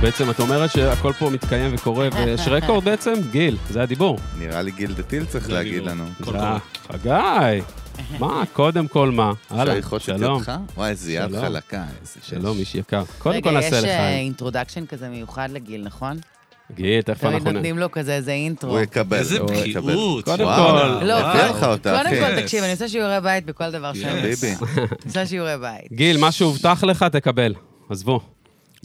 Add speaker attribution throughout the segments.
Speaker 1: בעצם את אומרת שהכל פה מתקיים וקורה, ויש רקורד בעצם? גיל, זה הדיבור.
Speaker 2: נראה לי גיל דתיל צריך להגיד
Speaker 3: כאילו
Speaker 2: לנו.
Speaker 1: זה אה, ה- חגי, מה? קודם כל מה?
Speaker 2: אפשר
Speaker 1: הלאה,
Speaker 2: ללחוץ את
Speaker 1: שלום.
Speaker 2: ידך? וואי, איזה יד
Speaker 1: שלום.
Speaker 2: חלקה. איזה
Speaker 1: שלום,
Speaker 2: שש.
Speaker 1: איש יקר. קודם כל נעשה לך.
Speaker 4: רגע, יש אה, אינטרודקשן כזה מיוחד לגיל, נכון?
Speaker 1: גיל, תכף
Speaker 4: תמיד
Speaker 1: אנחנו... נ-
Speaker 4: נותנים לו כזה איזה אינטרו.
Speaker 2: הוא יקבל.
Speaker 3: איזה
Speaker 2: הוא יקבל.
Speaker 3: בקיאות.
Speaker 1: קודם
Speaker 3: וואלה.
Speaker 1: כל-
Speaker 4: לא,
Speaker 3: וואו.
Speaker 2: הביא לך אותה, אחי.
Speaker 4: קודם כל,
Speaker 3: Yes.
Speaker 4: תקשיב, אני עושה שיעורי בית בכל דבר שאני
Speaker 2: ביבי,
Speaker 4: עושה. עושה שיעורי בית.
Speaker 1: גיל, מה שהובטח לך, תקבל. עזבו.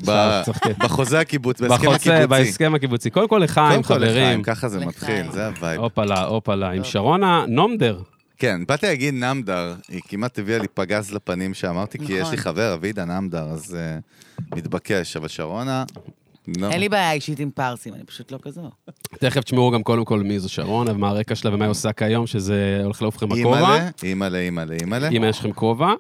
Speaker 2: ב-
Speaker 1: צוחקים.
Speaker 2: בחוזה הקיבוץ, בהסכם
Speaker 1: כן. בחוזה,
Speaker 2: הקיבוצי.
Speaker 1: בהסכם הקיבוצי. קודם כל לחיים,
Speaker 2: קודם כל לחיים,
Speaker 1: חברים.
Speaker 2: ככה זה
Speaker 4: לחיים.
Speaker 2: מתחיל, זה הווייב.
Speaker 1: הופלה, הופלה. עם
Speaker 4: טוב.
Speaker 1: שרונה נומדר.
Speaker 2: כן, באתי להגיד נמדר, היא כמעט הביאה לי פגז לפנים שאמרתי, כי יש לי
Speaker 4: נכון.
Speaker 2: חבר, אבידה נמדר, אז אה, מתבקש, אבל שרונה... לא.
Speaker 4: אין לי בעיה אישית עם פרסים, אני פשוט לא כזו.
Speaker 1: תכף תשמעו גם קודם כל מי זו שרונה, ומה הרקע שלה ומה היא עושה כיום, שזה הולך לעוף לכם בכובע.
Speaker 2: אימא'לה, אימא'לה, אימא'לה, אימא'לה.
Speaker 1: אם יש לכם כובע.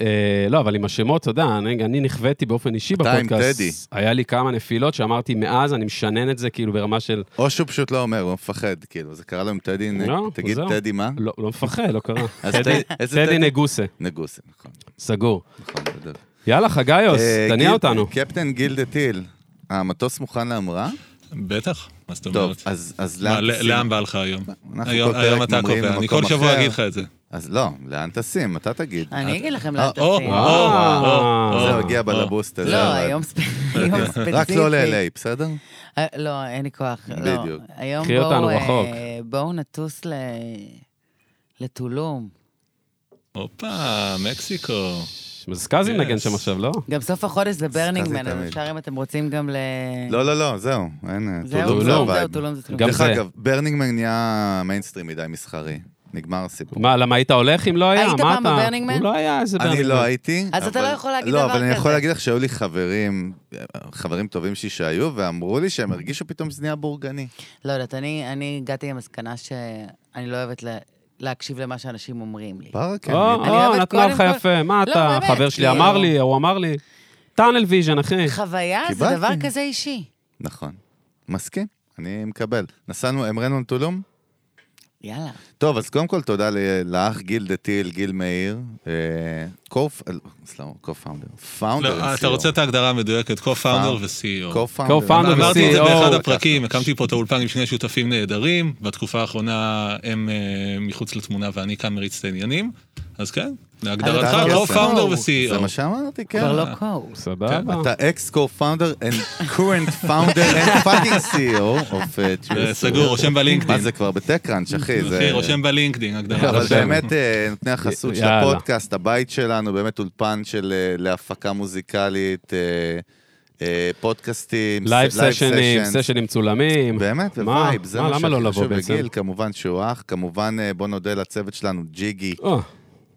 Speaker 1: אה, לא, אבל עם השמות, אתה יודע, אני, אני נכוויתי באופן אישי
Speaker 2: אתה עם
Speaker 1: בפודקאסט.
Speaker 2: טדי.
Speaker 1: היה לי כמה נפילות שאמרתי, מאז אני משנן את זה כאילו ברמה של...
Speaker 2: או שהוא פשוט לא אומר, הוא מפחד, כאילו, זה קרה לו עם טדי, נ-
Speaker 1: לא,
Speaker 2: תגיד
Speaker 1: זהו.
Speaker 2: טדי מה?
Speaker 1: לא, לא מפחד, לא קרה.
Speaker 2: אז
Speaker 1: טדי-
Speaker 2: טדי- איזה
Speaker 1: טדי
Speaker 2: טדי?
Speaker 1: נגוסה,
Speaker 2: נגוסה, נכון,
Speaker 1: סגור.
Speaker 2: נכון, בדיוק.
Speaker 1: יאללה, חגאיוס,
Speaker 2: אה,
Speaker 1: לא, תניע
Speaker 2: גיל-
Speaker 1: אותנו.
Speaker 2: קפטן גיל דה טיל, המטוס מוכן להמראה?
Speaker 3: בטח, מה זאת
Speaker 2: טוב,
Speaker 3: אומרת?
Speaker 2: אז אז
Speaker 3: מה,
Speaker 2: לאן
Speaker 3: ל-
Speaker 2: תשים?
Speaker 3: לאן בא לך היום?
Speaker 2: אנחנו
Speaker 3: היום
Speaker 2: כל
Speaker 3: היום
Speaker 2: פרק
Speaker 3: אתה
Speaker 2: ממריאים
Speaker 3: קובע, אני
Speaker 2: למקום
Speaker 3: כל שבוע
Speaker 2: אחר.
Speaker 3: אגיד לך את זה.
Speaker 2: אז לא, לאן תשים? אתה תגיד.
Speaker 4: אני אגיד לכם
Speaker 2: אה,
Speaker 4: לאן
Speaker 3: או,
Speaker 4: תעשי.
Speaker 3: או, או,
Speaker 1: אה,
Speaker 3: או.
Speaker 2: זהו, הגיע
Speaker 3: או.
Speaker 2: בלבוסט הזה.
Speaker 4: לא,
Speaker 2: אבל-
Speaker 4: היום ספ- היום ספציפי.
Speaker 2: רק לא ל-LA, בסדר?
Speaker 4: אה, לא, אין לי כוח. לא.
Speaker 2: בדיוק.
Speaker 4: היום
Speaker 1: קחי אותנו
Speaker 4: בואו, אה,
Speaker 1: רחוק.
Speaker 4: בואו נטוס ל... לטולום.
Speaker 3: הופה, מקסיקו.
Speaker 2: לא,
Speaker 1: מזקזי
Speaker 3: Yes.
Speaker 1: מנגן שם עכשיו, לא?
Speaker 4: גם סוף החודש זה ברנינג מן, אז
Speaker 2: תמיד.
Speaker 4: אפשר אם אתם רוצים גם ל...
Speaker 2: לא, לא, לא, זהו, אין,
Speaker 4: כן. זהו, לא
Speaker 2: טולום
Speaker 4: זהו,
Speaker 2: זה
Speaker 4: זהו,
Speaker 2: הווייב.
Speaker 4: טולום זה טולום.
Speaker 1: גם
Speaker 2: דרך
Speaker 1: זה.
Speaker 2: אגב, ברנינגמן נהיה מיינסטרים מדי מסחרי. נגמר הסיפור.
Speaker 1: מה, למה היית הולך אם לא היה?
Speaker 4: היית
Speaker 1: מה
Speaker 4: פעם
Speaker 1: אתה-
Speaker 4: בברנינג מן?
Speaker 1: הוא לא היה איזה ברנינג
Speaker 2: אני לא
Speaker 1: מן.
Speaker 2: הייתי.
Speaker 4: אז אתה
Speaker 2: אבל-
Speaker 4: לא יכול להגיד
Speaker 2: לא,
Speaker 4: דבר
Speaker 2: אבל אני יכול
Speaker 4: כזה.
Speaker 2: להגיד לך שהיו לי חברים, חברים טובים שלי שהיו, ואמרו לי שהם הרגישו פתאום שזה נהיה בורגני.
Speaker 4: לא יודעת, אני אני הגעתי למסקנה שאני לא אוהבת ל- להקשיב למה שאנשים אומרים לי.
Speaker 2: ברק,
Speaker 1: או,
Speaker 2: כן, אני-
Speaker 4: אני
Speaker 1: או,
Speaker 4: אוהבת
Speaker 1: לא, אה, נתנה
Speaker 4: קודם
Speaker 1: לך
Speaker 4: כל-
Speaker 1: יפה, מה
Speaker 4: לא,
Speaker 1: אתה?
Speaker 4: באמת,
Speaker 1: חבר שלי
Speaker 4: כאילו.
Speaker 1: אמר לי, הוא אמר לי, טאנל ויז'ן, אחי.
Speaker 4: חוויה זה
Speaker 2: קיבלתי.
Speaker 4: דבר כזה אישי.
Speaker 2: נכון. מסכים, אני מקבל. נסענו, המרנו לטולום?
Speaker 4: יאללה.
Speaker 2: טוב, אז קודם כל תודה ל- לאח גיל דה טיל, גיל מאיר, אה, קוף, אה, סליחה, קו-פאונדר. פאונדר. E
Speaker 3: לא,
Speaker 2: and
Speaker 3: אתה
Speaker 2: CEO.
Speaker 3: רוצה את ההגדרה המדויקת, co-founder ו-CEO.
Speaker 2: co-founder. E
Speaker 1: co-founder
Speaker 2: אמרתי
Speaker 3: אמרתי את זה
Speaker 4: E
Speaker 1: ו-CEO.
Speaker 3: באחד הפרקים, הקמתי פה את האולפן עם שני שותפים נהדרים, בתקופה האחרונה הם אה, מחוץ לתמונה ואני כאן מריץ את העניינים, אז כן, להגדרתך,
Speaker 2: אתה לא
Speaker 3: co-founder E
Speaker 4: יפה.
Speaker 2: זה מה
Speaker 3: ו-CEO.
Speaker 2: שאמרתי, כן.
Speaker 4: כבר לא קו.
Speaker 1: סבבה.
Speaker 2: אתה אקס co-founder and current founder and fucking CEO of אה, True
Speaker 3: זה
Speaker 2: Story.
Speaker 3: סגור, רושם
Speaker 2: מה
Speaker 3: בלינקדאין.
Speaker 2: זה כבר בטקראנץ', אחי?
Speaker 3: אחי,
Speaker 2: זה...
Speaker 3: רושם בלינקדאין, הגדרה.
Speaker 2: אבל
Speaker 3: רשם.
Speaker 2: באמת, אה, נותני החסות של
Speaker 1: יאללה.
Speaker 2: הפודקאסט, הבית שלנו, באמת אולפן של אה, להפקה מוזיקלית, אה, אה, פודקאסטים,
Speaker 1: לייב
Speaker 2: ס-
Speaker 1: סשנים,
Speaker 2: sessions.
Speaker 1: סשנים מצולמים.
Speaker 2: באמת,
Speaker 1: מה?
Speaker 2: ווייב, זה
Speaker 1: מה,
Speaker 2: מה
Speaker 1: למה לא
Speaker 2: שהכי
Speaker 1: לבוא
Speaker 2: חשוב
Speaker 1: בעצם?
Speaker 2: בגיל, כמובן שהוא אח, כמובן אה, בוא נודה לצוות שלנו, ג'יגי,
Speaker 1: או,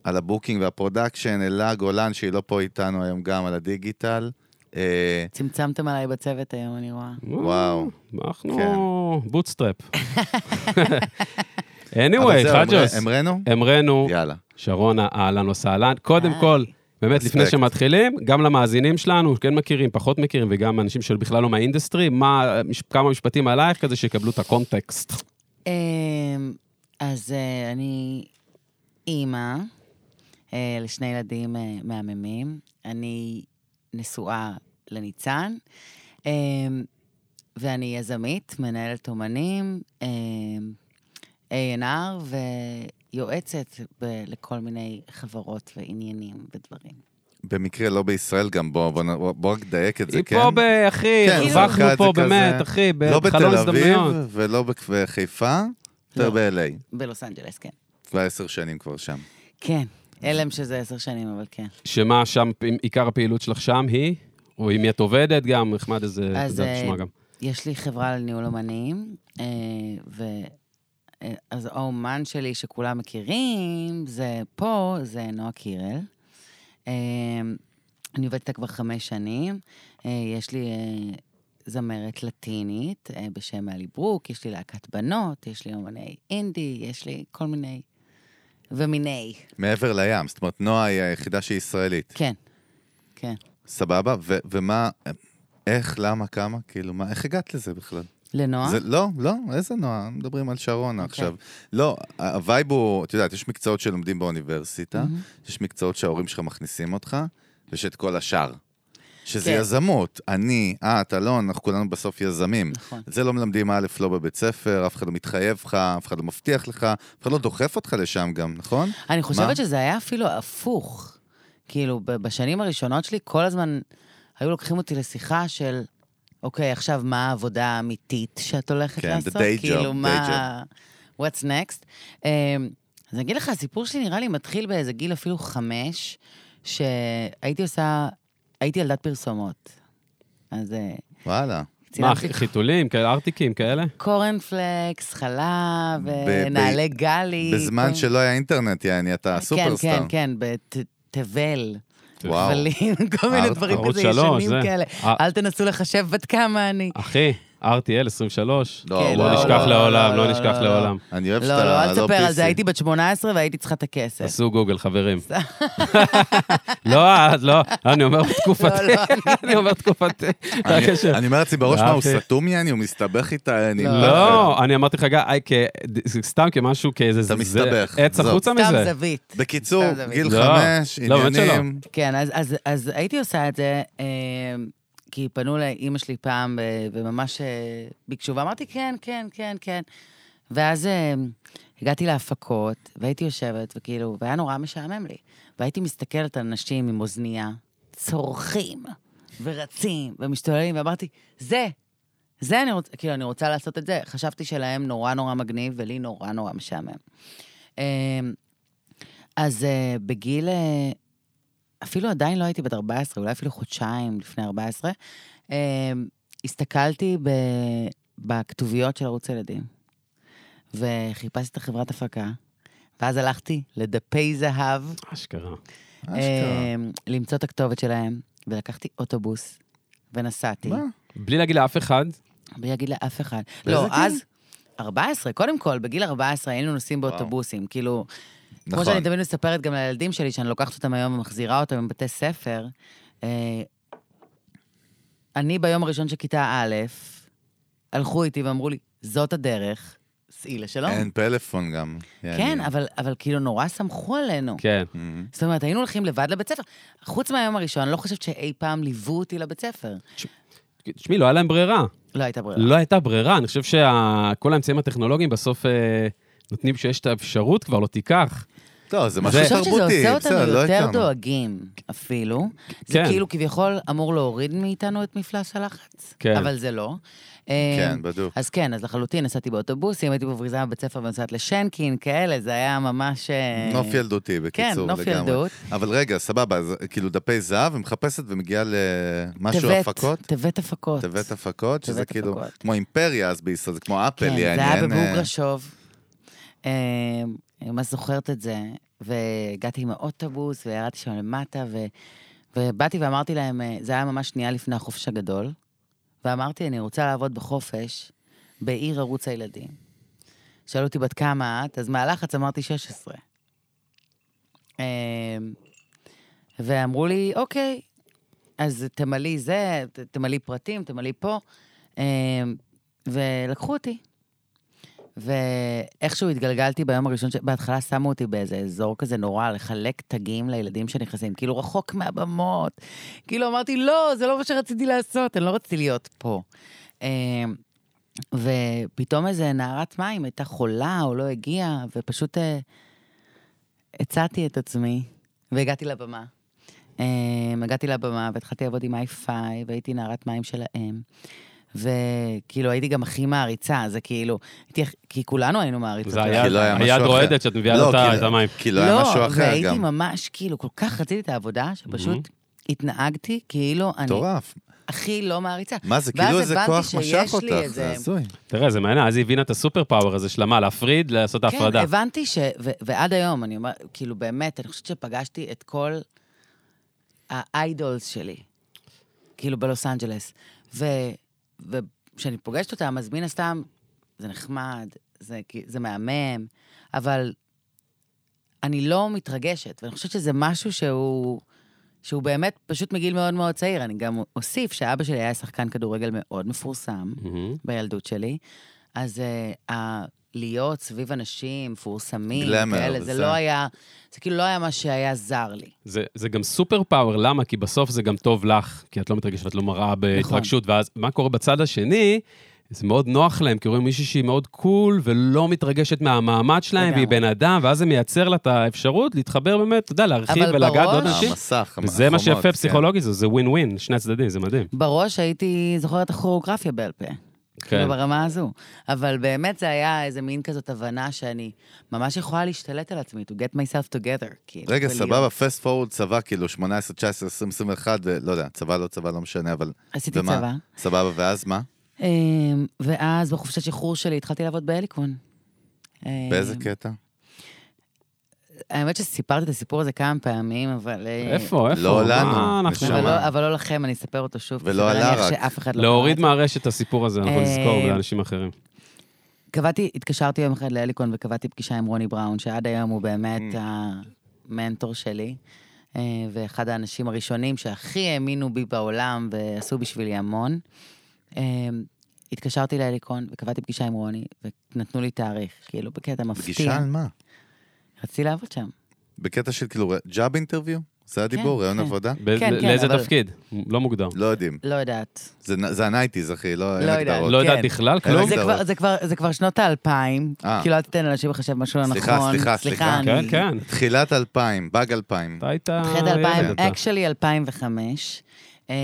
Speaker 2: על הבוקינג והפרודקשן, אלה גולן, שהיא לא פה איתנו היום גם, על הדיגיטל. אה,
Speaker 4: צמצמתם עליי בצוות היום, אני רואה.
Speaker 2: וואו.
Speaker 1: אנחנו
Speaker 2: כן.
Speaker 1: בוטסטראפ. anyway,
Speaker 2: אבל זהו,
Speaker 1: חג'וס,
Speaker 2: אמר- אמרנו?
Speaker 1: אמרנו,
Speaker 2: יאלה.
Speaker 1: שרונה, אהלן וסהלן. קודם
Speaker 4: היי.
Speaker 1: כל, באמת, לפני
Speaker 2: אספקט.
Speaker 1: שמתחילים, גם למאזינים שלנו, כן מכירים, פחות מכירים, וגם אנשים שבכלל לא מהאינדסטרי, מה, מש- כמה משפטים עלייך כדי שיקבלו את הקונטקסט.
Speaker 4: אמ, אז אה, אני אימא אה, לשני ילדים אה, מהממים. אני נשואה לניצן, אמ, ואני יזמית, מנהלת אומנים, אמ, A&R ויועצת ב- לכל מיני חברות ועניינים ודברים.
Speaker 2: במקרה לא בישראל גם, בוא, בוא, נ- בוא רק דייק את זה,
Speaker 1: היא
Speaker 2: כן?
Speaker 1: פה, ב- אחי,
Speaker 2: כן,
Speaker 1: הרווחנו
Speaker 2: זרקה את זה
Speaker 1: פה
Speaker 2: כזה.
Speaker 1: באמת, אחי,
Speaker 2: לא
Speaker 1: בחלון
Speaker 2: בתל אביב
Speaker 1: הזדמנויות.
Speaker 2: ולא בכ- בחיפה, יותר
Speaker 4: לא.
Speaker 2: ב-LA.
Speaker 4: בלוס אנג'לס, כן.
Speaker 2: כבר עשר שנים כבר שם.
Speaker 4: כן. הלם שזה עשר שנים, אבל כן.
Speaker 1: שמה שם, עיקר הפעילות שלך שם היא? או אם את עובדת גם, נחמד איזה, אתה
Speaker 4: אז,
Speaker 1: יודע,
Speaker 4: אה,
Speaker 1: תשמע גם.
Speaker 4: יש לי חברה לניהול אומנים, אה, ו... אה, אז האומן שלי שכולם מכירים, זה פה, זה נועה קירל. אה, אני עובדת איתה כבר חמש שנים. אה, יש לי אה, זמרת לטינית אה, בשם אלי ברוק, יש לי להקת בנות, יש לי אומני אינדי, יש לי כל מיני ומיני.
Speaker 2: מעבר לים, זאת אומרת, נועה היא היחידה שהיא ישראלית.
Speaker 4: כן, כן.
Speaker 2: סבבה, ו- ומה, איך, למה, כמה, כאילו, מה, איך הגעת לזה בכלל?
Speaker 4: לנועה?
Speaker 2: זה, לא, לא, איזה נועה, מדברים על שרונה okay.
Speaker 1: אוקיי.
Speaker 2: עכשיו. לא, ה- הווייב הוא, את יודעת, יש מקצועות שלומדים באוניברסיטה, mm-hmm. יש מקצועות שההורים שלך מכניסים אותך, ויש את כל השאר. שזה
Speaker 4: כן.
Speaker 2: יזמות. אני, את, אלון, אנחנו כולנו בסוף יזמים.
Speaker 4: נכון.
Speaker 2: את זה לא מלמדים א', לא בבית ספר, אף אחד לא מתחייב לך, אף אחד לא מבטיח לך, אף אחד לא דוחף אותך לשם גם, נכון?
Speaker 4: אני
Speaker 2: מה?
Speaker 4: חושבת שזה היה אפילו הפוך. כאילו, ב- בשנים הראשונות שלי, כל הזמן היו לוקחים אותי לשיחה של, אוקיי, עכשיו מה העבודה האמיתית שאת הולכת
Speaker 2: כן,
Speaker 4: לעשות?
Speaker 2: the day job,
Speaker 4: כאילו,
Speaker 2: day
Speaker 4: מה... what's next? אמ, אז אני אגיד לך, הסיפור שלי נראה לי מתחיל באיזה גיל אפילו חמש, שהייתי עושה, הייתי ילדת פרסומות. אז אה,
Speaker 2: וואלה.
Speaker 1: מה,
Speaker 4: צילמתי
Speaker 1: חיתולים, כאלה, ארטיקים כאלה?
Speaker 4: קורנפלקס, חלב, אה,
Speaker 2: ב- ב-
Speaker 4: נעלי גלי.
Speaker 2: בזמן
Speaker 4: כל-
Speaker 2: שלא היה אינטרנט, יעני, אתה הסופרסטאר.
Speaker 4: אה, כן, כן, כן, בתבל.
Speaker 2: וואו.
Speaker 4: כבלים, כל מיני
Speaker 2: ערוץ-
Speaker 4: דברים
Speaker 1: ערוץ
Speaker 4: כזה
Speaker 1: שלוש,
Speaker 4: ישנים
Speaker 1: זה.
Speaker 4: כאלה.
Speaker 1: אה.
Speaker 4: אל תנסו לחשב בת כמה אני.
Speaker 1: אחי, RTL 23.
Speaker 2: לא, וואו,
Speaker 4: כן,
Speaker 1: לא נשכח
Speaker 2: לא,
Speaker 1: לעולם,
Speaker 4: לא,
Speaker 1: לא
Speaker 4: לא,
Speaker 1: נשכח
Speaker 4: לא.
Speaker 1: לעולם.
Speaker 2: אני אוהב
Speaker 4: לא,
Speaker 2: שאתה
Speaker 4: לא, אל תספר על זה,
Speaker 2: PC.
Speaker 4: הייתי בת 18 והייתי צריכה את הכסף.
Speaker 1: עשו גוגל, חברים. לא, את, לא, אני אומר בתקופתי, אני אומר בתקופתי. מה
Speaker 2: אני-
Speaker 1: הקשר?
Speaker 2: אני אומר לעצמי בראש,
Speaker 1: לא,
Speaker 2: מה, הוא
Speaker 1: אוקיי.
Speaker 2: סתום יעני? הוא מסתבך איתה? אני-
Speaker 1: לא, אני אמרתי לך, גיא, איי, כ- סתם כמשהו, כאיזה...
Speaker 2: אתה
Speaker 1: זה-
Speaker 2: מסתבך,
Speaker 1: עץ
Speaker 2: עזוב.
Speaker 1: החוצה
Speaker 4: סתם
Speaker 1: מזה.
Speaker 4: זווית.
Speaker 2: בקיצור,
Speaker 4: סתם, זה
Speaker 2: גיל
Speaker 1: לא.
Speaker 2: חמש,
Speaker 1: לא, באמת שלא.
Speaker 2: עניינים.
Speaker 4: כן, אז- אז- אז הייתי עושה את זה, אה, כי פנו לאימא שלי פעם, ו- וממש אה, ביקשו, ואמרתי, כן, כן, כן, כן. ואז אה, הגעתי להפקות, והייתי יושבת, וכאילו, והיה נורא משעמם לי. והייתי מסתכלת על נשים עם אוזנייה, צורכים, ורצים, ומשתוללים, ואמרתי, זה, זה אני רוצה, כאילו, אני רוצה לעשות את זה. חשבתי שלהם נורא נורא מגניב, ולי נורא נורא משעמם. אה, אז אה, בגיל אה, אפילו עדיין לא הייתי בת 14, אולי אפילו חודשיים לפני 14, אמ, הסתכלתי ב... בכתוביות של ערוץ ילדים, וחיפשתי את החברת הפקה, ואז הלכתי לדפי זהב,
Speaker 1: אשכרה.
Speaker 2: אשכרה.
Speaker 4: אמ, למצוא את הכתובת שלהם, ולקחתי אוטובוס, ונסעתי,
Speaker 2: מה? נכון.
Speaker 1: בלי להגיד לאף אחד,
Speaker 4: בלי להגיד לאף אחד.
Speaker 2: באיזה
Speaker 4: לא,
Speaker 2: גיל?
Speaker 4: אז... 14, קודם כל, בגיל 14 היינו נוסעים
Speaker 2: וואו.
Speaker 4: באוטובוסים, כאילו, כמו
Speaker 2: נכון.
Speaker 4: שאני תמיד מספרת גם לילדים שלי, שאני לוקחת אותם היום ומחזירה אותם מבתי ספר, אה, אני ביום הראשון של כיתה א', הלכו איתי ואמרו לי, זאת הדרך, סעי לשלום.
Speaker 2: אין פלאפון גם. יעני.
Speaker 4: כן, אבל, אבל כאילו נורא סמכו עלינו.
Speaker 1: כן.
Speaker 2: Mhm.
Speaker 4: זאת אומרת, היינו הולכים לבד לבית ספר. חוץ מהיום הראשון, לא חושבת שאי פעם ליוו אותי לבית ספר.
Speaker 1: תשמעי, לא היה להם ברירה.
Speaker 4: לא הייתה ברירה.
Speaker 1: לא הייתה ברירה, אני חושב שכל האמצעים הטכנולוגיים בסוף אה, נותנים שיש את האפשרות, כבר לא תיקח.
Speaker 2: לא, זה משהו
Speaker 1: זה-
Speaker 4: אני חושבת שזה
Speaker 2: תרבותי,
Speaker 4: עושה
Speaker 2: בסדר,
Speaker 4: אותנו
Speaker 2: לא
Speaker 4: יותר
Speaker 2: הכרנו.
Speaker 4: דואגים, אפילו. זה
Speaker 1: כן.
Speaker 4: כאילו כביכול אמור להוריד מאיתנו את מפלס הלחץ,
Speaker 1: כן.
Speaker 4: אבל זה לא.
Speaker 2: כן, בדוק.
Speaker 4: אז כן, אז לחלוטין נסעתי באוטובוסים, הייתי בבריזה בבית ספר ונוסעת לשנקין, כאלה, זה היה ממש... אה,
Speaker 2: נוף ילדותי,
Speaker 4: כן,
Speaker 2: בקיצור,
Speaker 4: נוף
Speaker 2: לגמרי.
Speaker 4: ילדות.
Speaker 2: אבל רגע, סבבה, אז כאילו דפי זהב, ומחפשת ומגיעה למשהו
Speaker 4: טבת,
Speaker 2: הפקות?
Speaker 4: טבת הפקות.
Speaker 2: טבת הפקות, שזה
Speaker 4: טבת
Speaker 2: כאילו,
Speaker 4: הפקות.
Speaker 2: כמו אימפריה אז בישראל, זה כמו אפל,
Speaker 4: כן,
Speaker 2: יעני.
Speaker 4: זה היה
Speaker 2: אין, אה,
Speaker 4: בבוגרשוב. אה, אני ממש זוכרת את זה, והגעתי עם האוטובוס, וירדתי שם למטה, ו... ובאתי ואמרתי להם, אה, זה היה ממש שנייה לפני החופש הגדול, ואמרתי, אני רוצה לעבוד בחופש בעיר ערוץ הילדים. שאלו אותי בת כמה את, אז מהלחץ אמרתי 16. אה, ואמרו לי, אוקיי, אז תמלאי זה, ת- תמלאי פרטים, תמלאי פה. אה, ולקחו אותי. ואיכשהו התגלגלתי ביום הראשון, ש- בהתחלה שמו אותי באיזה אזור כזה נורא, לחלק תגים לילדים שנכנסים, כאילו רחוק מהבמות. כאילו אמרתי, לא, זה לא מה שרציתי לעשות, אני לא רציתי להיות פה. אה, ופתאום איזה נערת מים הייתה חולה או לא הגיעה, ופשוט אה, הצעתי את עצמי, והגעתי לבמה. אה, הגעתי לבמה והתחלתי לעבוד עם איי-פיי, והייתי נערת מים שלהם. וכאילו הייתי גם הכי מעריצה, זה כאילו, הייתי, הכ- כי כולנו היינו מעריצות.
Speaker 1: זה
Speaker 4: של
Speaker 1: היה-
Speaker 2: כי לא היה משהו
Speaker 1: היד
Speaker 2: אחר.
Speaker 1: רועדת שאת מביאה
Speaker 2: לא,
Speaker 1: לו את ה-
Speaker 2: כי-
Speaker 1: את המים.
Speaker 2: כי לא היה משהו אחר
Speaker 4: והייתי
Speaker 2: גם.
Speaker 4: ממש, כאילו, כל כך רציתי את העבודה,
Speaker 1: מהמם.
Speaker 4: שפשוט התנהגתי כאילו אני
Speaker 2: מטורף.
Speaker 4: הכי לא מעריצה.
Speaker 2: מה זה,
Speaker 4: ואז
Speaker 2: כאילו איזה
Speaker 4: הבנתי
Speaker 2: כוח
Speaker 4: שיש
Speaker 2: משך
Speaker 4: לי
Speaker 2: אותך, זה
Speaker 4: איזה-
Speaker 2: הזוי.
Speaker 1: תראה, זה מעניין, אז היא הבינה את הסופר פאוור הזה שלה, מה, להפריד, לעשות את ההפרדה.
Speaker 4: כן, הבנתי ש... ו- ועד היום, אני אומרת, כאילו, באמת, אני חושבת שפגשתי את כל האיידולס שלי, כאילו, בלוס אנג'לס. ו- וכשאני פוגשת אותם, אז מן הסתם, זה נחמד, זה, כי- זה מהמם, אבל אני לא מתרגשת, ואני חושבת שזה משהו שהוא... שהוא באמת פשוט מגיל מאוד מאוד צעיר. אני גם אוסיף שאבא שלי היה שחקן כדורגל מאוד מפורסם.
Speaker 1: מהמם.
Speaker 4: בילדות שלי. אז uh, להיות סביב אנשים מפורסמים,
Speaker 2: גלמר,
Speaker 4: כאלה, זה
Speaker 2: וזה.
Speaker 4: לא היה, זה כאילו לא היה מה שהיה זר לי.
Speaker 1: זה, זה גם סופר פאוור, למה? כי בסוף זה גם טוב לך, כי את לא מתרגשת, את לא מראה
Speaker 4: נכון.
Speaker 1: בהתרגשות, ואז מה קורה בצד השני? זה מאוד נוח להם, כי רואים מישהי שהיא מאוד קול ולא מתרגשת מהמעמד שלהם,
Speaker 4: לגמרי.
Speaker 1: והיא בן אדם, ואז זה מייצר לה את האפשרות להתחבר באמת, אתה יודע, להרחיב
Speaker 4: אבל
Speaker 1: ולגעת בעוד
Speaker 4: בראש-
Speaker 1: אנשים.
Speaker 2: המסך, המ-
Speaker 1: זה מה
Speaker 2: החומות,
Speaker 1: שיפה
Speaker 2: אה, כן.
Speaker 1: פסיכולוגי, זה- זה ווין ווין, שני הצדדים, זה מדהים.
Speaker 4: בראש הייתי זוכרת את הכוריאוגרפיה בעל פה.
Speaker 1: כן.
Speaker 4: כאילו ברמה הזו. אבל באמת זה היה איזה מין כזאת הבנה שאני ממש יכולה להשתלט על עצמי, to get myself together. כאילו,
Speaker 2: רגע,
Speaker 4: ולהיות-
Speaker 2: סבבה, פסט פורוד צבא, כאילו 18, 19, 20, 21, ולא יודע, צבא, לא צבא, לא משנה, אבל...
Speaker 4: עשיתי
Speaker 2: ומה?
Speaker 4: צבא.
Speaker 2: סבבה, ואז מה?
Speaker 4: אמ, ואז בחופשת שחרור שלי התחלתי לעבוד בהליקון. אמ,
Speaker 2: באיזה קטע?
Speaker 4: האמת שסיפרתי את הסיפור הזה כמה פעמים, אבל... אה,
Speaker 1: איפה, איפה?
Speaker 2: לא
Speaker 1: מה
Speaker 2: לנו,
Speaker 1: אנחנו-
Speaker 2: נשמה.
Speaker 4: אבל לא, אבל לא לכם, אני אספר אותו שוב.
Speaker 2: ולא
Speaker 4: סביר
Speaker 2: עלה
Speaker 4: להניח
Speaker 2: רק.
Speaker 4: שאף אחד לא...
Speaker 1: להוריד
Speaker 4: קרא את
Speaker 1: מהרשת את הסיפור הזה, אנחנו
Speaker 4: אה,
Speaker 1: נזכור לאנשים אחרים.
Speaker 4: זה. קבעתי, התקשרתי יום אחד להליקון וקבעתי פגישה עם רוני בראון, שעד היום הוא באמת
Speaker 2: Mm.
Speaker 4: המנטור שלי, אה, ואחד האנשים הראשונים שהכי האמינו בי בעולם ועשו בשבילי המון. אה, התקשרתי להליקון וקבעתי פגישה עם רוני, ונתנו לי תאריך, כאילו, בקטע
Speaker 2: פגישה
Speaker 4: מפתיע.
Speaker 2: על מה?
Speaker 4: רציתי לעבוד שם.
Speaker 2: בקטע של כאילו ג'אב אינטרוויו? זה הדיבור,
Speaker 4: כן,
Speaker 2: ראיון
Speaker 4: כן.
Speaker 2: עבודה?
Speaker 1: ב-
Speaker 4: כן, כן,
Speaker 1: לאיזה
Speaker 4: אבל-
Speaker 1: תפקיד? לא מוגדר.
Speaker 2: לא יודעים.
Speaker 4: לא יודעת.
Speaker 2: זה נ- זה הנייטיז, אחי, לא אין
Speaker 4: לא יודעת.
Speaker 2: הגדרות.
Speaker 1: לא יודעת
Speaker 4: כן.
Speaker 1: בכלל
Speaker 2: אין
Speaker 1: כלום?
Speaker 4: זה
Speaker 2: הגדרות.
Speaker 4: כבר, זה, כבר, זה כבר שנות האלפיים,
Speaker 2: אה.
Speaker 4: כאילו אל תיתן לאנשים לחשב משהו לא נכון.
Speaker 2: סליחה, סליחה, סליחה.
Speaker 1: כן,
Speaker 4: אני-
Speaker 1: כן.
Speaker 2: תחילת 2000, באג 2000.
Speaker 1: אתה היית...
Speaker 4: תחילת
Speaker 1: ילד
Speaker 4: 2000,
Speaker 1: אתה.
Speaker 4: אקשלי 2005, אמ,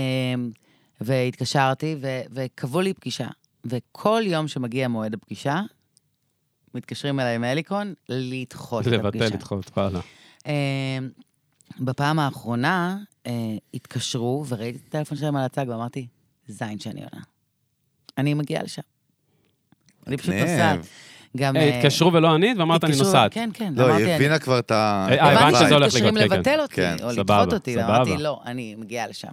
Speaker 4: והתקשרתי ו- וקבעו לי פגישה, וכל יום שמגיע מועד הפגישה, מתקשרים אליי מהליקון לדחות את
Speaker 1: לבטל,
Speaker 4: הפגישה.
Speaker 1: לדחות, וואלה.
Speaker 4: אמ, בפעם האחרונה אה, התקשרו וראיתי את הטלפון שלהם על הצג ואמרתי, זין שאני עונה. אני מגיעה לשם. אני פשוט
Speaker 2: מגניב.
Speaker 4: נוסעת. גם...
Speaker 1: אה,
Speaker 4: אה,
Speaker 1: התקשרו ולא ענית, ואמרת אני
Speaker 4: התקשרו-
Speaker 1: נוסעת.
Speaker 4: כן, כן,
Speaker 2: לא,
Speaker 4: אמרתי,
Speaker 2: היא
Speaker 4: אני-
Speaker 2: הבינה כבר את ה...
Speaker 1: אה, הבנת
Speaker 2: הבנתי.
Speaker 1: שזה הולך
Speaker 4: שמתקשרים
Speaker 1: לקרות, כן,
Speaker 4: לבטל אותי,
Speaker 2: כן,
Speaker 4: או
Speaker 1: סבבה,
Speaker 4: לדחות אותי, ואמרתי,
Speaker 1: סבבה.
Speaker 4: לא, אני מגיעה לשם.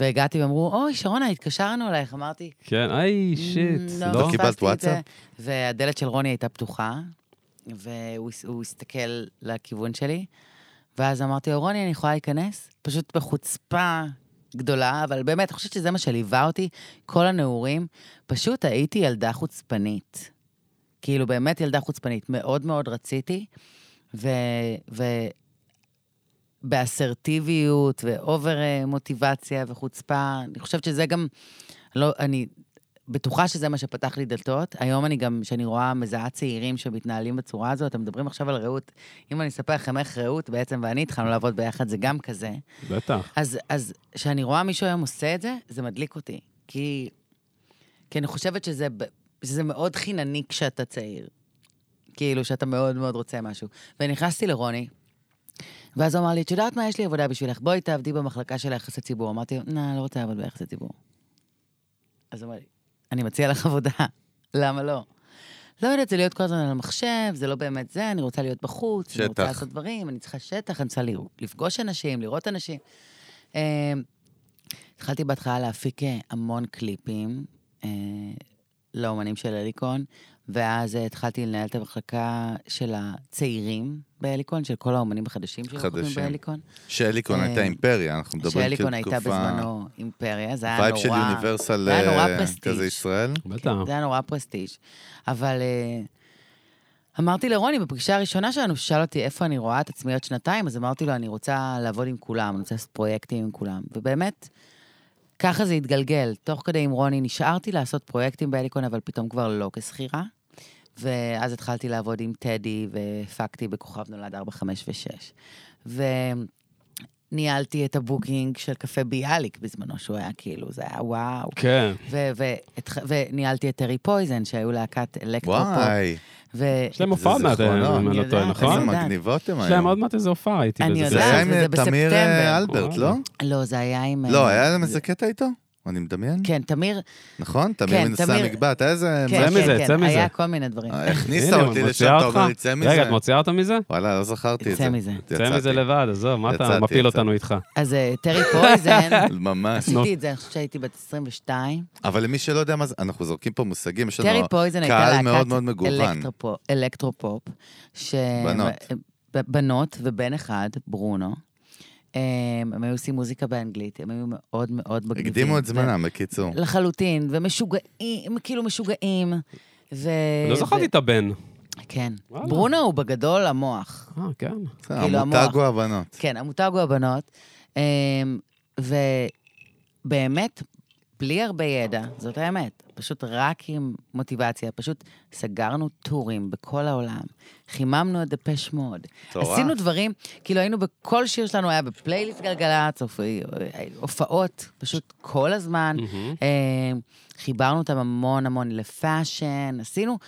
Speaker 4: והגעתי ואמרו, אוי, שרונה, התקשרנו אלייך, אמרתי,
Speaker 1: כן, איי, שיט,
Speaker 4: "מ,
Speaker 1: לא?
Speaker 2: קיבלת
Speaker 4: פספסתי את זה."
Speaker 2: וואטסאפ?
Speaker 4: והדלת של רוני הייתה פתוחה, והוא הס- הוא הסתכל לכיוון שלי, ואז אמרתי לו, רוני, אני יכולה להיכנס? פשוט בחוצפה גדולה, אבל באמת, אני חושבת שזה מה שליווה אותי, כל הנעורים. פשוט הייתי ילדה חוצפנית. כאילו, באמת ילדה חוצפנית. מאוד מאוד רציתי, ו... ו... באסרטיביות ואובר אה, מוטיבציה וחוצפה. אני חושבת שזה גם, לא, אני בטוחה שזה מה שפתח לי דלתות. היום אני גם, כשאני רואה מזהה צעירים שמתנהלים בצורה הזאת, אתם מדברים עכשיו על רעות. אם אני אספר לכם איך רעות בעצם ואני התחלנו לעבוד ביחד, זה גם כזה.
Speaker 1: בטח.
Speaker 4: אז, אז כשאני רואה מישהו היום עושה את זה, זה מדליק אותי. כי, כי אני חושבת שזה, ב- שזה מאוד חינני כשאתה צעיר. כאילו, שאתה מאוד מאוד רוצה משהו. ונכנסתי לרוני, ואז הוא אמר לי, את יודעת מה, יש לי עבודה בשבילך, בואי תעבדי במחלקה של היחסי ציבור. אמרתי לו, נא, לא רוצה לעבוד ביחסי ציבור. אז הוא אמר לי, אני מציע לך עבודה, למה לא? לא יודעת, זה להיות כל הזמן על המחשב, זה לא באמת זה, אני רוצה להיות בחוץ, אני רוצה
Speaker 2: שטח.
Speaker 4: לעשות דברים, אני צריכה שטח, אני צריכה לראות- לפגוש אנשים, לראות אנשים. אמ, התחלתי בהתחלה להפיק אה, המון קליפים אה, לאומנים של אליקון, ואז אה, התחלתי לנהל את המחלקה של הצעירים באליקון, של כל האומנים החדשים שחותמים
Speaker 2: חדשים.
Speaker 4: באליקון.
Speaker 2: שאליקון
Speaker 4: אה,
Speaker 2: הייתה אימפריה, אנחנו מדברים כאילו
Speaker 4: שאליקון
Speaker 2: תקופה...
Speaker 4: הייתה בזמנו אימפריה, זה היה נורא...
Speaker 2: וייב של יוניברסל
Speaker 4: זה היה נורא
Speaker 2: אה,
Speaker 4: פרסטיג'.
Speaker 2: כזה ישראל.
Speaker 1: בטח.
Speaker 4: כן, זה היה נורא פרסטיג'. אבל אה, אמרתי לרוני בפגישה הראשונה שלנו, הוא שאל אותי איפה אני רואה את עצמי עוד שנתיים, אז אמרתי לו, אני רוצה לעבוד עם כולם, אני רוצה לעשות פרויקטים עם כולם. ובאמת, ככה זה התגלגל. תוך כדי עם רוני נשארתי לעשות פרויקטים בהליקון, אבל פתאום כבר לא כשכירה. ואז התחלתי לעבוד עם טדי, והפקתי בכוכב נולד 4, 5 ו-6. וניהלתי את הבוקינג של קפה ביאליק בזמנו, שהוא היה כאילו, זה היה וואו.
Speaker 1: כן.
Speaker 4: ו- והתח- וניהלתי את טרי פויזן, שהיו להקת אלקטרופופ.
Speaker 2: וואי,
Speaker 1: יש להם הופעה מעט,
Speaker 2: זיכרונות.
Speaker 1: אם אני לא טועה,
Speaker 4: אני
Speaker 1: נכון?
Speaker 2: איזה
Speaker 4: יודעת.
Speaker 2: מגניבות הם
Speaker 1: יש להם עוד
Speaker 2: היו.
Speaker 1: מעט איזה הופעה, הייתי
Speaker 4: אני
Speaker 1: באיזה...
Speaker 2: זה
Speaker 4: יודעת.
Speaker 2: היה עם
Speaker 4: זה
Speaker 2: אה, תמיר
Speaker 4: בספטמבר.
Speaker 2: אה, אלברט, לא?
Speaker 4: לא, זה היה עם...
Speaker 2: לא,
Speaker 4: אה,
Speaker 2: היה להם איזה קטע איתו? אני מדמיין?
Speaker 4: כן, תמיר...
Speaker 2: נכון?
Speaker 4: כן,
Speaker 2: תמיר מנסה
Speaker 4: תמיר-
Speaker 2: מגבעת, היה איזה...
Speaker 4: כן,
Speaker 1: מזה,
Speaker 4: כן,
Speaker 1: צא
Speaker 4: כן,
Speaker 1: מזה.
Speaker 4: היה כל מיני דברים.
Speaker 2: אה, הכניסת
Speaker 1: הנה,
Speaker 2: אותי
Speaker 1: מוציאה
Speaker 2: לשם, אתה אומר
Speaker 1: אותך?
Speaker 2: לי, צא
Speaker 1: רגע,
Speaker 2: מזה.
Speaker 1: את מוציאה אותה מזה?
Speaker 2: וואלה, לא זכרתי את זה.
Speaker 4: צא מזה.
Speaker 1: צא מזה
Speaker 2: יצאתי.
Speaker 1: לבד, עזוב, מה אתה
Speaker 2: יצאתי,
Speaker 1: מפיל
Speaker 2: יצאתי.
Speaker 1: אותנו איתך?
Speaker 4: אז אה, טרי פויזן,
Speaker 2: ממש.
Speaker 1: נו.
Speaker 4: עשיתי את זה, אני חושבת שהייתי בת 22.
Speaker 2: אבל למי שלא יודע מה זה, אנחנו זורקים פה מושגים, יש לנו
Speaker 4: טרי פויזן הייתה
Speaker 2: קהל
Speaker 4: להקת...
Speaker 2: מאוד מאוד מגוון.
Speaker 4: אלקטרופופ- אלקטרופופ. ש-
Speaker 2: בנות.
Speaker 4: ב- בנות ובן אחד, ברונו. אה, הם היו עושים מוזיקה באנגלית, הם היו מאוד מאוד מגניבים.
Speaker 2: הקדימו את
Speaker 4: ו-
Speaker 2: זמנם, בקיצור.
Speaker 4: לחלוטין, ומשוגעים, הם כאילו משוגעים. ו...
Speaker 1: לא זכרתי את הבן.
Speaker 4: ו... כן.
Speaker 1: וואלה.
Speaker 4: ברונו הוא בגדול המוח.
Speaker 1: אה, כן.
Speaker 2: בסדר,
Speaker 4: כאילו,
Speaker 2: המותג
Speaker 4: המוח.
Speaker 2: הוא הבנות.
Speaker 4: כן, המותג הוא הבנות. אמ, ובאמת, בלי הרבה ידע, זאת האמת. פשוט רק עם מוטיבציה, פשוט סגרנו טורים בכל העולם, חיממנו את דפש מוד.
Speaker 2: מטורף.
Speaker 4: עשינו דברים, כאילו היינו בכל שיר שלנו, היה בפלייליסט גלגלצ, הופ- אה, הופעות, פשוט כל הזמן.
Speaker 1: Mm-hmm.
Speaker 4: אה, חיברנו אותם המון המון לפאשן, עשינו...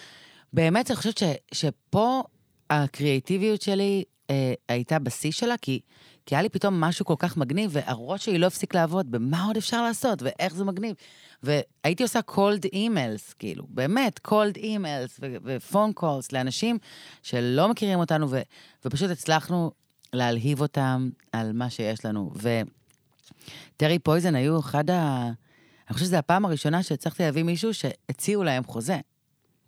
Speaker 4: באמת, אני חושבת ש, שפה הקריאיטיביות שלי אה, הייתה בשיא שלה, כי, כי היה לי פתאום משהו כל כך מגניב, והראש שלי לא הפסיק לעבוד, במה עוד אפשר לעשות, ואיך זה מגניב. והייתי עושה cold emails, כאילו, באמת, cold emails ופון קולס לאנשים שלא מכירים אותנו, ו, ופשוט הצלחנו להלהיב אותם על מה שיש לנו. ו... טרי פויזן היו אחד ה... אני חושבת שזו הפעם הראשונה שהצלחתי להביא מישהו שהציעו להם חוזה.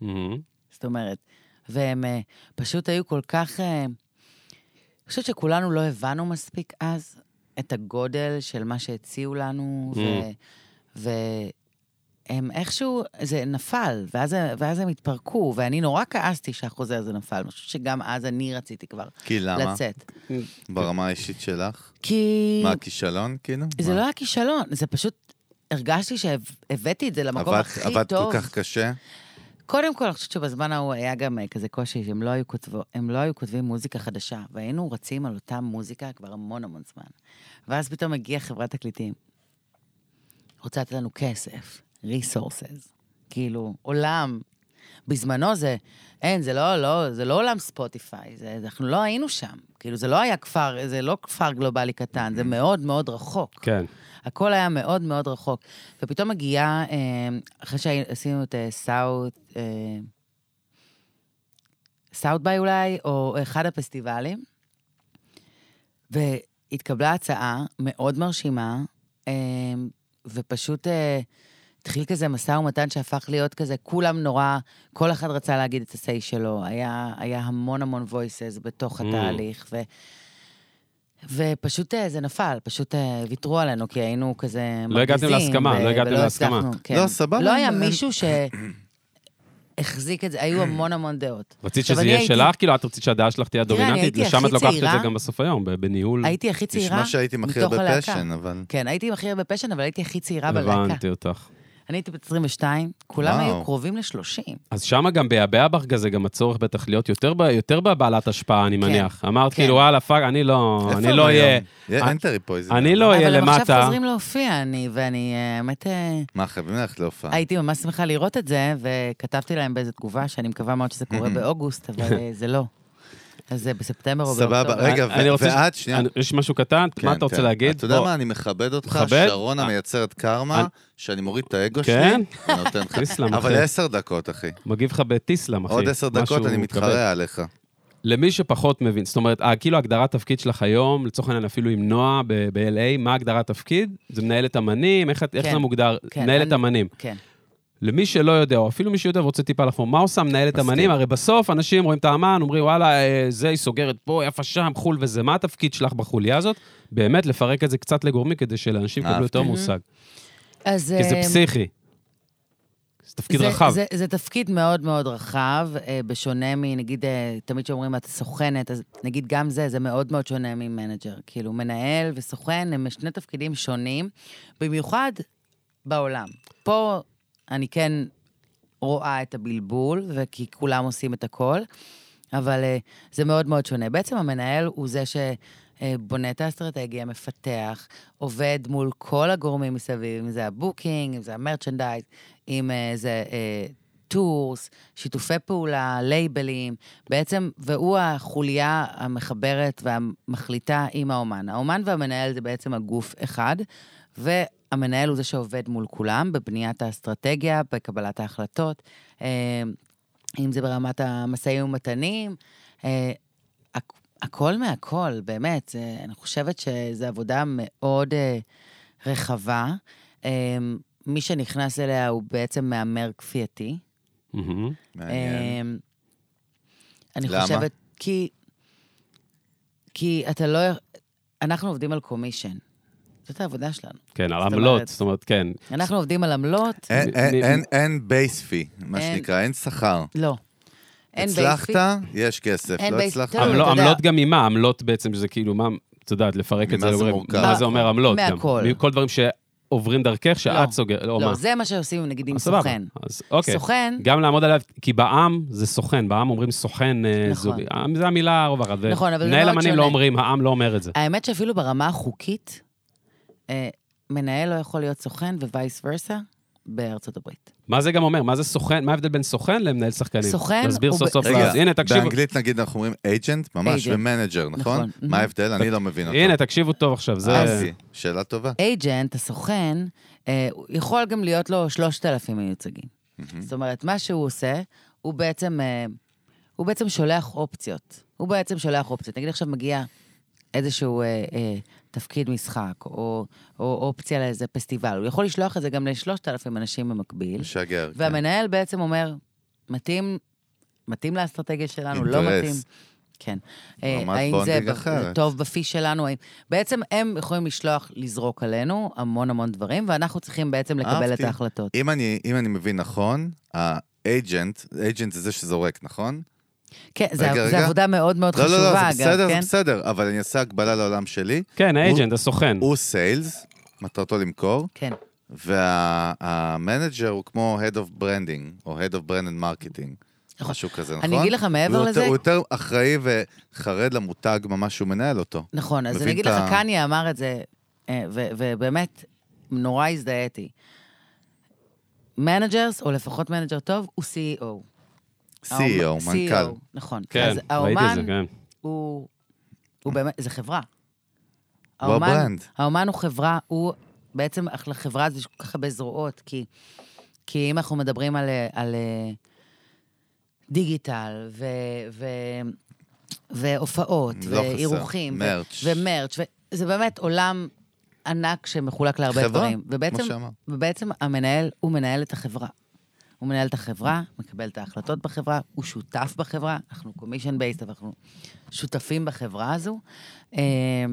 Speaker 1: מהמם.
Speaker 4: זאת אומרת, והם אה, פשוט היו כל כך... אה, אני חושבת שכולנו לא הבנו מספיק אז את הגודל של מה שהציעו
Speaker 2: Mm.
Speaker 4: לנו, ו... והם איכשהו, זה נפל, ואז, ואז הם התפרקו, ואני נורא כעסתי שהחוזה הזה נפל. אני חושבת שגם אז אני רציתי כבר
Speaker 2: כי למה?
Speaker 4: לצאת.
Speaker 2: ברמה האישית שלך?
Speaker 4: כי...
Speaker 2: מה, כישלון, כאילו?
Speaker 4: זה
Speaker 2: מה?
Speaker 4: לא היה כישלון, זה פשוט... הרגשתי שהבאתי את זה למקום
Speaker 2: עבדת-
Speaker 4: הכי
Speaker 2: עבדת
Speaker 4: טוב.
Speaker 2: כל כך קשה?
Speaker 4: קודם כל, אני חושבת שבזמן ההוא היה גם אה, כזה קושי, שהם לא היו, כותבו, הם לא היו כותבים מוזיקה חדשה, והיינו רצים על אותה מוזיקה כבר המון המון זמן. ואז פתאום הגיעה חברת תקליטים. רוצה לתת לנו כסף, resources, כאילו, עולם. בזמנו זה, אין, זה לא, לא, זה לא עולם ספוטיפיי, זה, זה- אנחנו לא היינו שם. כאילו, זה לא היה כפר, זה לא כפר גלובלי קטן, זה מאוד מאוד רחוק.
Speaker 1: כן.
Speaker 4: הכל היה מאוד מאוד רחוק. ופתאום מגיעה, אה, אחרי שעשינו את אה, סאוט, סאוט ביי אולי, או אחד הפסטיבלים, והתקבלה הצעה מאוד מרשימה, אה, ופשוט אה, התחיל כזה משא ומתן שהפך להיות כזה, כולם נורא, כל אחד רצה להגיד את ה-say שלו, היה, היה המון המון voices בתוך
Speaker 1: Mm.
Speaker 4: התהליך, ו... ופשוט אה, זה נפל, פשוט אה, ויתרו עלינו, כי היינו כזה
Speaker 1: לא הגעתם
Speaker 4: מרגיזים,
Speaker 1: להסכמה,
Speaker 4: ו-
Speaker 1: לא הגעתם
Speaker 4: ולא
Speaker 1: להסכמה.
Speaker 4: הצלחנו, כן.
Speaker 2: לא, סבבה,
Speaker 4: לא היה
Speaker 2: הם-
Speaker 4: מישהו שהחזיק את זה, היו המון המון דעות.
Speaker 1: רצית
Speaker 4: עכשיו,
Speaker 1: שזה
Speaker 4: אני
Speaker 1: יהיה
Speaker 4: הייתי-
Speaker 1: שלך? כאילו, את רצית שהדעה שלך תהיה
Speaker 4: תראה, אני
Speaker 1: הדומיננטית?
Speaker 4: הייתי
Speaker 1: לשם
Speaker 4: הכי
Speaker 1: את לוקחת את
Speaker 4: צעירה.
Speaker 1: זה גם בסוף היום, ב- בניהול.
Speaker 4: הייתי הכי צעירה
Speaker 2: נשמע שהייתי מכיר
Speaker 4: מתוך הלהקה.
Speaker 2: בפשן, אבל...
Speaker 4: כן, הייתי עם הכי הרבה פשן, אבל הייתי הכי צעירה בלהקה.
Speaker 1: הבנתי אותך.
Speaker 4: אני הייתי בת 22, כולם
Speaker 2: וואו.
Speaker 4: היו קרובים ל-30.
Speaker 1: אז שם גם ביעבע בך כזה, גם הצורך בטח להיות יותר, ב, יותר בבעלת השפעה, אני
Speaker 4: כן,
Speaker 1: מניח. אמרת
Speaker 4: כן.
Speaker 1: כאילו, וואלה, פאק, אני לא,
Speaker 2: איפה
Speaker 1: אני
Speaker 2: הם
Speaker 1: לא אהיה,
Speaker 2: היום? יהיה- אין טרי פויזן.
Speaker 1: אני לא אהיה
Speaker 4: אבל הם עכשיו
Speaker 1: למטה.
Speaker 4: חוזרים להופיע, אני, ואני, אה, האמת, אה,
Speaker 2: מה, חייבים ללכת להופעה?
Speaker 4: הייתי ממש שמחה לראות את זה, וכתבתי להם באיזו תגובה, שאני מקווה מאוד שזה קורה באוגוסט, אבל אה, זה לא. אז זה בספטמבר או באוקטובר.
Speaker 2: סבבה, רגע,
Speaker 1: אני
Speaker 2: ו-
Speaker 1: רוצה ש-
Speaker 2: ואת, שנייה.
Speaker 1: אני- יש משהו קטן? מה
Speaker 2: כן,
Speaker 1: אתה רוצה
Speaker 2: תן.
Speaker 1: להגיד?
Speaker 2: אתה יודע
Speaker 1: בוא,
Speaker 2: מה, אני מכבד אותך,
Speaker 1: מכבד?
Speaker 2: שרון
Speaker 1: אה.
Speaker 2: המייצרת קרמה,
Speaker 1: אני-
Speaker 2: שאני מוריד את האגו שלי,
Speaker 1: כן?
Speaker 2: אני נותן לך.
Speaker 1: תסלם,
Speaker 2: אבל
Speaker 1: אחי.
Speaker 2: עשר דקות, אחי.
Speaker 1: מגיב לך בטיסלאם, אחי.
Speaker 2: עוד עשר דקות
Speaker 1: משהו
Speaker 2: אני
Speaker 1: כבד.
Speaker 2: מתחרע עליך.
Speaker 1: למי שפחות מבין, זאת אומרת, אה, כאילו הגדרת תפקיד שלך היום, לצורך העניין אפילו עם נועה ב- ב-LA, מה הגדרת תפקיד? זה מנהלת אמנים, איך את- איך
Speaker 4: כן,
Speaker 1: זה מוגדר?
Speaker 4: כן,
Speaker 1: מנהלת
Speaker 4: אני-
Speaker 1: אמנים.
Speaker 4: כן.
Speaker 1: למי שלא יודע, או אפילו מי שיודע ורוצה טיפה לחפור, מה עושה מנהלת
Speaker 2: מסכים.
Speaker 1: אמנים? הרי בסוף אנשים רואים את האמן, אומרים, וואלה, אה, זה, היא סוגרת פה, יפה שם, חו"ל וזה. מה התפקיד שלך בחוליה הזאת? באמת, לפרק את זה קצת לגורמים, כדי שלאנשים יקבלו
Speaker 2: אהבתי.
Speaker 1: יותר מושג.
Speaker 4: אז...
Speaker 1: כי זה
Speaker 4: אה,
Speaker 1: פסיכי. זה תפקיד
Speaker 4: זה,
Speaker 1: רחב.
Speaker 4: זה, זה תפקיד מאוד מאוד רחב, אה, בשונה מנגיד, אה, תמיד כשאומרים את סוכנת, אז נגיד גם זה, זה מאוד מאוד שונה ממנג'ר. כאילו, מנהל וסוכן הם שני תפקידים שונים, במיוחד בעולם. פה אני כן רואה את הבלבול, וכי כולם עושים את הכל, אבל אה, זה מאוד מאוד שונה. בעצם המנהל הוא זה ש... אה, בונה את האסטרטגיה, מפתח, עובד מול כל הגורמים מסביב, אם זה הבוקינג, אם זה המרצ'נדייז, אם אה, זה אה, טורס, שיתופי פעולה, לייבלים, בעצם, והוא החוליה המחברת והמחליטה עם האומן. האומן והמנהל זה בעצם הגוף אחד, והמנהל הוא זה שעובד מול כולם בבניית האסטרטגיה, בקבלת ההחלטות, אה, אם זה ברמת המשאים ומתנים, אה, הכ- הכל מהכל, באמת. זה, אני חושבת שזו עבודה מאוד אה, רחבה. אה, מי שנכנס אליה הוא בעצם מהמר כפייתי.
Speaker 1: מהמם.
Speaker 2: מעניין.
Speaker 4: אמ, אני
Speaker 2: למה?
Speaker 4: חושבת, כי... כי אתה לא... אנחנו עובדים על קומישן. זאת העבודה שלנו.
Speaker 1: כן, על
Speaker 4: זאת
Speaker 1: עמלות,
Speaker 4: אומרת-
Speaker 1: זאת אומרת, כן.
Speaker 4: אנחנו עובדים על עמלות,
Speaker 2: אין-
Speaker 1: מ-
Speaker 2: אין-
Speaker 1: מ-
Speaker 2: אין- אין בייס פי, מה
Speaker 4: אה, אין.
Speaker 2: שנקרא, אין שכר.
Speaker 4: לא. אין
Speaker 2: הצלחת,
Speaker 4: בייסיק.
Speaker 2: יש כסף,
Speaker 4: אין
Speaker 2: לא
Speaker 4: basic,
Speaker 2: הצלחת.
Speaker 4: תלוי,
Speaker 1: עמלו-
Speaker 4: אתה יודע.
Speaker 1: עמלות גם ממה? עמלות בעצם שזה כאילו, מה, את יודעת, לפרק את
Speaker 2: ממה
Speaker 1: זה.
Speaker 2: זה
Speaker 1: אומרים,
Speaker 2: מורכב?
Speaker 1: מה זה אומר עמלות גם?
Speaker 4: מהכל.
Speaker 1: מכל דברים שעוברים דרכך, שאת
Speaker 4: לא.
Speaker 1: סוגרת, או מה?
Speaker 4: לא, זה מה שעושים נגיד עם
Speaker 1: אז סבבה.
Speaker 4: סוכן.
Speaker 1: אז אוקיי.
Speaker 4: סוכן,
Speaker 1: גם לעמוד עליו, כי בעם זה סוכן, בעם אומרים סוכן אה,
Speaker 4: נכון.
Speaker 1: זוגי. העם זה המילה הרווחת. ו-
Speaker 4: נכון, אבל זה
Speaker 1: מנהל
Speaker 4: מאוד
Speaker 1: אמנים
Speaker 4: שונה.
Speaker 1: לא אומרים, העם לא אומר את זה.
Speaker 4: האמת שאפילו ברמה החוקית, אה, מנהל לא יכול להיות סוכן ווייס ורסה בארצות הברית.
Speaker 1: מה זה גם אומר? מה זה סוכן? מה ההבדל בין סוכן למנהל שחקנים?
Speaker 4: סוכן
Speaker 1: תסביר
Speaker 4: הוא
Speaker 1: סוף
Speaker 4: ב-
Speaker 1: סוף.
Speaker 2: רגע,
Speaker 1: אז הנה, תקשיבו.
Speaker 2: באנגלית נגיד אנחנו אומרים agent, ממש,
Speaker 4: Agent.
Speaker 2: ומנג'ר, נכון?
Speaker 4: נכון,
Speaker 2: מה ההבדל? אני לא מבין אותו.
Speaker 1: הנה, תקשיבו טוב עכשיו, זה...
Speaker 2: אסי, שאלה
Speaker 4: Mm-hmm.
Speaker 2: טובה.
Speaker 4: אייג'נט, הסוכן, אה, הוא יכול גם להיות לו 3,000 מיוצגים. זאת אומרת, מה שהוא עושה, הוא בעצם, אה, הוא בעצם שולח אופציות. הוא בעצם שולח אופציות. נגיד עכשיו מגיע איזשהו אה, אה, תפקיד משחק, או, או אופציה לאיזה פסטיבל. הוא יכול לשלוח את זה גם ל-3,000 אנשים במקביל.
Speaker 2: משגר. כן.
Speaker 4: והמנהל בעצם אומר, מתאים, מתאים לאסטרטגיה שלנו, לא
Speaker 2: אינטרס.
Speaker 4: מתאים. כן. אה,
Speaker 2: רמת
Speaker 4: האם זה
Speaker 2: בונדינג
Speaker 4: ב-
Speaker 2: אחרת.
Speaker 4: זה טוב בפיש שלנו? האם- בעצם הם יכולים לשלוח, לזרוק עלינו המון המון דברים, ואנחנו צריכים בעצם לקבל את
Speaker 2: אהבתי.
Speaker 4: ההחלטות.
Speaker 2: אם אני, אם אני מבין נכון, האג'נט, agent זה זה שזורק, נכון?
Speaker 4: כן, זה-
Speaker 2: רגע,
Speaker 4: זה
Speaker 2: רגע.
Speaker 4: עבודה מאוד מאוד
Speaker 2: לא, לא,
Speaker 4: חשובה,
Speaker 2: לא, זה
Speaker 4: אגב,
Speaker 2: בסדר, זה
Speaker 4: כן?
Speaker 2: בסדר, אבל אני אעשה הגבלה לעולם שלי.
Speaker 1: כן,
Speaker 2: הוא-
Speaker 1: האג'נט, הסוכן.
Speaker 2: הוא סיילס, מטרתו למכור,
Speaker 4: כן,
Speaker 2: והמנג'ר הוא כמו Head of Branding, או Head of Brand and Marketing,
Speaker 4: נכון.
Speaker 2: משהו כזה, נכון?
Speaker 4: אני אגיד לך מעבר
Speaker 2: והוא יותר-
Speaker 4: לזה-
Speaker 2: הוא יותר אחראי וחרד למותג ממש שהוא מנהל אותו.
Speaker 4: נכון, אז
Speaker 2: מבין
Speaker 4: אני אגיד
Speaker 2: את
Speaker 4: לך,
Speaker 2: ה-
Speaker 4: קניה אמר את זה, אה, ו- ובאמת, נורא הזדהיתי. מנג'רס, או לפחות מנג'ר טוב, הוא E CEO. האומן-
Speaker 2: CEO, E מנכ"ל. לא
Speaker 4: CEO, נכון.
Speaker 1: כן,
Speaker 4: אז
Speaker 1: ראיתי את זה,
Speaker 4: האומן
Speaker 1: כן.
Speaker 4: הוא, הוא באמת, זה חברה.
Speaker 2: הוא לא
Speaker 4: האומן-
Speaker 2: הברנד.
Speaker 4: האומן הוא חברה, הוא בעצם, אך- לחברה הזו יש כל כך הרבה זרועות, כי, כי אם אנחנו מדברים על, אה, על אה, דיגיטל, ו, ו, והופעות,
Speaker 2: לא חסר.
Speaker 4: ואירוחים, ו-
Speaker 2: מרץ'.
Speaker 4: ומרץ', ו- זה באמת עולם ענק שמחולק להרבה
Speaker 2: חברה,
Speaker 4: דברים.
Speaker 2: כמו
Speaker 4: ובעצם,
Speaker 2: שאמרת.
Speaker 4: ובעצם המנהל, הוא מנהל את החברה. הוא מנהל את החברה, מקבל את ההחלטות בחברה, הוא שותף בחברה, אנחנו קומישן בייסט, אבל אנחנו שותפים בחברה הזו. אה,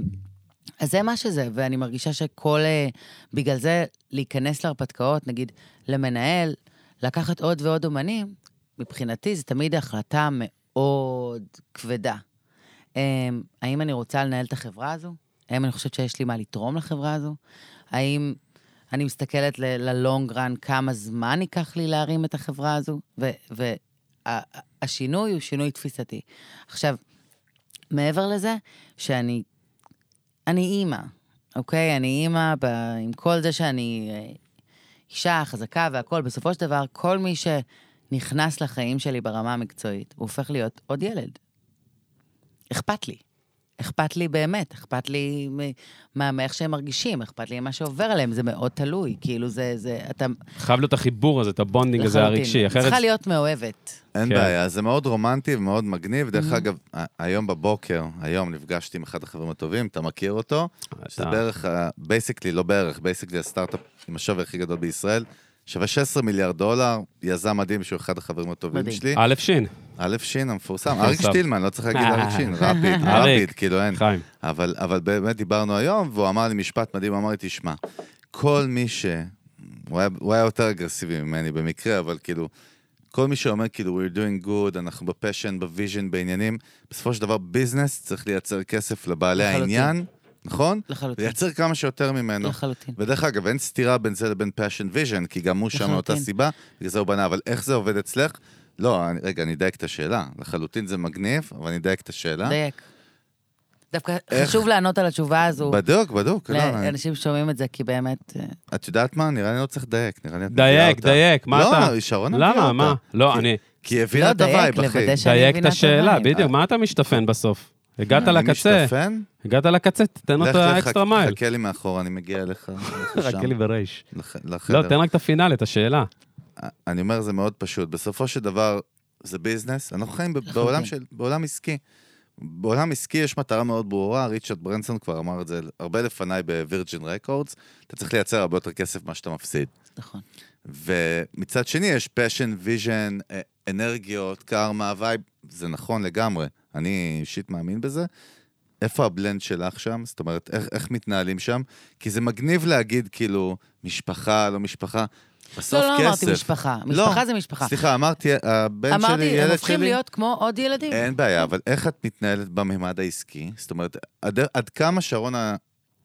Speaker 4: אז זה מה שזה, ואני מרגישה שכל... אה, בגלל זה להיכנס להרפתקאות, נגיד למנהל, לקחת עוד ועוד אומנים, מבחינתי זו תמיד החלטה מאוד כבדה. אה, האם אני רוצה לנהל את החברה הזו? האם אני חושבת שיש לי מה לתרום לחברה הזו? האם אני מסתכלת ללונג רן כמה זמן ייקח לי להרים את החברה הזו? והשינוי הוא שינוי תפיסתי. עכשיו, מעבר לזה, שאני אני אימא, אוקיי? אני אימא ב, עם כל זה שאני אה, אישה חזקה והכול. בסופו של דבר, כל מי שנכנס לחיים שלי ברמה המקצועית, הוא הופך להיות עוד ילד. אכפת לי. אכפת לי באמת, אכפת לי מ- מה, מאיך שהם מרגישים, אכפת לי ממה שעובר עליהם, זה מאוד תלוי. כאילו, זה, זה, אתה...
Speaker 1: חייב להיות החיבור הזה, את הבונדינג הזה
Speaker 4: לחלוטין.
Speaker 1: הרגשי. אחרת...
Speaker 4: צריכה להיות מאוהבת.
Speaker 2: אין
Speaker 1: כן. Mm-hmm.
Speaker 2: בעיה, זה מאוד רומנטי ומאוד מגניב. דרך אגב, ה- היום בבוקר, היום נפגשתי עם אחד החברים הטובים, אתה מכיר אותו? שזה
Speaker 1: אתה-
Speaker 2: בערך, בייסיקלי, לא בערך, בייסיקלי הסטארט-אפ עם השווי הכי גדול בישראל. שווה 16 מיליארד דולר, יזם מדהים שהוא אחד החברים הטובים
Speaker 4: מדהים.
Speaker 2: שלי.
Speaker 1: א' שין,
Speaker 2: א' שין המפורסם, אריק שטילמן, לא צריך להגיד
Speaker 1: אה.
Speaker 2: אריק שין, רפיד,
Speaker 1: אריק.
Speaker 2: רפיד, כאילו אין.
Speaker 1: חיים.
Speaker 2: אבל, אבל באמת דיברנו היום, והוא אמר לי משפט מדהים, הוא אמר לי, תשמע, כל מי ש... הוא היה, הוא היה יותר אגרסיבי ממני במקרה, אבל כאילו, כל מי שאומר כאילו, we're doing good, אנחנו בפשן, בוויז'ן, בעניינים, בסופו של דבר ביזנס צריך לייצר כסף לבעלי
Speaker 4: לחלוטין.
Speaker 2: העניין, נכון?
Speaker 4: לחלוטין.
Speaker 2: לייצר כמה שיותר ממנו.
Speaker 4: לחלוטין.
Speaker 2: ודרך אגב, אין סתירה בין זה לבין פאשן ויז'ן, כי גם הוא שם מאותה
Speaker 4: לחלוטין.
Speaker 2: סיבה, בגלל זה הוא בנה, אבל איך זה עובד אצלך? לא, אני- רגע, אני אדייק את השאלה. לחלוטין זה מגניב, אבל אני אדייק את השאלה.
Speaker 4: דייק. דווקא
Speaker 2: איך-
Speaker 4: חשוב לענות על התשובה הזו.
Speaker 2: בדוק, בדוק. לא, אני-
Speaker 4: לאנשים ששומעים את זה, כי באמת... אה,
Speaker 2: את יודעת מה? נראה לי אני לא צריך לדייק, נראה לי את מביאה
Speaker 1: דייק,
Speaker 2: אותה.
Speaker 1: דייק, מה אתה?
Speaker 2: לא, שרון מביאה אותה.
Speaker 1: למה, מה? לא,
Speaker 2: כי-
Speaker 1: אני...
Speaker 2: כי היא
Speaker 4: לא
Speaker 2: הבינה את
Speaker 4: דייק,
Speaker 2: הווייב, אחי.
Speaker 4: לוודא ש- שאני
Speaker 1: דייק את
Speaker 4: מבינה את
Speaker 1: השאלה,
Speaker 4: הדברים.
Speaker 1: בדיוק, מה אתה משתפן בסוף? הגעת לקצה,
Speaker 2: אני משתפן?
Speaker 1: הגעת לקצה, תן
Speaker 2: לך,
Speaker 1: אותו
Speaker 2: לך,
Speaker 1: האקסטרה מייל.
Speaker 2: חכה לי מאחור, אני מגיע אליך. לך
Speaker 1: חכה
Speaker 2: שם,
Speaker 1: לי ברייש.
Speaker 2: לח-
Speaker 1: לא,
Speaker 2: לחדר.
Speaker 1: תן רק את הפינאל, את השאלה.
Speaker 2: אני אומר, זה מאוד פשוט. בסופו של דבר, זה ביזנס. אנחנו חיים ב- בעולם של- בעולם עסקי. בעולם עסקי יש מטרה מאוד ברורה, ריצ'רד ברנסון כבר אמר את זה הרבה לפניי בווירג'ין רקורדס, אתה צריך לייצר הרבה יותר כסף ממה שאתה מפסיד.
Speaker 4: נכון.
Speaker 2: ומצד שני יש פשן, ויז'ן, אה, אנרגיות, קרמה, וייב, זה נכון לגמרי, אני אישית מאמין בזה. איפה הבלנד שלך שם? זאת אומרת, איך, איך מתנהלים שם? כי זה מגניב להגיד, כאילו, משפחה, לא משפחה. בסוף
Speaker 4: לא, לא
Speaker 2: כסף.
Speaker 4: אמרתי משפחה. משפחה
Speaker 2: לא,
Speaker 4: זה משפחה.
Speaker 2: סליחה, אמרתי, הבן שלי,
Speaker 4: אמרתי, הם
Speaker 2: ילד
Speaker 4: הופכים
Speaker 2: שלי.
Speaker 4: להיות כמו עוד ילדים.
Speaker 2: אין בעיה, אבל איך את מתנהלת בממד העסקי? זאת אומרת, עד, עד כמה שרון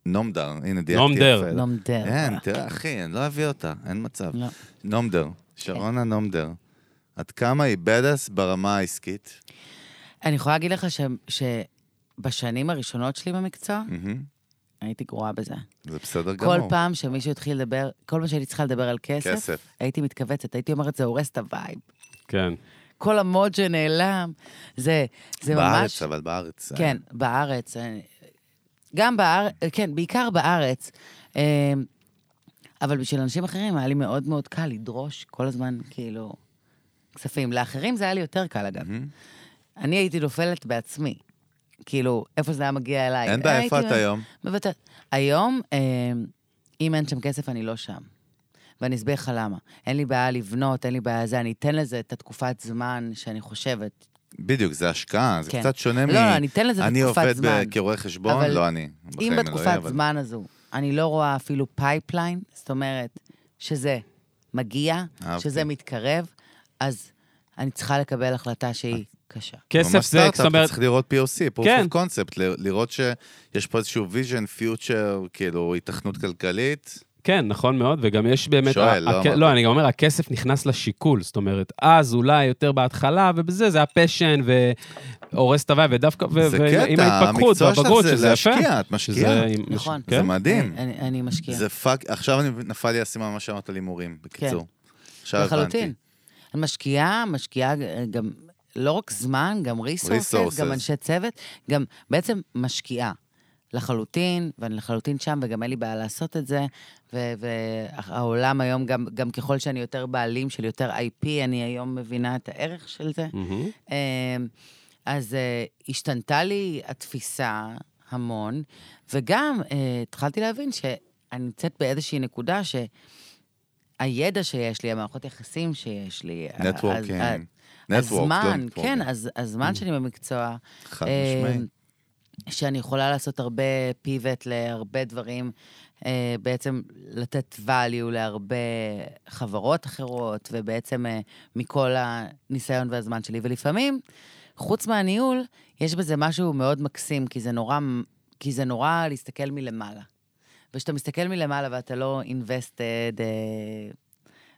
Speaker 2: הנומדר, הנה דייקתי.
Speaker 1: נומדר.
Speaker 2: יפה. לא?
Speaker 4: נומדר.
Speaker 2: אין, תראה, אחי, אני לא אביא אותה, אין מצב.
Speaker 4: לא.
Speaker 2: נומדר, שרון הנומדר. עד כמה היא בדס ברמה העסקית?
Speaker 4: אני יכולה להגיד לך ש- שבשנים הראשונות שלי במקצוע,
Speaker 2: מהמם.
Speaker 4: הייתי גרועה בזה.
Speaker 2: Mm. זה בסדר גמור.
Speaker 4: כל פעם שמישהו התחיל לדבר, כל פעם שהייתי צריכה לדבר על כסף,
Speaker 2: כסף.
Speaker 4: הייתי מתכווצת, הייתי אומרת, זה הורס את הווייב.
Speaker 1: כן.
Speaker 4: כל המוד שנעלם, זה, זה ממש...
Speaker 2: בארץ, אבל בארץ. אה.
Speaker 4: כן, בארץ. אה, גם בארץ, כן, בעיקר בארץ. אה, אבל בשביל אנשים אחרים היה לי מאוד מאוד קל לדרוש כל הזמן, כאילו, כספים. לאחרים זה היה לי יותר קל, אגב.
Speaker 2: מהמם.
Speaker 4: אני הייתי נופלת בעצמי. כאילו, איפה זה היה מגיע אליי.
Speaker 2: אין בעיה, איפה
Speaker 4: הייתי
Speaker 2: את היום?
Speaker 4: מוותרת. היום, אה, אם אין שם כסף, אני לא שם. ואני אסביר לך למה. אין לי בעיה לבנות, אין לי בעיה זה, אני אתן לזה את התקופת זמן שאני חושבת.
Speaker 2: בדיוק, זה השקעה, זה
Speaker 4: כן.
Speaker 2: קצת שונה מ...
Speaker 4: לא, לא, אני אתן לזה את
Speaker 2: אני
Speaker 4: התקופת
Speaker 2: עובד
Speaker 4: זמן.
Speaker 2: כרואה חשבון,
Speaker 4: אבל
Speaker 2: לא אני. בחיים
Speaker 4: אם
Speaker 2: אלוהי,
Speaker 4: בתקופת
Speaker 2: אבל-
Speaker 4: זמן הזו אני לא רואה אפילו פייפליין, זאת אומרת, שזה מגיע,
Speaker 2: אהבתי.
Speaker 4: שזה מתקרב, אז אני צריכה לקבל החלטה
Speaker 2: אה.
Speaker 4: שהיא קשה.
Speaker 1: כסף
Speaker 2: ממש
Speaker 1: זה,
Speaker 2: סטארט-אפ,
Speaker 1: זאת אומרת,
Speaker 2: אתה צריך לראות POC, proof
Speaker 1: כן.
Speaker 2: of concept, ל- לראות שיש פה איזשהו vision, future, כאילו, התכנות כלכלית.
Speaker 1: כן, נכון מאוד, וגם יש באמת...
Speaker 2: שואל,
Speaker 1: ה-
Speaker 2: לא
Speaker 1: הכ-
Speaker 2: אמרתי.
Speaker 1: לא, אני גם אומר, הכסף נכנס לשיקול, זאת אומרת, אז אולי יותר בהתחלה, ובזה זה הפשן, והורס את הוואי, ודווקא, ו-
Speaker 2: זה
Speaker 1: ועם- עם
Speaker 2: קטע,
Speaker 1: ההתפתחות
Speaker 2: המקצוע שלך
Speaker 1: והבגרות,
Speaker 2: זה
Speaker 1: שזה יפה.
Speaker 2: להשקיע, את
Speaker 1: שזה-
Speaker 2: משקיעה.
Speaker 1: עם-
Speaker 4: נכון.
Speaker 1: כן?
Speaker 2: זה מדהים.
Speaker 4: אני, אני משקיעה.
Speaker 2: זה פאק, עכשיו אני- נפל לי האסימון מה שאמרת על הימורים, בקיצור. עכשיו הבנתי.
Speaker 4: כן. לחלוטין. משקיעה, משקיעה גם לא רק זמן, גם ריסורסס,
Speaker 2: Resources.
Speaker 4: גם אנשי צוות, גם בעצם משקיעה. לחלוטין, ואני לחלוטין שם, וגם אין לי בעיה לעשות את זה. ו- והעולם היום, גם, גם ככל שאני יותר בעלים של יותר IP, אני היום מבינה את הערך של זה.
Speaker 1: מהמם.
Speaker 4: אמ, אז אה, השתנתה לי התפיסה המון, וגם אה, התחלתי להבין שאני נמצאת באיזושהי נקודה שהידע שיש לי, המערכות יחסים שיש לי, ה-
Speaker 2: נטוורקינג.
Speaker 4: ה- ה-
Speaker 2: נטוורק, לא
Speaker 4: הזמן,
Speaker 2: נטוורק.
Speaker 4: כן, הז- הזמן שלי במקצוע,
Speaker 2: חד
Speaker 4: אה,
Speaker 2: משמעי.
Speaker 4: אמ, שאני יכולה לעשות הרבה פיבט להרבה דברים, אה, בעצם לתת value להרבה חברות אחרות, ובעצם אה, מכל הניסיון והזמן שלי. ולפעמים, חוץ מהניהול, יש בזה משהו מאוד מקסים, כי זה נורא, כי זה נורא להסתכל מלמעלה. וכשאתה מסתכל מלמעלה ואתה לא invested אה,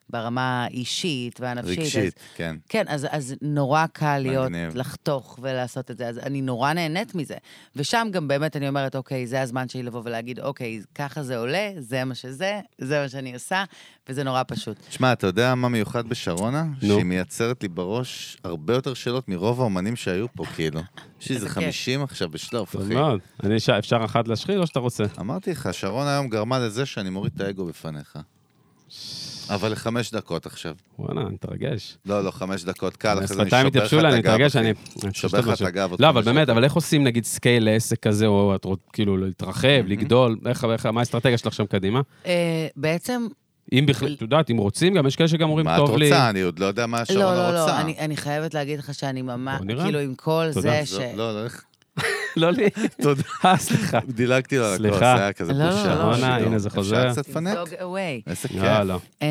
Speaker 4: ברמה האישית והנפשית, אז
Speaker 2: רגשית, כן.
Speaker 4: כן, אז, אז נורא קל להיות,
Speaker 2: מגניב.
Speaker 4: לחתוך ולעשות את זה, אז אני נורא נהנית מזה. ושם גם באמת אני אומרת, אוקיי, זה הזמן שלי לבוא ולהגיד, אוקיי, ככה זה עולה, זה מה שזה, זה מה שאני עושה, וזה נורא פשוט.
Speaker 2: שמע, אתה יודע מה מיוחד בשרונה?
Speaker 1: נו.
Speaker 2: שהיא מייצרת לי בראש הרבה יותר שאלות מרוב האומנים שהיו פה, כאילו. יש לי איזה
Speaker 4: איזה כיף.
Speaker 2: 50 עכשיו בשלוף,
Speaker 1: טוב
Speaker 2: אחי.
Speaker 1: מאוד. אני אשאל, אפשר אחת להשחיל או שאתה רוצה?
Speaker 2: אמרתי לך, שרון היום גרמה לזה שאני מוריד את האגו בפניך. אבל לחמש דקות עכשיו.
Speaker 1: וואלה, אני מתרגש.
Speaker 2: לא, לא, חמש דקות קל, אחרי זה אני
Speaker 1: השפתיים
Speaker 2: שובר לך
Speaker 1: התייבשו
Speaker 2: את
Speaker 1: לי, אני
Speaker 2: הגב.
Speaker 1: מתרגש,
Speaker 2: אחי.
Speaker 1: אני... אני
Speaker 2: שובר
Speaker 1: חושב
Speaker 2: לך את הגב. עוד
Speaker 1: לא, אבל
Speaker 2: חמש
Speaker 1: באמת,
Speaker 2: דקות.
Speaker 1: אבל איך עושים נגיד סקייל לעסק כזה, או את רוצה כאילו להתרחב, לגדול, איך, איך- מה האסטרטגיה שלך שם קדימה?
Speaker 4: אה, בעצם,
Speaker 1: אם בכלל, את יודעת, אם רוצים, גם יש כאלה שגם אומרים,
Speaker 2: מה את
Speaker 1: טוב לי...
Speaker 2: רוצה? אני עוד לא יודע מה
Speaker 4: לא,
Speaker 2: שרון
Speaker 4: לא,
Speaker 2: רוצה.
Speaker 4: לא, אני, אני חייבת להגיד לך שאני ממש,
Speaker 1: בוא נראה.
Speaker 4: כאילו, עם כל
Speaker 1: תודה.
Speaker 4: זה ש...
Speaker 2: לא, לא, לא, איך-
Speaker 1: לא לי.
Speaker 2: תודה.
Speaker 1: אה, סליחה.
Speaker 2: דילגתי לו על הכוס,
Speaker 1: סליחה.
Speaker 2: זה היה כזה
Speaker 4: לא, לא,
Speaker 2: בושה.
Speaker 4: לא, לא.
Speaker 1: שרונה, הנה, זה חוזר.
Speaker 2: אפשר קצת פנק?
Speaker 4: תמזוג away.
Speaker 2: איזה כיף.
Speaker 1: יאללה.
Speaker 4: אמ,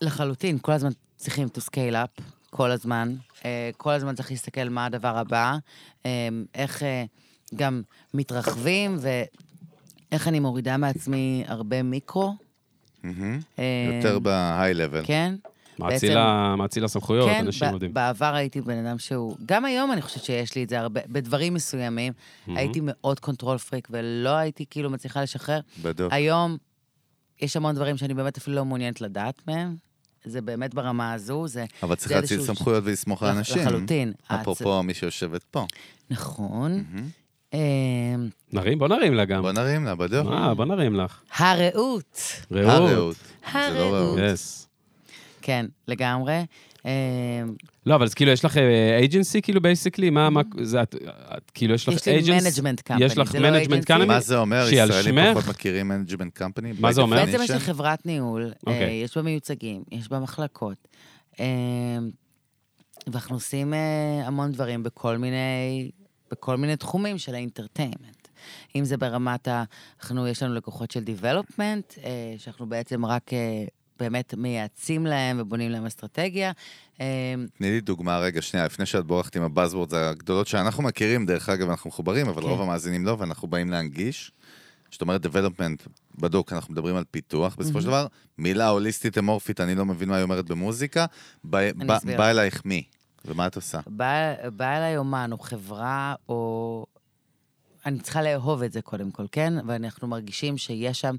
Speaker 4: לחלוטין, כל הזמן צריכים to scale up, כל הזמן. אה, כל הזמן צריך להסתכל מה הדבר הבא, אמ, איך אה, גם מתרחבים ואיך אני מורידה מעצמי הרבה מיקרו.
Speaker 2: מהמם.
Speaker 4: אמ,
Speaker 2: יותר ב-high level.
Speaker 4: כן.
Speaker 1: מאציל ה- מאציל הסמכויות,
Speaker 4: כן,
Speaker 1: לא, אנשים
Speaker 4: ב-
Speaker 1: יודעים.
Speaker 4: בעבר הייתי בן אדם שהוא, גם היום אני חושבת שיש לי את זה הרבה, בדברים מסוימים, הייתי מאוד קונטרול פריק ולא הייתי כאילו מצליחה לשחרר.
Speaker 2: בדוק.
Speaker 4: היום יש המון דברים שאני באמת אפילו לא מעוניינת לדעת מהם. זה באמת ברמה הזו, זה...
Speaker 2: אבל
Speaker 4: זה
Speaker 2: צריך להציל
Speaker 4: איזשהו-
Speaker 2: סמכויות ולסמוך על
Speaker 4: לח-
Speaker 2: אנשים.
Speaker 4: לחלוטין. אה,
Speaker 2: אפרופו מי שיושבת פה.
Speaker 4: נכון.
Speaker 2: מהמם.
Speaker 4: אמ,
Speaker 1: נרים? בוא נרים לה גם.
Speaker 2: בוא נרים אה, לה, בדוק.
Speaker 1: אה, בוא נרים לך.
Speaker 4: הרעות.
Speaker 1: רעות.
Speaker 2: זה לא
Speaker 4: הרעות.
Speaker 2: רעות.
Speaker 1: יס.
Speaker 4: כן, לגמרי. אמ,
Speaker 1: לא, אבל אז כאילו, יש לך אייג'נסי, כאילו, בייסיקלי? מה, מה, זה את, את- כאילו, יש לך
Speaker 4: יש לי
Speaker 1: agency?
Speaker 4: management company,
Speaker 1: יש לך
Speaker 4: זה לא
Speaker 1: management
Speaker 4: agency.
Speaker 1: company?
Speaker 2: מה זה אומר?
Speaker 1: אה, שהיא על
Speaker 2: ישראלים
Speaker 1: שמך?
Speaker 2: פחות מכירים מנג'מנט קמפני?
Speaker 1: מה זה אומר?
Speaker 4: בעצם יש לי חברת ניהול, אה,
Speaker 1: אוקיי.
Speaker 4: יש בה מיוצגים, יש בה מחלקות. אה, אמ, ואנחנו עושים אה, המון דברים בכל מיני בכל מיני תחומים של האינטרטיימנט. אם זה ברמת ה... אנחנו, יש לנו לקוחות של דיבלופמנט, אה, שאנחנו בעצם רק אה, באמת מייעצים להם ובונים להם אסטרטגיה. אה,
Speaker 2: תני לי דוגמה רגע, שנייה, לפני שאת בורחת עם הבאזוורדס הגדולות שאנחנו מכירים, דרך אגב, אנחנו מחוברים, אבל
Speaker 4: כן.
Speaker 2: רוב המאזינים לא, ואנחנו באים להנגיש. זאת אומרת, development בדוק, אנחנו מדברים על פיתוח. בסופו של דבר, מילה הוליסטית אמורפית, אני לא מבין מה היא אומרת במוזיקה. ב- ב-
Speaker 4: אסביר.
Speaker 2: בא אלייך מי? ומה את עושה?
Speaker 4: בא, בא אליי אומן או חברה או... אני צריכה לאהוב את זה קודם כל, כן? ואנחנו מרגישים שיש שם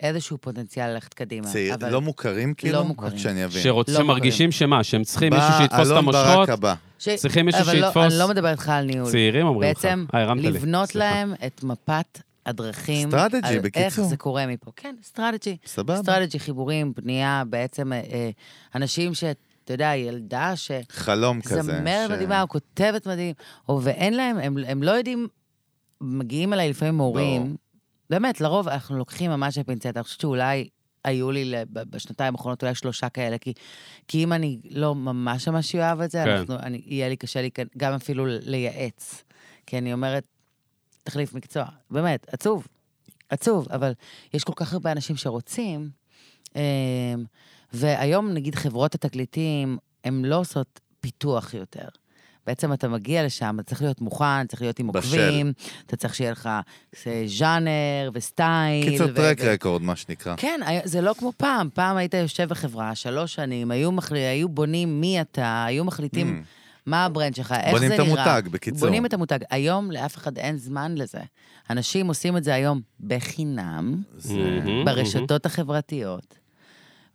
Speaker 4: איזשהו פוטנציאל ללכת קדימה.
Speaker 2: צעיר,
Speaker 4: אבל-
Speaker 2: לא מוכרים כאילו?
Speaker 4: מוכרים.
Speaker 2: רק שאני אבין.
Speaker 1: שרוצ...
Speaker 4: לא
Speaker 1: שמרגישים שמה, שהם צריכים מישהו שיתפוס את
Speaker 2: בא אלון
Speaker 1: המושכות,
Speaker 2: ברק הבא.
Speaker 4: ש...
Speaker 1: צריכים מישהו
Speaker 4: אבל לא-
Speaker 1: שיתפוס-
Speaker 4: אני לא מדברת איתך על ניהול.
Speaker 1: צעירים אומרים לך.
Speaker 4: בעצם,
Speaker 1: אה, הרמת לי.
Speaker 4: לבנות
Speaker 1: סליחה.
Speaker 4: להם את מפת הדרכים.
Speaker 2: Strategy,
Speaker 4: על איך
Speaker 2: בקיצור.
Speaker 4: זה קורה מפה. כן, סטרטג'י.
Speaker 2: סבבה.
Speaker 4: סטרטג'י, חיבורים, בנייה, בעצם אה, אה, אנשים ש... אתה יודע, ילדה ש...
Speaker 2: חלום כזה.
Speaker 4: זמרת
Speaker 2: ש-
Speaker 4: מדהימה, או כותבת מדהים, או ואין להם, הם, הם לא יודעים, מגיעים אליי לפעמים
Speaker 2: ברור.
Speaker 4: הורים, באמת, לרוב אנחנו לוקחים ממש בפינצטה, אני חושבת שאולי היו לי לב- בשנתיים האחרונות אולי שלושה כאלה, כי, כי אם אני לא ממש ממש אוהב את זה,
Speaker 1: כן.
Speaker 4: אנחנו, אני, יהיה לי קשה לי כאן- גם אפילו לייעץ, כי אני אומרת, תחליף מקצוע, באמת, עצוב, עצוב, אבל יש כל כך הרבה אנשים שרוצים, אמ, והיום נגיד חברות התקליטים, הן לא עושות פיתוח יותר. בעצם אתה מגיע לשם, אתה צריך להיות מוכן, צריך להיות עם
Speaker 2: בשל.
Speaker 4: עוקבים, אתה צריך שיהיה לך אה, ז'אנר וסטייל.
Speaker 2: קיצור
Speaker 4: ו-
Speaker 2: טרק
Speaker 4: ו-
Speaker 2: רקורד, מה שנקרא.
Speaker 4: כן, היה- זה לא כמו פעם. פעם היית יושב בחברה, שלוש שנים, היו, מחל... היו בונים מי אתה, היו מחליטים מה הברנד שלך, איך זה
Speaker 2: Hmm. Mm. בונים
Speaker 4: נראה.
Speaker 2: את המותג, בקיצור.
Speaker 4: בונים את המותג. היום לאף אחד אין זמן לזה. אנשים עושים את זה היום בחינם,
Speaker 2: זה-
Speaker 1: מהמם,
Speaker 4: ברשתות החברתיות,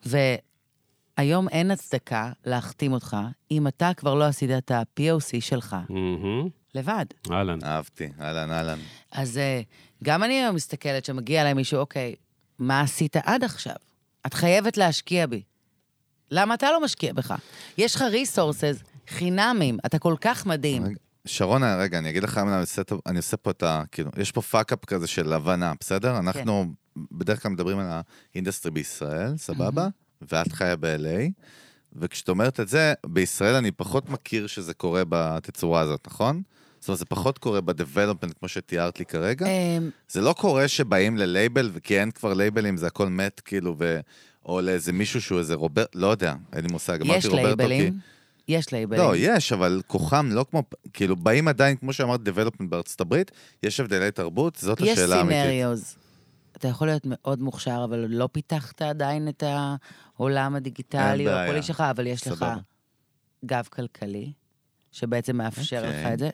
Speaker 4: והיום אין הצדקה להחתים אותך אם אתה כבר לא עשית את ה-POC שלך
Speaker 1: מהמם.
Speaker 4: לבד.
Speaker 1: אהלן.
Speaker 2: אהבתי, אהלן, אהלן.
Speaker 4: אז אה, גם אני היום מסתכלת שמגיע אליי מישהו, אוקיי, מה עשית עד עכשיו? את חייבת להשקיע בי. למה אתה לא משקיע בך? יש לך resources חינמים, אתה כל כך מדהים.
Speaker 2: רגע, שרונה, רגע, אני אגיד לך למה אני עושה, את ה- אני עושה פה את ה... כאילו, יש פה פאק-אפ כזה של הבנה, בסדר? אנחנו בדרך כלל מדברים על האינדסטרי בישראל, סבבה? ואת חיה ב-LA, וכשאת אומרת את זה, בישראל אני פחות מכיר שזה קורה בתצורה הזאת, נכון? זאת אומרת, זה פחות קורה ב-Development כמו שתיארת לי כרגע.
Speaker 4: אמ,
Speaker 2: זה לא קורה שבאים ללייבל, וכי אין כבר לייבלים, זה הכל מת, כאילו, ו... או לאיזה מישהו שהוא איזה רוברט, לא יודע, אין לי מושג, אמרתי
Speaker 4: יש
Speaker 2: רוברטו כי...
Speaker 4: לייבלים, יש לייבלים.
Speaker 2: לא, יש, אבל כוחם לא כמו, כאילו, באים עדיין, כמו שאמרת, development בארצות הברית, יש הבדלי תרבות, זאת
Speaker 4: יש
Speaker 2: השאלה האמיתית.
Speaker 4: סינריוז. אתה יכול להיות מאוד מוכשר, אבל לא פיתחת עדיין את העולם הדיגיטלי
Speaker 2: אין
Speaker 4: או
Speaker 2: בעיה.
Speaker 4: הקולי שלך, אבל יש לך
Speaker 2: סבבה.
Speaker 4: גב כלכלי, שבעצם מאפשר
Speaker 2: אוקיי.
Speaker 4: לך את זה.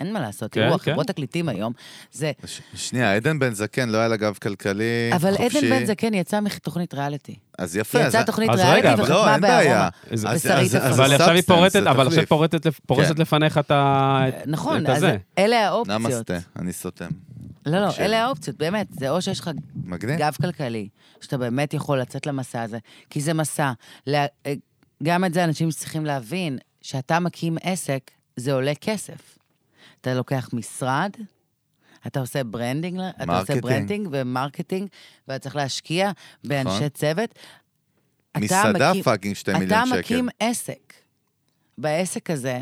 Speaker 4: אין מה לעשות,
Speaker 1: כן,
Speaker 4: תראו,
Speaker 1: כן.
Speaker 4: החברות תקליטים היום, זה...
Speaker 2: ש- שנייה, עדן בן זקן לא היה לה גב כלכלי,
Speaker 4: אבל
Speaker 2: אה, חופשי.
Speaker 4: עדן בן זקן כן, יצא מתוכנית ריאליטי.
Speaker 2: אז יפה,
Speaker 4: היא
Speaker 2: אז- אה,
Speaker 4: יצאה תוכנית
Speaker 1: אז
Speaker 4: ריאליטי
Speaker 1: רגע, אבל-
Speaker 2: לא,
Speaker 4: וחתמה
Speaker 2: אין בעיה.
Speaker 4: בארומה.
Speaker 1: אז-
Speaker 2: אז-
Speaker 4: ושרית
Speaker 2: אז-
Speaker 4: יפה.
Speaker 2: אז
Speaker 1: אבל
Speaker 2: זה
Speaker 1: עכשיו היא
Speaker 2: substance,
Speaker 1: פורטת,
Speaker 2: זה
Speaker 1: אבל עכשיו
Speaker 2: תחליף.
Speaker 1: פורטת, לפ- פורסת
Speaker 2: כן.
Speaker 1: לפניך את ה... את-
Speaker 4: נכון,
Speaker 1: את
Speaker 4: אז
Speaker 1: הזה.
Speaker 4: אלה האופציות.
Speaker 2: נמסטה, אני סותם.
Speaker 4: לא, לא,
Speaker 2: של-
Speaker 4: אלה האופציות, באמת. זה או שיש לך
Speaker 2: מגניב.
Speaker 4: גב כלכלי, שאתה באמת יכול לצאת למסע הזה, כי זה מסע. לה- אה, גם את זה אנשים צריכים להבין, שאתה מקים עסק, זה עולה כסף. אתה לוקח משרד, אתה עושה ברנדינג, אתה עושה
Speaker 2: מרקטינג.
Speaker 4: ברנדינג ומרקטינג, ואתה צריך להשקיע באנשי
Speaker 2: נכון.
Speaker 4: צוות. אתה
Speaker 2: מסעדה
Speaker 4: מקים-
Speaker 2: פאקינג שתי
Speaker 4: אתה
Speaker 2: מיליון שקל.
Speaker 4: מקים עסק. בעסק הזה,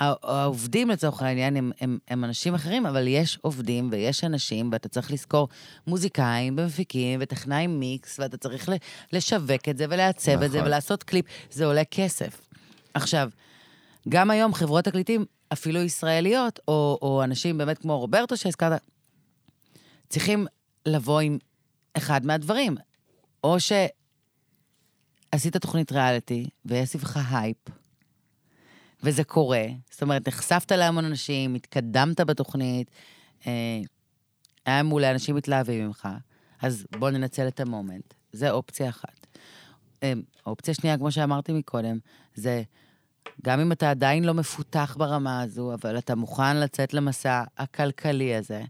Speaker 4: הע- העובדים לצורך העניין הם, הם, הם אנשים אחרים, אבל יש עובדים ויש אנשים, ואתה צריך לזכור מוזיקאים ומפיקים וטכנאי מיקס, ואתה צריך ל- לשווק את זה ולעצב את זה
Speaker 2: נכון.
Speaker 4: ולעשות קליפ, זה עולה כסף. עכשיו, גם היום חברות תקליטים, אפילו ישראליות, או, או אנשים באמת כמו רוברטו שהזכרת, צריכים לבוא עם אחד מהדברים. או שעשית תוכנית ריאליטי, ויש סביבך הייפ, וזה קורה. זאת אומרת, נחשפת להמון אנשים, התקדמת בתוכנית, אה, היה מול אנשים מתלהבים ממך, אז בוא ננצל את המומנט. זה אופציה אחת. אה, אופציה שנייה, כמו שאמרתי מקודם, זה גם אם אתה עדיין לא מפותח ברמה הזו, אבל אתה מוכן לצאת למסע הכלכלי הזה,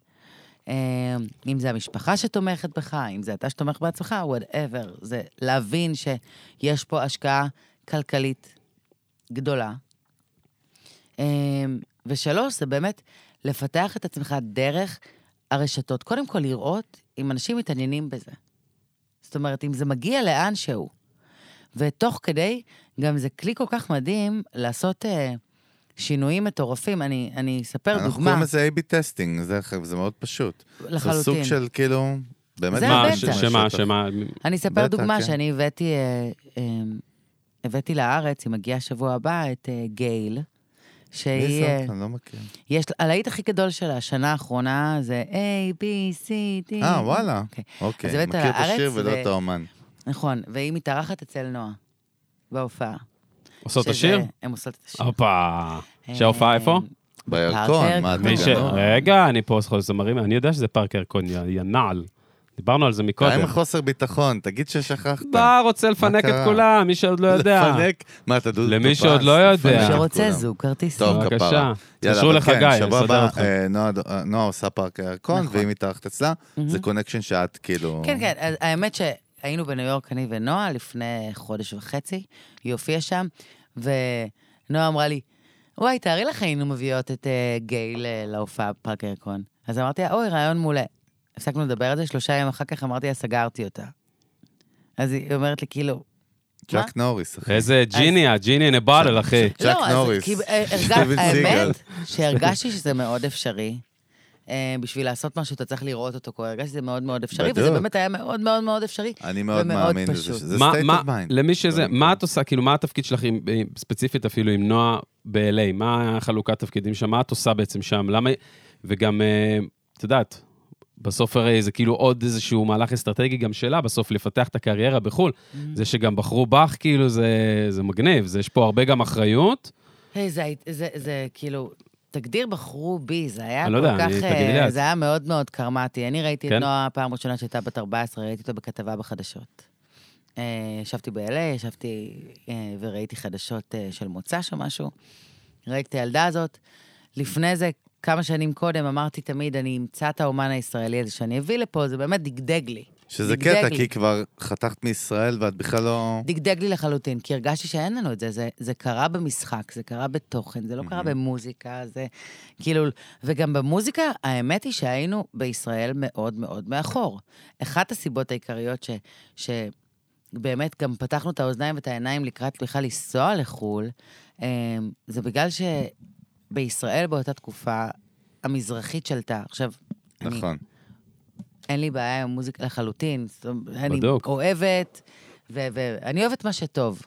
Speaker 4: אה, אם זה המשפחה שתומכת בך, אם זה אתה שתומך בעצמך, whatever. זה להבין שיש פה השקעה כלכלית גדולה. אה, ושלוש, זה באמת לפתח את עצמך דרך הרשתות. קודם כל, לראות אם אנשים מתעניינים בזה. זאת אומרת, אם זה מגיע לאן שהוא. ותוך כדי, גם זה כלי כל כך מדהים לעשות אה, שינויים מטורפים. אני, אני אספר
Speaker 2: אנחנו
Speaker 4: דוגמה
Speaker 2: קוראים לזה A-B טסטינג, זה, זה מאוד פשוט.
Speaker 4: לחלוטין.
Speaker 2: זה סוג של כאילו, באמת,
Speaker 4: זה
Speaker 1: מה,
Speaker 4: הבטא.
Speaker 1: ש-
Speaker 4: בטח.
Speaker 1: שמה, שמה,
Speaker 4: אני אספר
Speaker 2: בטח,
Speaker 4: דוגמה
Speaker 2: כן.
Speaker 4: שאני הבאתי, אה, אה, הבאתי לארץ, היא מגיעה שבוע הבא, את אה, גייל,
Speaker 2: מי
Speaker 4: שהיא... אה,
Speaker 2: זאת? אני לא מכיר.
Speaker 4: יש, הלהיט הכי גדול שלה, השנה האחרונה, זה A, B, C, D.
Speaker 2: אה, וואלה.
Speaker 4: אוקיי. אז
Speaker 2: אוקיי,
Speaker 4: הבאת
Speaker 2: מכיר את
Speaker 4: לארץ
Speaker 2: השיר ולא
Speaker 4: ו-
Speaker 2: את האומן.
Speaker 4: נכון, והיא מתארחת אצל נועה, בהופעה.
Speaker 1: עושות את
Speaker 4: שזה-
Speaker 1: השיר?
Speaker 4: הם עושות את השיר. אה,
Speaker 1: הופה. שההופעה איפה?
Speaker 2: בירקון, מה אתה
Speaker 1: מי ש...
Speaker 2: גנוב?
Speaker 1: רגע, אני פה זוכר זמרים, אני יודע שזה פארק ירקון, יא יא נעל. דיברנו על זה
Speaker 2: די
Speaker 1: מקודם.
Speaker 2: עם החוסר ביטחון, תגיד ששכחת.
Speaker 1: בא, רוצה לפנק את
Speaker 2: קרה?
Speaker 1: כולם, מי שעוד לא יודע.
Speaker 2: לפנק, מה אתה דודו
Speaker 1: למי
Speaker 2: טופז?
Speaker 1: שעוד לא יודע.
Speaker 2: לפנק את
Speaker 4: שרוצה
Speaker 2: כולם.
Speaker 4: זוג, כרטיס.
Speaker 2: טוב,
Speaker 4: זוג.
Speaker 1: בבקשה.
Speaker 2: כפרה. יאללה,
Speaker 1: תתקשרו
Speaker 2: אבל
Speaker 1: לחגי,
Speaker 2: כן, שבוע
Speaker 1: נסדר
Speaker 2: הבא,
Speaker 1: אותך.
Speaker 2: אה, נועה- אה, נועה עושה פארק הירקון,
Speaker 4: נכון. Mhm.
Speaker 2: והיא מתארחת אצלה. זה קונקשן שאת כאילו...
Speaker 4: כן, כן, אז האמת שהיינו בניו יורק, אני ונועה, לפני חודש וחצי, היא הופיעה שם, ונועה אמרה לי, וואי, תארי לך היינו מביאות את אה, גייל אה, להופעה בפארק הירקון. אז אמרתי לה, אוי, רעיון מעולה. הפסקנו לדבר על זה, שלושה ימים אחר כך אמרתי לה, סגרתי אותה. אז היא אומרת לי, כאילו... מה?
Speaker 2: צ'אק נוריס, אחי.
Speaker 1: איזה ג'יניה, ג'יניה נבאדל, אחי.
Speaker 2: צ'אק
Speaker 4: לא, אז
Speaker 2: נוריס,
Speaker 4: כי, אה, הרגש-
Speaker 2: סטיבן סיגל.
Speaker 4: האמת, שהרגשתי שזה מאוד אפשרי. אה, בשביל לעשות משהו, אתה צריך לראות אותו קורה. הרגשתי שזה מאוד מאוד אפשרי, וזה
Speaker 2: בדיוק.
Speaker 4: באמת היה מאוד מאוד מאוד אפשרי.
Speaker 2: אני מאוד
Speaker 4: ומאוד
Speaker 2: מאמין
Speaker 4: פשוט.
Speaker 2: לזה, זה
Speaker 1: מה-
Speaker 2: state
Speaker 1: מה-
Speaker 2: of mind. כן.
Speaker 1: למי שזה,
Speaker 2: קודם
Speaker 1: מה
Speaker 2: כל.
Speaker 1: את עושה, כאילו, מה התפקיד שלך עם- עם- ספציפית אפילו עם נועה ב-LA? מה החלוקת תפקידים שם? מה את עושה בעצם שם? למה... וגם, אה, את יודעת, בסוף הרי זה כאילו עוד איזשהו מהלך אסטרטגי גם שלה, בסוף לפתח את הקריירה בחו"ל.
Speaker 4: Mm.
Speaker 1: זה שגם בחרו בך, כאילו, זה זה מגניב. זה- יש פה הרבה גם אחריות.
Speaker 4: היי, זה, היית- זה, זה כאילו, תגדיר בחרו בי, זה היה
Speaker 1: אני
Speaker 4: כל
Speaker 1: לא יודע,
Speaker 4: כך...
Speaker 1: אני-
Speaker 4: אה,
Speaker 1: תגידי לי את.
Speaker 4: זה היה מאוד מאוד קרמטי. אני ראיתי
Speaker 1: כן?
Speaker 4: את נועה פעם ראשונה שהייתה בת 14, ראיתי אותו בכתבה בחדשות. אה, ישבתי ב-LA, ישבתי אה, וראיתי חדשות אה, של מוצ"ש או משהו. ראיתי את הילדה הזאת. לפני זה, כמה שנים קודם, אמרתי תמיד, אני אמצא את האומן הישראלי הזה שאני אביא לפה, זה באמת דגדג לי.
Speaker 2: שזה
Speaker 4: דגדג
Speaker 2: קטע,
Speaker 4: לי.
Speaker 2: כי כבר חתכת מישראל ואת בכלל לא...
Speaker 4: דגדג לי לחלוטין, כי הרגשתי שאין לנו את זה. זה, זה קרה במשחק, זה קרה בתוכן, זה לא קרה במוזיקה, זה כאילו... וגם במוזיקה, האמת היא שהיינו בישראל מאוד מאוד מאחור. אחת הסיבות העיקריות ש... ש... באמת, גם פתחנו את האוזניים ואת העיניים לקראת בכלל לנסוע לחו"ל, אה, זה בגלל שבישראל באותה תקופה המזרחית שלטה. עכשיו, אני
Speaker 2: נכון.
Speaker 4: אין לי בעיה עם מוזיקה לחלוטין. זאת אומרת, אני
Speaker 1: בדוק.
Speaker 4: אוהבת, ו- ואני אוהבת מה שטוב.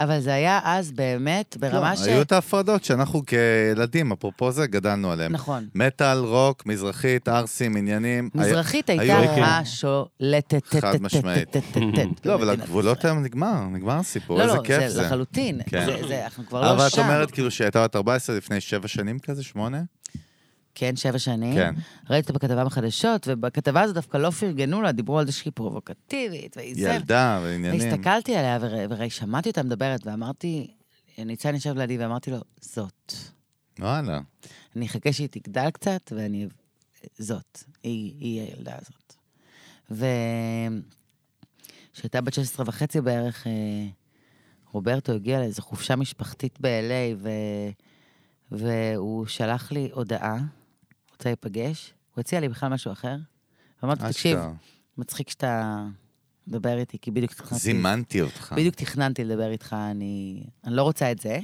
Speaker 4: אבל זה היה אז באמת ברמה ש...
Speaker 2: לא, היו את ההפרדות שאנחנו כילדים, אפרופו זה, גדלנו עליהן.
Speaker 4: נכון.
Speaker 2: מטאל, רוק, מזרחית, ערסים, עניינים.
Speaker 4: מזרחית
Speaker 2: היו-
Speaker 4: הייתה
Speaker 2: היו-
Speaker 4: השולטת.
Speaker 2: חד משמעית. לא, אבל הגבולות היום נגמר, נגמר הסיפור,
Speaker 4: לא,
Speaker 2: איזה
Speaker 4: לא,
Speaker 2: כיף
Speaker 4: זה
Speaker 2: זה.
Speaker 4: לחלוטין.
Speaker 2: כן.
Speaker 4: זה- זה- אנחנו כבר
Speaker 2: אבל
Speaker 4: לא
Speaker 2: את
Speaker 4: שם.
Speaker 2: אומרת כאילו שהיא הייתה בת 14 לפני שבע שנים כזה, שמונה?
Speaker 4: כן, שבע שנים.
Speaker 2: כן.
Speaker 4: ראיתי אותה בכתבה בחדשות, ובכתבה הזאת דווקא לא פרגנו לה, דיברו על זה שהיא פרובוקטיבית, והיא זה.
Speaker 2: ילדה ועניינים.
Speaker 4: והסתכלתי עליה, ורא- וראי, שמעתי אותה מדברת, ואמרתי, ניצן ישב לידי, ואמרתי לו, זאת.
Speaker 2: וואלה.
Speaker 4: אני אחכה שהיא תגדל קצת, ואני... זאת. היא, היא הילדה הזאת. ו... כשהייתה בת 16 וחצי בערך, אה, רוברטו הגיע לאיזו חופשה משפחתית ב-LA, ו... והוא שלח לי הודעה, רוצה להיפגש, הוא הציע לי בכלל משהו אחר. אמרתי, תקשיב,
Speaker 2: אשכרה.
Speaker 4: מצחיק שאתה מדבר איתי, כי בדיוק תכננתי...
Speaker 2: זימנתי אותך.
Speaker 4: בדיוק תכננתי לדבר איתך, אני, אני לא רוצה את זה,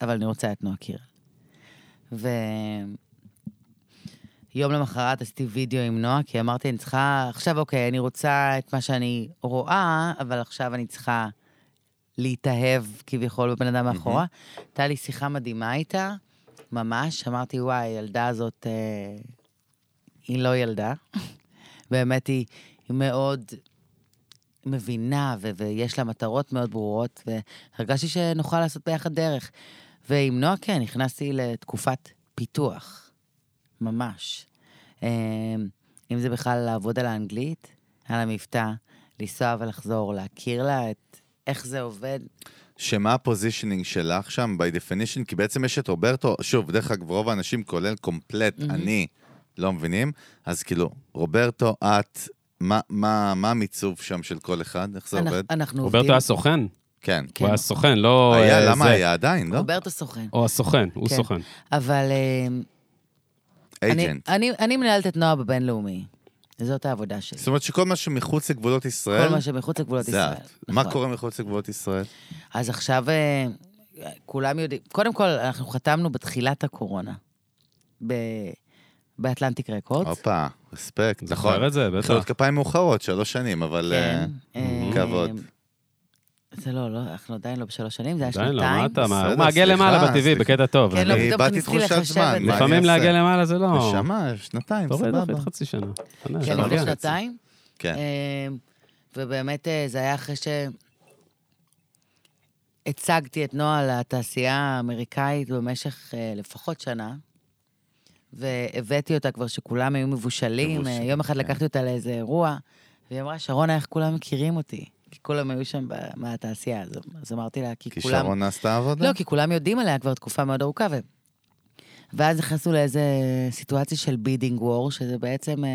Speaker 4: אבל אני רוצה את נועה קירל. ויום למחרת עשיתי וידאו עם נועה, כי אמרתי, אני צריכה, עכשיו אוקיי, אני רוצה את מה שאני רואה, אבל עכשיו אני צריכה להתאהב כביכול בבן אדם מאחורה. הייתה לי שיחה מדהימה איתה, ממש, אמרתי, וואי, הילדה הזאת, אה, היא לא ילדה. באמת, היא, היא מאוד מבינה, ו- ויש לה מטרות מאוד ברורות, והרגשתי שנוכל לעשות ביחד דרך. ועם נועה, כן, נכנסתי לתקופת פיתוח, ממש. אמ, אם זה בכלל לעבוד על האנגלית, על המבטא, לנסוע ולחזור, להכיר לה את איך זה עובד.
Speaker 2: שמה הפוזישנינג שלך שם, by definition, כי בעצם יש את רוברטו, שוב, דרך אגב, רוב האנשים, כולל קומפלט, אני, לא מבינים, אז כאילו, רוברטו, את, מה- מה מה המיצוב שם של כל אחד? איך זה
Speaker 4: אנחנו,
Speaker 2: עובד?
Speaker 4: אנחנו
Speaker 1: רוברטו
Speaker 4: עובדים...
Speaker 1: היה סוכן.
Speaker 2: כן.
Speaker 1: הוא היה סוכן, לא... אה,
Speaker 2: היה, למה
Speaker 1: זה.
Speaker 2: היה? עדיין, לא?
Speaker 4: רוברטו סוכן.
Speaker 1: או הסוכן, הוא
Speaker 4: כן.
Speaker 1: סוכן.
Speaker 4: אבל אמ, אני,
Speaker 2: אייג'נט.
Speaker 4: אני, אני מנהלת את נועה בבינלאומי. זאת העבודה שלי.
Speaker 2: זאת אומרת שכל מה שמחוץ לגבולות ישראל,
Speaker 4: כל מה שמחוץ לגבולות
Speaker 2: זה
Speaker 4: ישראל.
Speaker 2: את. מה
Speaker 4: נכון.
Speaker 2: קורה מחוץ לגבולות ישראל?
Speaker 4: אז עכשיו אה, כולם יודעים, קודם כל, אנחנו חתמנו בתחילת הקורונה, ב... באטלנטיק רקורדס.
Speaker 2: הופה, רספקט, נכון.
Speaker 1: זוכר את זה, לא. בטח.
Speaker 2: מחיאות כפיים מאוחרות, שלוש שנים, אבל אה,
Speaker 4: אה,
Speaker 2: כבוד.
Speaker 4: זה לא, לא, אנחנו עדיין לא בשלוש שנים, זה היה
Speaker 1: עדיין לא, מה
Speaker 4: שנתיים.
Speaker 1: אתה, מה- הוא
Speaker 2: בסדר,
Speaker 1: מעגל
Speaker 2: סליחה,
Speaker 1: למעלה בטבעי,
Speaker 2: סליחה.
Speaker 1: בקטע טוב.
Speaker 4: כן,
Speaker 1: אבל
Speaker 4: לא,
Speaker 2: אני
Speaker 4: פתאום
Speaker 2: איבדתי
Speaker 4: ניסיתי
Speaker 2: תחושת
Speaker 4: לחשב
Speaker 2: זמן.
Speaker 4: את זה.
Speaker 2: מה אני
Speaker 1: לפעמים
Speaker 2: אעשה?
Speaker 1: לעגל למעלה זה לא...
Speaker 2: נשמה, שנתיים,
Speaker 1: תוריד
Speaker 2: סבבה.
Speaker 1: עוד חצי שנה. שנה,
Speaker 4: כן,
Speaker 1: שנה
Speaker 2: שלוש
Speaker 4: לפני
Speaker 1: וחצי.
Speaker 4: שנתיים.
Speaker 2: כן.
Speaker 4: אמ, ובאמת אה, זה היה אחרי שהצגתי את נועה לתעשייה האמריקאית במשך אה, לפחות שנה, והבאתי אותה כבר שכולם היו מבושלים. אה,
Speaker 2: מבושלים,
Speaker 4: יום אחד
Speaker 2: כן.
Speaker 4: לקחתי אותה לאיזה אירוע, והיא אמרה, שרונה, איך כולם מכירים אותי? כי כולם היו שם ב- מהתעשייה. אז- אמ, אז אמרתי לה, כי
Speaker 2: כי
Speaker 4: כולם...
Speaker 2: שרון עשתה עבודה?
Speaker 4: לא, כי כולם יודעים עליה כבר תקופה מאוד ארוכה. ו... ואז נכנסנו לאיזה סיטואציה של בידינג וור, שזה בעצם אה,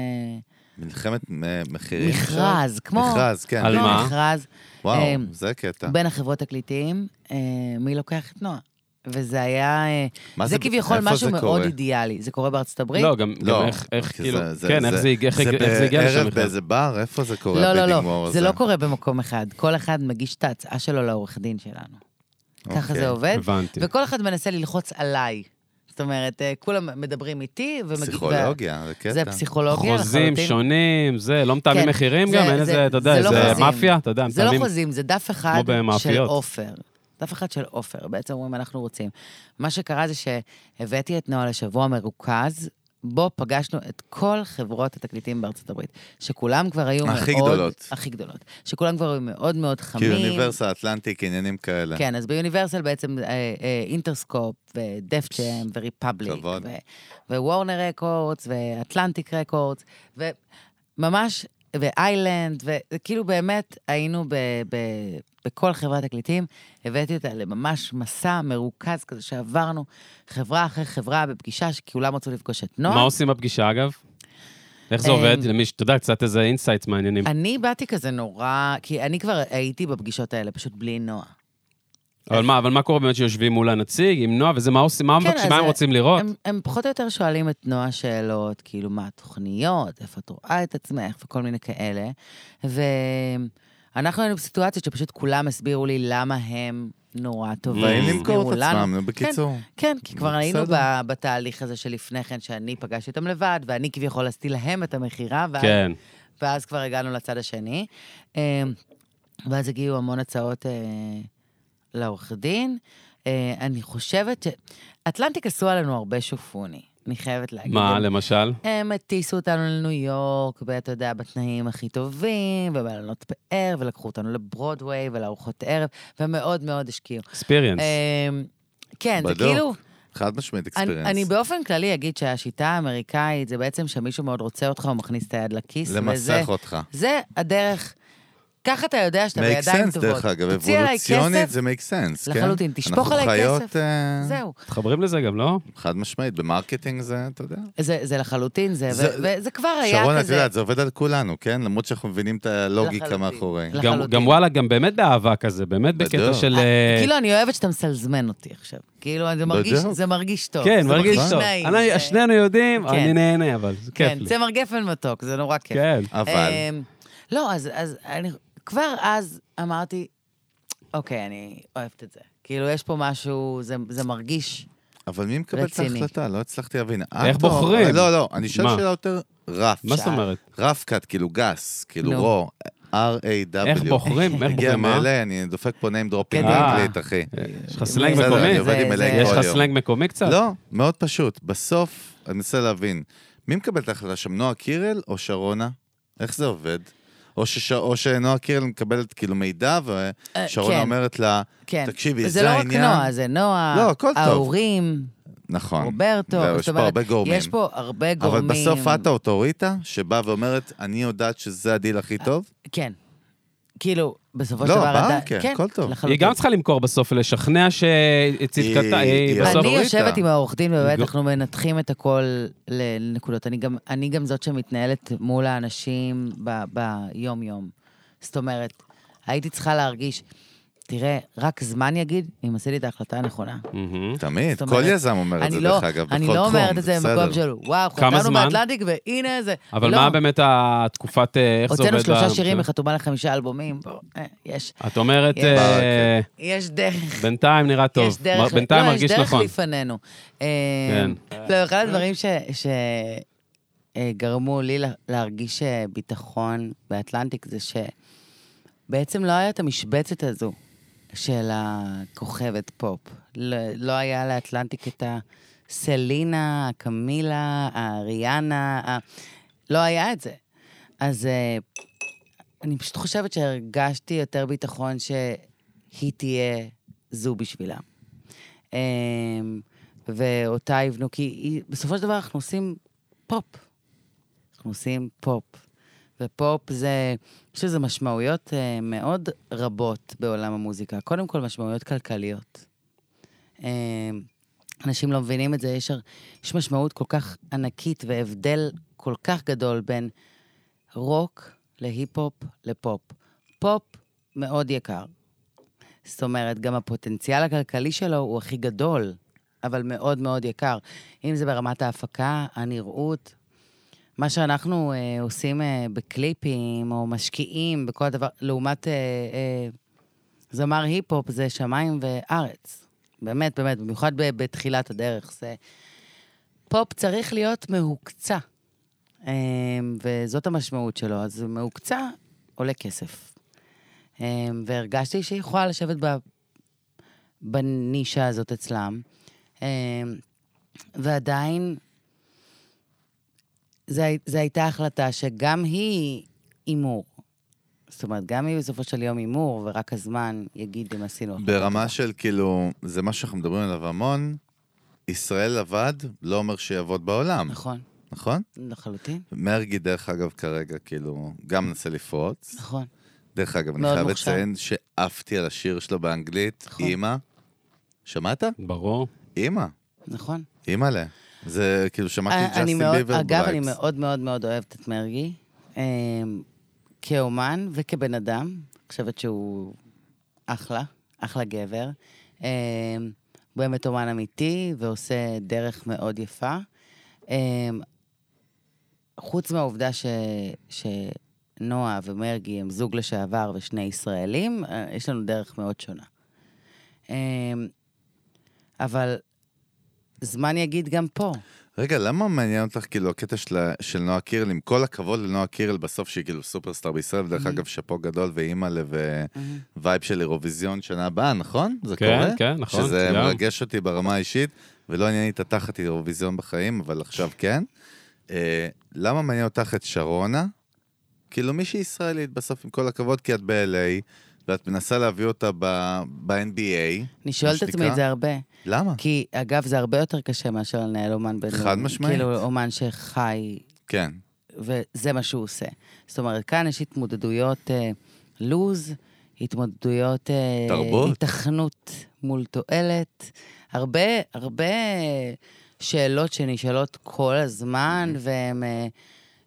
Speaker 2: מלחמת אה, מחירים.
Speaker 4: מכרז, כמו...
Speaker 2: מכרז, כן.
Speaker 1: על
Speaker 4: כמו
Speaker 1: מה?
Speaker 4: מכרז
Speaker 2: וואו,
Speaker 4: אמ,
Speaker 2: זה קטע.
Speaker 4: בין החברות תקליטים, אה, מי לוקח את נועה. וזה היה... אה,
Speaker 2: מה
Speaker 4: זה
Speaker 2: ב-
Speaker 4: כביכול
Speaker 2: איפה
Speaker 4: משהו
Speaker 2: זה
Speaker 4: מאוד
Speaker 2: קורה?
Speaker 4: אידיאלי. זה קורה בארצות הברית?
Speaker 1: לא, גם גם
Speaker 2: לא,
Speaker 1: איך- איך,
Speaker 2: כי
Speaker 1: כאילו, כן, איך זה הגיע- איך איך זה הגיע
Speaker 2: זה
Speaker 1: לשם
Speaker 2: בערב
Speaker 1: בכלל.
Speaker 2: באיזה בר? איפה זה קורה? אה.
Speaker 4: לא, לא,
Speaker 2: ה-bidding
Speaker 4: לא.
Speaker 2: war
Speaker 4: זה
Speaker 2: הזה?
Speaker 4: לא קורה במקום אחד. כל אחד מגיש את ההצעה שלו לעורך דין שלנו. ככה
Speaker 2: אוקיי.
Speaker 4: זה עובד.
Speaker 1: הבנתי.
Speaker 4: וכל אחד מנסה ללחוץ עליי. זאת אומרת, אה, כולם מדברים איתי, ומגיעים...
Speaker 2: פסיכולוגיה, זה קטע.
Speaker 4: זה פסיכולוגיה
Speaker 1: חוזים
Speaker 4: לחלוטין.
Speaker 1: שונים, זה, לא מתאמים
Speaker 4: כן,
Speaker 1: מחירים
Speaker 4: זה-
Speaker 1: גם, אין
Speaker 4: זה-
Speaker 1: איזה, אתה יודע,
Speaker 4: זה לא
Speaker 1: איזה
Speaker 4: חוזים.
Speaker 1: מאפיה, אתה יודע,
Speaker 4: זה לא
Speaker 1: מתאמים.
Speaker 4: חוזים, זה דף אחד של
Speaker 1: במאפיות.
Speaker 4: עופר. דף אחד של עופר, בעצם אומרים, אנחנו רוצים. מה שקרה זה שהבאתי את נועה לשבוע מרוכז, בו פגשנו את כל חברות התקליטים בארצות הברית, שכולם כבר היו
Speaker 2: הכי
Speaker 4: מאוד...
Speaker 2: גדולות.
Speaker 4: הכי גדולות. שכולם כבר היו מאוד מאוד חמים.
Speaker 2: כאילו אוניברסיטה, אטלנטיק, עניינים כאלה.
Speaker 4: כן, אז ביוניברסל בעצם אה, אה, אינטרסקופ, ודף ג'ם, וריפבליק,
Speaker 2: כבוד.
Speaker 4: ו- ווורנר רקורדס, ואטלנטיק רקורדס, וממש, ואיילנד, וכאילו באמת היינו ב- ב- בכל חברת תקליטים, הבאתי אותה לממש מסע מרוכז כזה שעברנו חברה אחרי חברה בפגישה, שכולם רצו לפגוש את נועה.
Speaker 1: מה עושים בפגישה, אגב? איך זה
Speaker 4: אמ,
Speaker 1: עובד? למי ש... אתה יודע, קצת איזה אינסייטס מעניינים.
Speaker 4: אני באתי כזה נורא, כי אני כבר הייתי בפגישות האלה, פשוט בלי נועה.
Speaker 1: אבל מה, אבל מה קורה באמת שיושבים מול הנציג, עם נועה, וזה מה עושים, מה
Speaker 4: כן,
Speaker 1: מבקשים,
Speaker 4: אז
Speaker 1: מה הם
Speaker 4: זה-
Speaker 1: רוצים לראות?
Speaker 4: הם, הם פחות או יותר שואלים את נועה שאלות, כאילו, מה התוכניות, איפה את רואה את עצמך, וכל מיני כאלה. ואנחנו היינו בסיטואציות שפשוט כולם הסבירו לי למה הם נורא טובים.
Speaker 2: באים למכור
Speaker 4: הסבירו
Speaker 2: את
Speaker 4: לנו.
Speaker 2: עצמם, נו, בקיצור.
Speaker 4: כן, כי כבר היינו
Speaker 2: בסדר.
Speaker 4: ב- בתהליך הזה שלפני כן, שאני פגשתי אותם לבד, ואני כביכול עשיתי להם את המכירה, ואז
Speaker 1: כן.
Speaker 4: ואז כבר הגענו לצד השני. אה, ואז הגיעו המון הצעות אה, לעורך דין. אה, אני חושבת ש... אטלנטיק עשו עלינו הרבה שופוני, אני חייבת להגיד.
Speaker 1: מה,
Speaker 4: הם-
Speaker 1: למשל?
Speaker 4: הם הטיסו אותנו לניו יורק, ואתה יודע, בתנאים הכי טובים, ובעלונות פאר, ולקחו אותנו לברודוויי ולארוחות ערב, ומאוד מאוד השקיעו.
Speaker 1: אקספיריאנס.
Speaker 4: אה, כן, זה
Speaker 2: בדוק.
Speaker 4: כאילו...
Speaker 2: חד משמעית
Speaker 4: אני,
Speaker 2: אקספיריאנס.
Speaker 4: אני באופן כללי אגיד שהשיטה האמריקאית זה בעצם שמישהו מאוד רוצה אותך, הוא מכניס את היד לכיס, וזה...
Speaker 2: למסך אותך.
Speaker 4: זה הדרך. ככה אתה יודע שאתה
Speaker 2: מייק
Speaker 4: בידיים
Speaker 2: סנס,
Speaker 4: טובות.
Speaker 2: דרך אגב,
Speaker 4: תוציא עליי
Speaker 2: אבולוציונית
Speaker 4: כסף,
Speaker 2: זה מייק סנס, כן?
Speaker 4: לחלוטין. תשפוך עליי
Speaker 2: אנחנו
Speaker 4: כסף.
Speaker 2: חיות, אה,
Speaker 4: זהו.
Speaker 1: מתחברים לזה גם, לא?
Speaker 2: חד משמעית, במרקטינג זה, אתה יודע.
Speaker 4: זה, זה לחלוטין זה,
Speaker 2: זה-
Speaker 4: ו- וזה כבר היה
Speaker 2: שרון, את
Speaker 4: כזה.
Speaker 2: יודעת, זה עובד על כולנו, כן? למרות שאנחנו מבינים את הלוגיקה
Speaker 4: לחלוטין.
Speaker 2: מאחורי.
Speaker 4: לח-
Speaker 1: גם-
Speaker 4: לחלוטין.
Speaker 1: גם וואלה, גם באמת באהבה כזה, באמת בקטע
Speaker 2: בדיוק.
Speaker 1: של...
Speaker 4: אה,
Speaker 1: אה,
Speaker 4: כאילו, אני אוהבת שאתה מסלזמן אותי עכשיו. כאילו,
Speaker 2: לא
Speaker 4: זה מרגיש,
Speaker 2: בדיוק.
Speaker 4: זה מרגיש טוב.
Speaker 1: כן,
Speaker 4: זה
Speaker 1: מרגיש טוב.
Speaker 4: נעים,
Speaker 1: אני-
Speaker 4: זה-
Speaker 1: שנינו יודעים,
Speaker 4: כן.
Speaker 1: אני נהנה, אבל זה
Speaker 4: כן,
Speaker 1: כיף לי.
Speaker 4: זה מר גפן מתוק, זה נורא כיף.
Speaker 1: כן.
Speaker 2: אבל,
Speaker 4: אמ, לא, אז, אז אני, כבר אז אמרתי, אוקיי, אני אוהבת את זה. כאילו, יש פה משהו, זה, זה מרגיש.
Speaker 2: אבל מי מקבל את
Speaker 4: רציני.
Speaker 2: ההחלטה? לא הצלחתי להבין. את
Speaker 1: איך
Speaker 2: או-
Speaker 1: בוחרים?
Speaker 2: לא, לא, אני שואל
Speaker 1: מה?
Speaker 2: שאלה יותר רף.
Speaker 1: מה זאת אומרת?
Speaker 2: רף קאט, כאילו גס, כאילו
Speaker 4: נו.
Speaker 2: רו, R-A-W.
Speaker 1: איך בוחרים? איך
Speaker 2: הגיע
Speaker 1: בוחרים? אה? מה?
Speaker 2: מ-LA, אני דופק פה name
Speaker 4: כן,
Speaker 2: dropping
Speaker 1: אה.
Speaker 2: באנגלית, אחי.
Speaker 1: יש לך סלנג
Speaker 2: בסדר, אני
Speaker 1: מקומי?
Speaker 2: עובד עם
Speaker 4: זה-
Speaker 2: LA
Speaker 1: יש
Speaker 2: כל
Speaker 1: לך
Speaker 2: יום.
Speaker 1: סלנג מקומי קצת?
Speaker 2: לא, מאוד פשוט. בסוף, אני מנסה להבין, מי מקבל את ההחלטה שם, נועה קירל או שרונה? איך זה עובד? או, שש... או שנועה קירל מקבלת כאילו מידע,
Speaker 4: אה,
Speaker 2: ושרונה
Speaker 4: כן.
Speaker 2: אומרת לה,
Speaker 4: כן.
Speaker 2: תקשיבי,
Speaker 4: זה
Speaker 2: זה
Speaker 4: לא
Speaker 2: העניין.
Speaker 4: רק נועה, זה נועה,
Speaker 2: לא, הכל טוב.
Speaker 4: ההורים,
Speaker 2: נכון.
Speaker 4: רוברטו,
Speaker 2: ויש
Speaker 4: זאת
Speaker 2: פה
Speaker 4: אומרת,
Speaker 2: הרבה גורמים.
Speaker 4: יש פה הרבה
Speaker 2: אבל
Speaker 4: גורמים.
Speaker 2: בסוף את האוטוריטה שבאה ואומרת, אני יודעת שזה הדיל הכי טוב?
Speaker 4: כן. כאילו, בסופו של
Speaker 2: לא,
Speaker 4: דבר...
Speaker 2: ברור,
Speaker 4: אתה-
Speaker 2: כן, הכל טוב.
Speaker 1: היא
Speaker 4: לחלוטין.
Speaker 1: גם צריכה למכור בסוף, לשכנע שצדקתה,
Speaker 2: היא-
Speaker 1: היא
Speaker 2: היא
Speaker 1: בסוף...
Speaker 4: אני
Speaker 2: אוטוריטה.
Speaker 4: יושבת עם העורך דין, ובאמת
Speaker 1: גו-
Speaker 4: אנחנו מנתחים את הכל לנקודות. אני גם, אני גם זאת שמתנהלת מול האנשים ב- ביום-יום. זאת אומרת, הייתי צריכה להרגיש תראה, רק זמן יגיד אם עשיתי את ההחלטה הנכונה.
Speaker 1: מהמם.
Speaker 2: תמיד,
Speaker 4: אה, זאת
Speaker 2: כל
Speaker 4: אומרת,
Speaker 2: יזם אומר את זה,
Speaker 4: אני לא,
Speaker 2: דרך אגב, בכל
Speaker 4: אני
Speaker 2: תחום,
Speaker 4: לא אומרת את
Speaker 2: זה
Speaker 4: זה
Speaker 2: בסדר.
Speaker 4: במקום שלו, וואו,
Speaker 1: כמה
Speaker 4: חתנו
Speaker 1: זמן?
Speaker 4: באטלנטיק והנה זה.
Speaker 1: אבל
Speaker 4: לא.
Speaker 1: מה באמת התקופת, אה, איך זה עובד?
Speaker 4: הוצאנו שלושה
Speaker 1: לה-
Speaker 4: שירים וחתומה לחמישה אלבומים. בוא, אה, יש,
Speaker 1: את אומרת,
Speaker 4: יש.
Speaker 1: אה,
Speaker 4: יש דרך.
Speaker 1: בינתיים נראה
Speaker 4: יש
Speaker 1: טוב.
Speaker 4: דרך,
Speaker 1: מר- בינתיים
Speaker 4: לא,
Speaker 1: מרגיש
Speaker 4: יש דרך
Speaker 1: נכון.
Speaker 4: לפנינו. אה,
Speaker 1: כן.
Speaker 4: לא, אחד הדברים שגרמו לי לה- להרגיש אה, ביטחון באטלנטיק זה שבעצם לא היה את המשבצת הזו של הכוכבת פופ. לא לא היה לאטלנטיק את הסלינה, הקמילה, הריאנה, ה- לא היה את זה. אז אה, אני פשוט חושבת שהרגשתי יותר ביטחון שהיא תהיה זו בשבילם. אה, ואותה יבנו, כי היא, בסופו של דבר אנחנו עושים פופ. אנחנו עושים פופ. ופופ זה, יש לזה משמעויות אה, מאוד רבות בעולם המוזיקה. קודם כל, משמעויות כלכליות. אה, אנשים לא מבינים את זה, יש, הר- יש משמעות כל כך ענקית והבדל כל כך גדול בין רוק להיפ-הופ לפופ. פופ מאוד יקר. זאת אומרת, גם הפוטנציאל הכלכלי שלו הוא הכי גדול, אבל מאוד מאוד יקר. אם זה ברמת ההפקה, הנראות, מה שאנחנו אה, עושים אה, בקליפים, או משקיעים בכל הדבר, לעומת אה, אה, זמר היפ-הופ, זה שמיים וארץ. באמת, באמת, במיוחד ב- בתחילת הדרך. זה... פופ צריך להיות מהוקצע, אה, וזאת המשמעות שלו. אז מהוקצע עולה כסף. אה, והרגשתי שהיא יכולה לשבת ב... בנישה הזאת אצלם, אה, ועדיין זו הייתה החלטה שגם היא הימור. זאת אומרת, גם היא בסופו של יום הימור, ורק הזמן יגיד אם עשינו... החלטה.
Speaker 2: ברמה של כאילו, זה מה שאנחנו מדברים עליו המון, ישראל לבד לא אומר שיעבוד בעולם,
Speaker 4: נכון,
Speaker 2: נכון?
Speaker 4: לחלוטין,
Speaker 2: מרגי, דרך אגב, כרגע, כאילו, גם מנסה לפרוץ.
Speaker 4: נכון.
Speaker 2: דרך אגב, אני
Speaker 4: מאוד
Speaker 2: חייב
Speaker 4: מוכשר.
Speaker 2: לציין שעפתי על השיר שלו באנגלית,
Speaker 4: נכון.
Speaker 2: אימא. שמעת?
Speaker 1: ברור.
Speaker 2: אימא.
Speaker 4: נכון.
Speaker 2: אימא'לה. זה כאילו, שמעתי את
Speaker 4: אה, אני
Speaker 2: ג'סטין
Speaker 4: מאוד-
Speaker 2: ביבר
Speaker 4: אגב, אני
Speaker 2: ברייטס.
Speaker 4: מאוד מאוד מאוד אוהבת את מרגי. אמ, כאומן וכבן אדם, אני חושבת שהוא אחלה, אחלה גבר. אמ, הוא באמת אומן אמיתי ועושה דרך מאוד יפה. אמ, חוץ מהעובדה ש... שנועה ומרגי הם זוג לשעבר ושני ישראלים, אה, יש לנו דרך מאוד שונה. אמ, אבל זמן יגיד גם פה.
Speaker 2: רגע, למה מעניין אותך כאילו הקטע של, של נועה קירל, עם כל הכבוד לנועה קירל בסוף, שהיא כאילו סופרסטאר בישראל, ודרך
Speaker 4: Mhm.
Speaker 2: אגב, שאפו גדול ואימא'לה ווייב של אירוויזיון שנה הבאה, נכון? זה
Speaker 1: כן,
Speaker 2: קורה?
Speaker 1: כן, נכון,
Speaker 2: שזה
Speaker 1: גם.
Speaker 2: מרגש אותי ברמה האישית, ולא עניין לי את התחת אירוויזיון בחיים, אבל עכשיו כן. אה, למה מעניין אותך את שרונה? כאילו מישהי ישראלית בסוף, עם כל הכבוד, כי את ב-LA, ואת מנסה להביא אותה ב- ב-NBA.
Speaker 4: אני שואלת את עצמי את זה הרבה.
Speaker 2: למה?
Speaker 4: כי, אגב, זה הרבה יותר קשה מאשר לנהל אומן בינלאומי.
Speaker 2: אה. חד משמעית.
Speaker 4: כאילו, אומן שחי,
Speaker 2: כן.
Speaker 4: וזה מה שהוא עושה. זאת אומרת, כאן יש התמודדויות אה, לוז, התמודדויות... אה,
Speaker 2: תרבות.
Speaker 4: התכנות מול תועלת. הרבה, הרבה שאלות שנשאלות כל הזמן, והן... אה,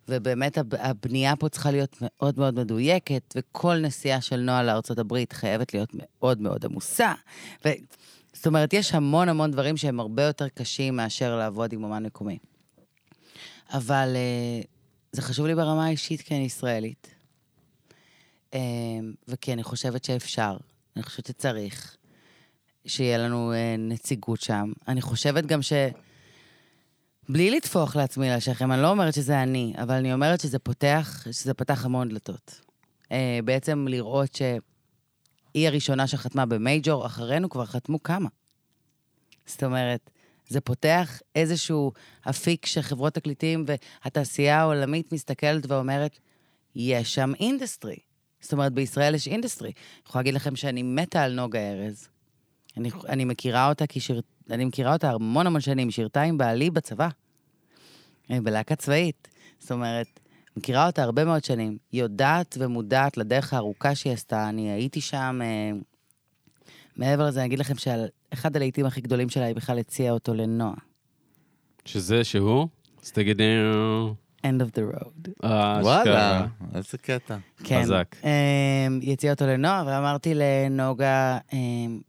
Speaker 4: ובאמת הב- הבנייה פה צריכה להיות מאוד מאוד מדויקת, וכל נסיעה של נועה לארה"ב חייבת להיות מאוד מאוד עמוסה. ו... זאת אומרת, יש המון המון דברים שהם הרבה יותר קשים מאשר לעבוד עם אומן מקומי. אבל אה, זה חשוב לי ברמה האישית כי אני ישראלית, אה, וכי אני חושבת שאפשר, אני חושבת שצריך, שיהיה לנו אה, נציגות שם. אני חושבת גם ש... בלי לטפוח לעצמי לשכם, אני לא אומרת שזה אני, אבל אני אומרת שזה פותח, שזה פתח המון דלתות. אה, בעצם לראות שהיא הראשונה שחתמה במייג'ור, אחרינו כבר חתמו כמה. זאת אומרת, זה פותח איזשהו אפיק שחברות תקליטים והתעשייה העולמית מסתכלת ואומרת, יש שם אינדסטרי. זאת אומרת, בישראל יש אינדסטרי. אני יכולה להגיד לכם שאני מתה על נוגה ארז. אני, אני מכירה אותה כי שיר... אני מכירה אותה המון המון שנים, היא שירתה עם בעלי בצבא. אה, בלהקה צבאית. זאת אומרת, מכירה אותה הרבה מאוד שנים. יודעת ומודעת לדרך הארוכה שהיא עשתה. אני הייתי שם... אה, מעבר לזה, אני אגיד לכם שאחד הלהיטים הכי גדולים שלה, היא בכלל הציעה אותו לנועה.
Speaker 1: שזה שהוא? אז תגידי...
Speaker 4: end of the road.
Speaker 2: וואלה, איזה קטע.
Speaker 4: כן.
Speaker 1: חזק.
Speaker 4: אמ, יציאות או לנוער, ואמרתי לנוגה, אמ,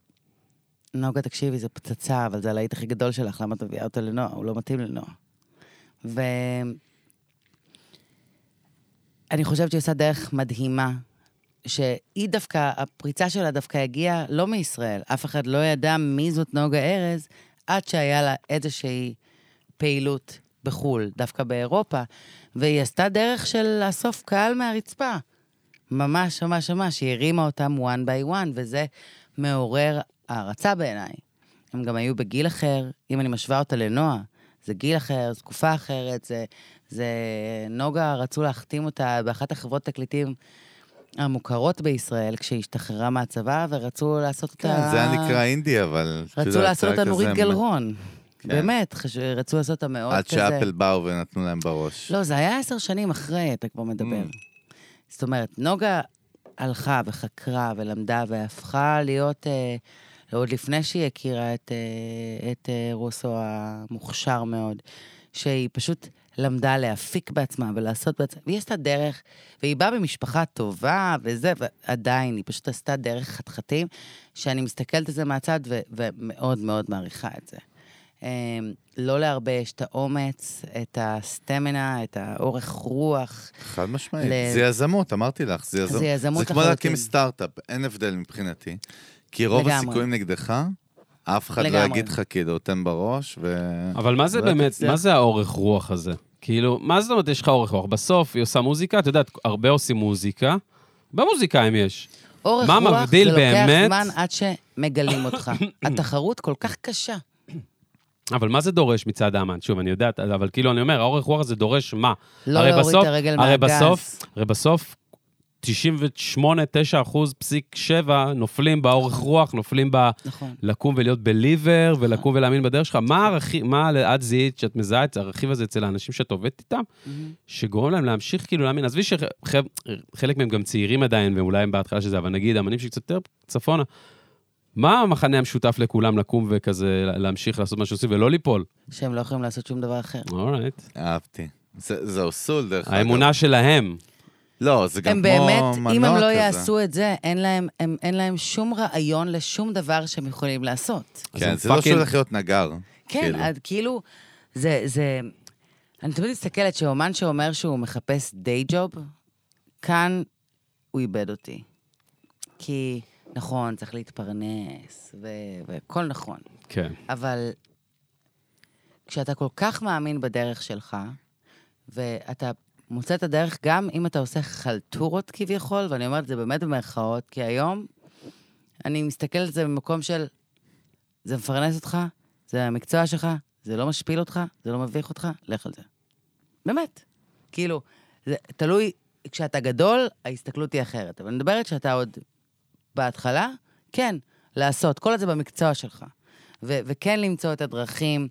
Speaker 4: נוגה, תקשיבי, זו פצצה, אבל זה הלהיט הכי גדול שלך, למה את מביאה אותו לנוער? הוא לא מתאים לנוער. ו... אני חושבת שהיא עושה דרך מדהימה, שהיא דווקא, הפריצה שלה דווקא הגיעה לא מישראל. אף אחד לא ידע מי זאת נוגה ארז, עד שהיה לה איזושהי פעילות בחו"ל, דווקא באירופה, והיא עשתה דרך של לאסוף קהל מהרצפה. ממש, ממש, ממש, היא הרימה אותם one by one, וזה מעורר הערצה בעיניי. הם גם היו בגיל אחר, אם אני משווה אותה לנועה, זה גיל אחר, זו תקופה אחרת, זה, זה... נוגה רצו להחתים אותה באחת החברות תקליטים המוכרות בישראל, כשהיא השתחררה מהצבא, ורצו לעשות אותה...
Speaker 2: כן, זה היה נקרא אינדי, אבל... את
Speaker 4: רצו
Speaker 2: יודעת,
Speaker 4: לעשות
Speaker 2: זה היה
Speaker 4: אותה נורית
Speaker 2: כזה כן.
Speaker 4: גלרון. באמת, חש- רצו לעשות אותה מאוד כזה.
Speaker 2: עד שאפל באו ונתנו להם בראש.
Speaker 4: לא, זה היה עשר שנים אחרי, אתה כבר מדבר. זאת אומרת, נוגה הלכה וחקרה ולמדה והפכה להיות, אה, עוד לפני שהיא הכירה את, אה, את אה, רוסו המוכשר מאוד, שהיא פשוט למדה להפיק בעצמה ולעשות בעצמה, והיא עשתה דרך, והיא באה במשפחה טובה וזה, ועדיין, היא פשוט עשתה דרך חתחתים, שאני מסתכלת על זה מהצד ו- ומאוד מאוד מעריכה את זה. אה, לא להרבה יש את האומץ, את הסטמינה, את האורך רוח.
Speaker 2: חד משמעית.
Speaker 4: ל-
Speaker 2: זה יזמות, אמרתי לך, זה יזמות.
Speaker 4: זה יזמות
Speaker 2: זה כמו
Speaker 4: לחלוטין.
Speaker 2: להקים סטארט-אפ, אין הבדל מבחינתי. כי רוב
Speaker 4: לגמרי.
Speaker 2: הסיכויים נגדך, אף אחד לא
Speaker 4: לגמרי.
Speaker 2: יגיד לך כאילו, תן בראש, ו...
Speaker 1: אבל מה זה
Speaker 2: לא
Speaker 1: באמת,
Speaker 2: תצליח.
Speaker 1: מה זה האורך רוח הזה? כאילו, מה זאת אומרת יש לך אורך רוח? בסוף היא עושה מוזיקה, את יודעת, הרבה עושים מוזיקה. הרבה מוזיקאים יש.
Speaker 4: אורך
Speaker 1: מה
Speaker 4: רוח,
Speaker 1: מבדיל
Speaker 4: זה לוקח
Speaker 1: באמת?
Speaker 4: זמן עד שמגלים אותך. התחרות כל כך קשה.
Speaker 1: אבל מה זה דורש מצד האמן? שוב, אני יודעת, אבל כאילו, אני אומר, האורך רוח הזה דורש מה?
Speaker 4: לא
Speaker 1: הרי
Speaker 4: להוריד
Speaker 1: בסוף-
Speaker 4: את הרגל
Speaker 1: הרי
Speaker 4: מהגז.
Speaker 1: בסוף, הרי בסוף 98-9 אחוז פסיק 7 נופלים באורך רוח, נופלים ב...
Speaker 4: נכון.
Speaker 1: לקום ולהיות בליבר, ולקום ולהאמין בדרך שלך. מה הרכיב, מה את זיהית, שאת מזהה את הרכיב הזה אצל האנשים שאת עובדת איתם, שגורם להם להמשיך כאילו להאמין? עזבי שחלק מהם גם צעירים עדיין, ואולי הם בהתחלה של זה, אבל נגיד, אמנים שקצת יותר צפונה, מה המכנה המשותף לכולם לקום וכזה להמשיך לעשות מה שעושים ולא ליפול?
Speaker 4: שהם לא יכולים לעשות שום דבר אחר.
Speaker 1: אורייט.
Speaker 2: אהבתי. זה זה אוסול, דרך אגב.
Speaker 1: אוקיי. האמונה שלהם.
Speaker 2: לא, זה גם כמו
Speaker 4: הם באמת,
Speaker 2: מנוע כזה.
Speaker 4: אם הם לא יעשו את זה, אין להם- הם- אין להם שום רעיון לשום דבר שהם יכולים לעשות.
Speaker 1: אז
Speaker 2: כן,
Speaker 1: הם
Speaker 2: זה לא
Speaker 1: fucking-
Speaker 2: שהוא הולך להיות נגר.
Speaker 4: כן,
Speaker 2: כאילו.
Speaker 4: אז כאילו, זה, זה... אני תמיד מסתכלת שאומן שאומר שהוא מחפש דיי ג'וב, כאן הוא איבד אותי. כי, נכון, צריך להתפרנס, ו- והכל נכון.
Speaker 1: כן.
Speaker 4: אבל כשאתה כל כך מאמין בדרך שלך, ואתה מוצא את הדרך גם אם אתה עושה חלטורות כביכול, ואני אומרת את זה באמת במרכאות, כי היום אני מסתכלת על זה במקום של זה מפרנס אותך, זה המקצוע שלך, זה לא משפיל אותך, זה לא מביך אותך, לך על זה. באמת. כאילו, זה תלוי, כשאתה גדול, ההסתכלות היא אחרת. אבל אני מדברת שאתה עוד בהתחלה, כן, לעשות, כל זה במקצוע שלך. ו- וכן למצוא את הדרכים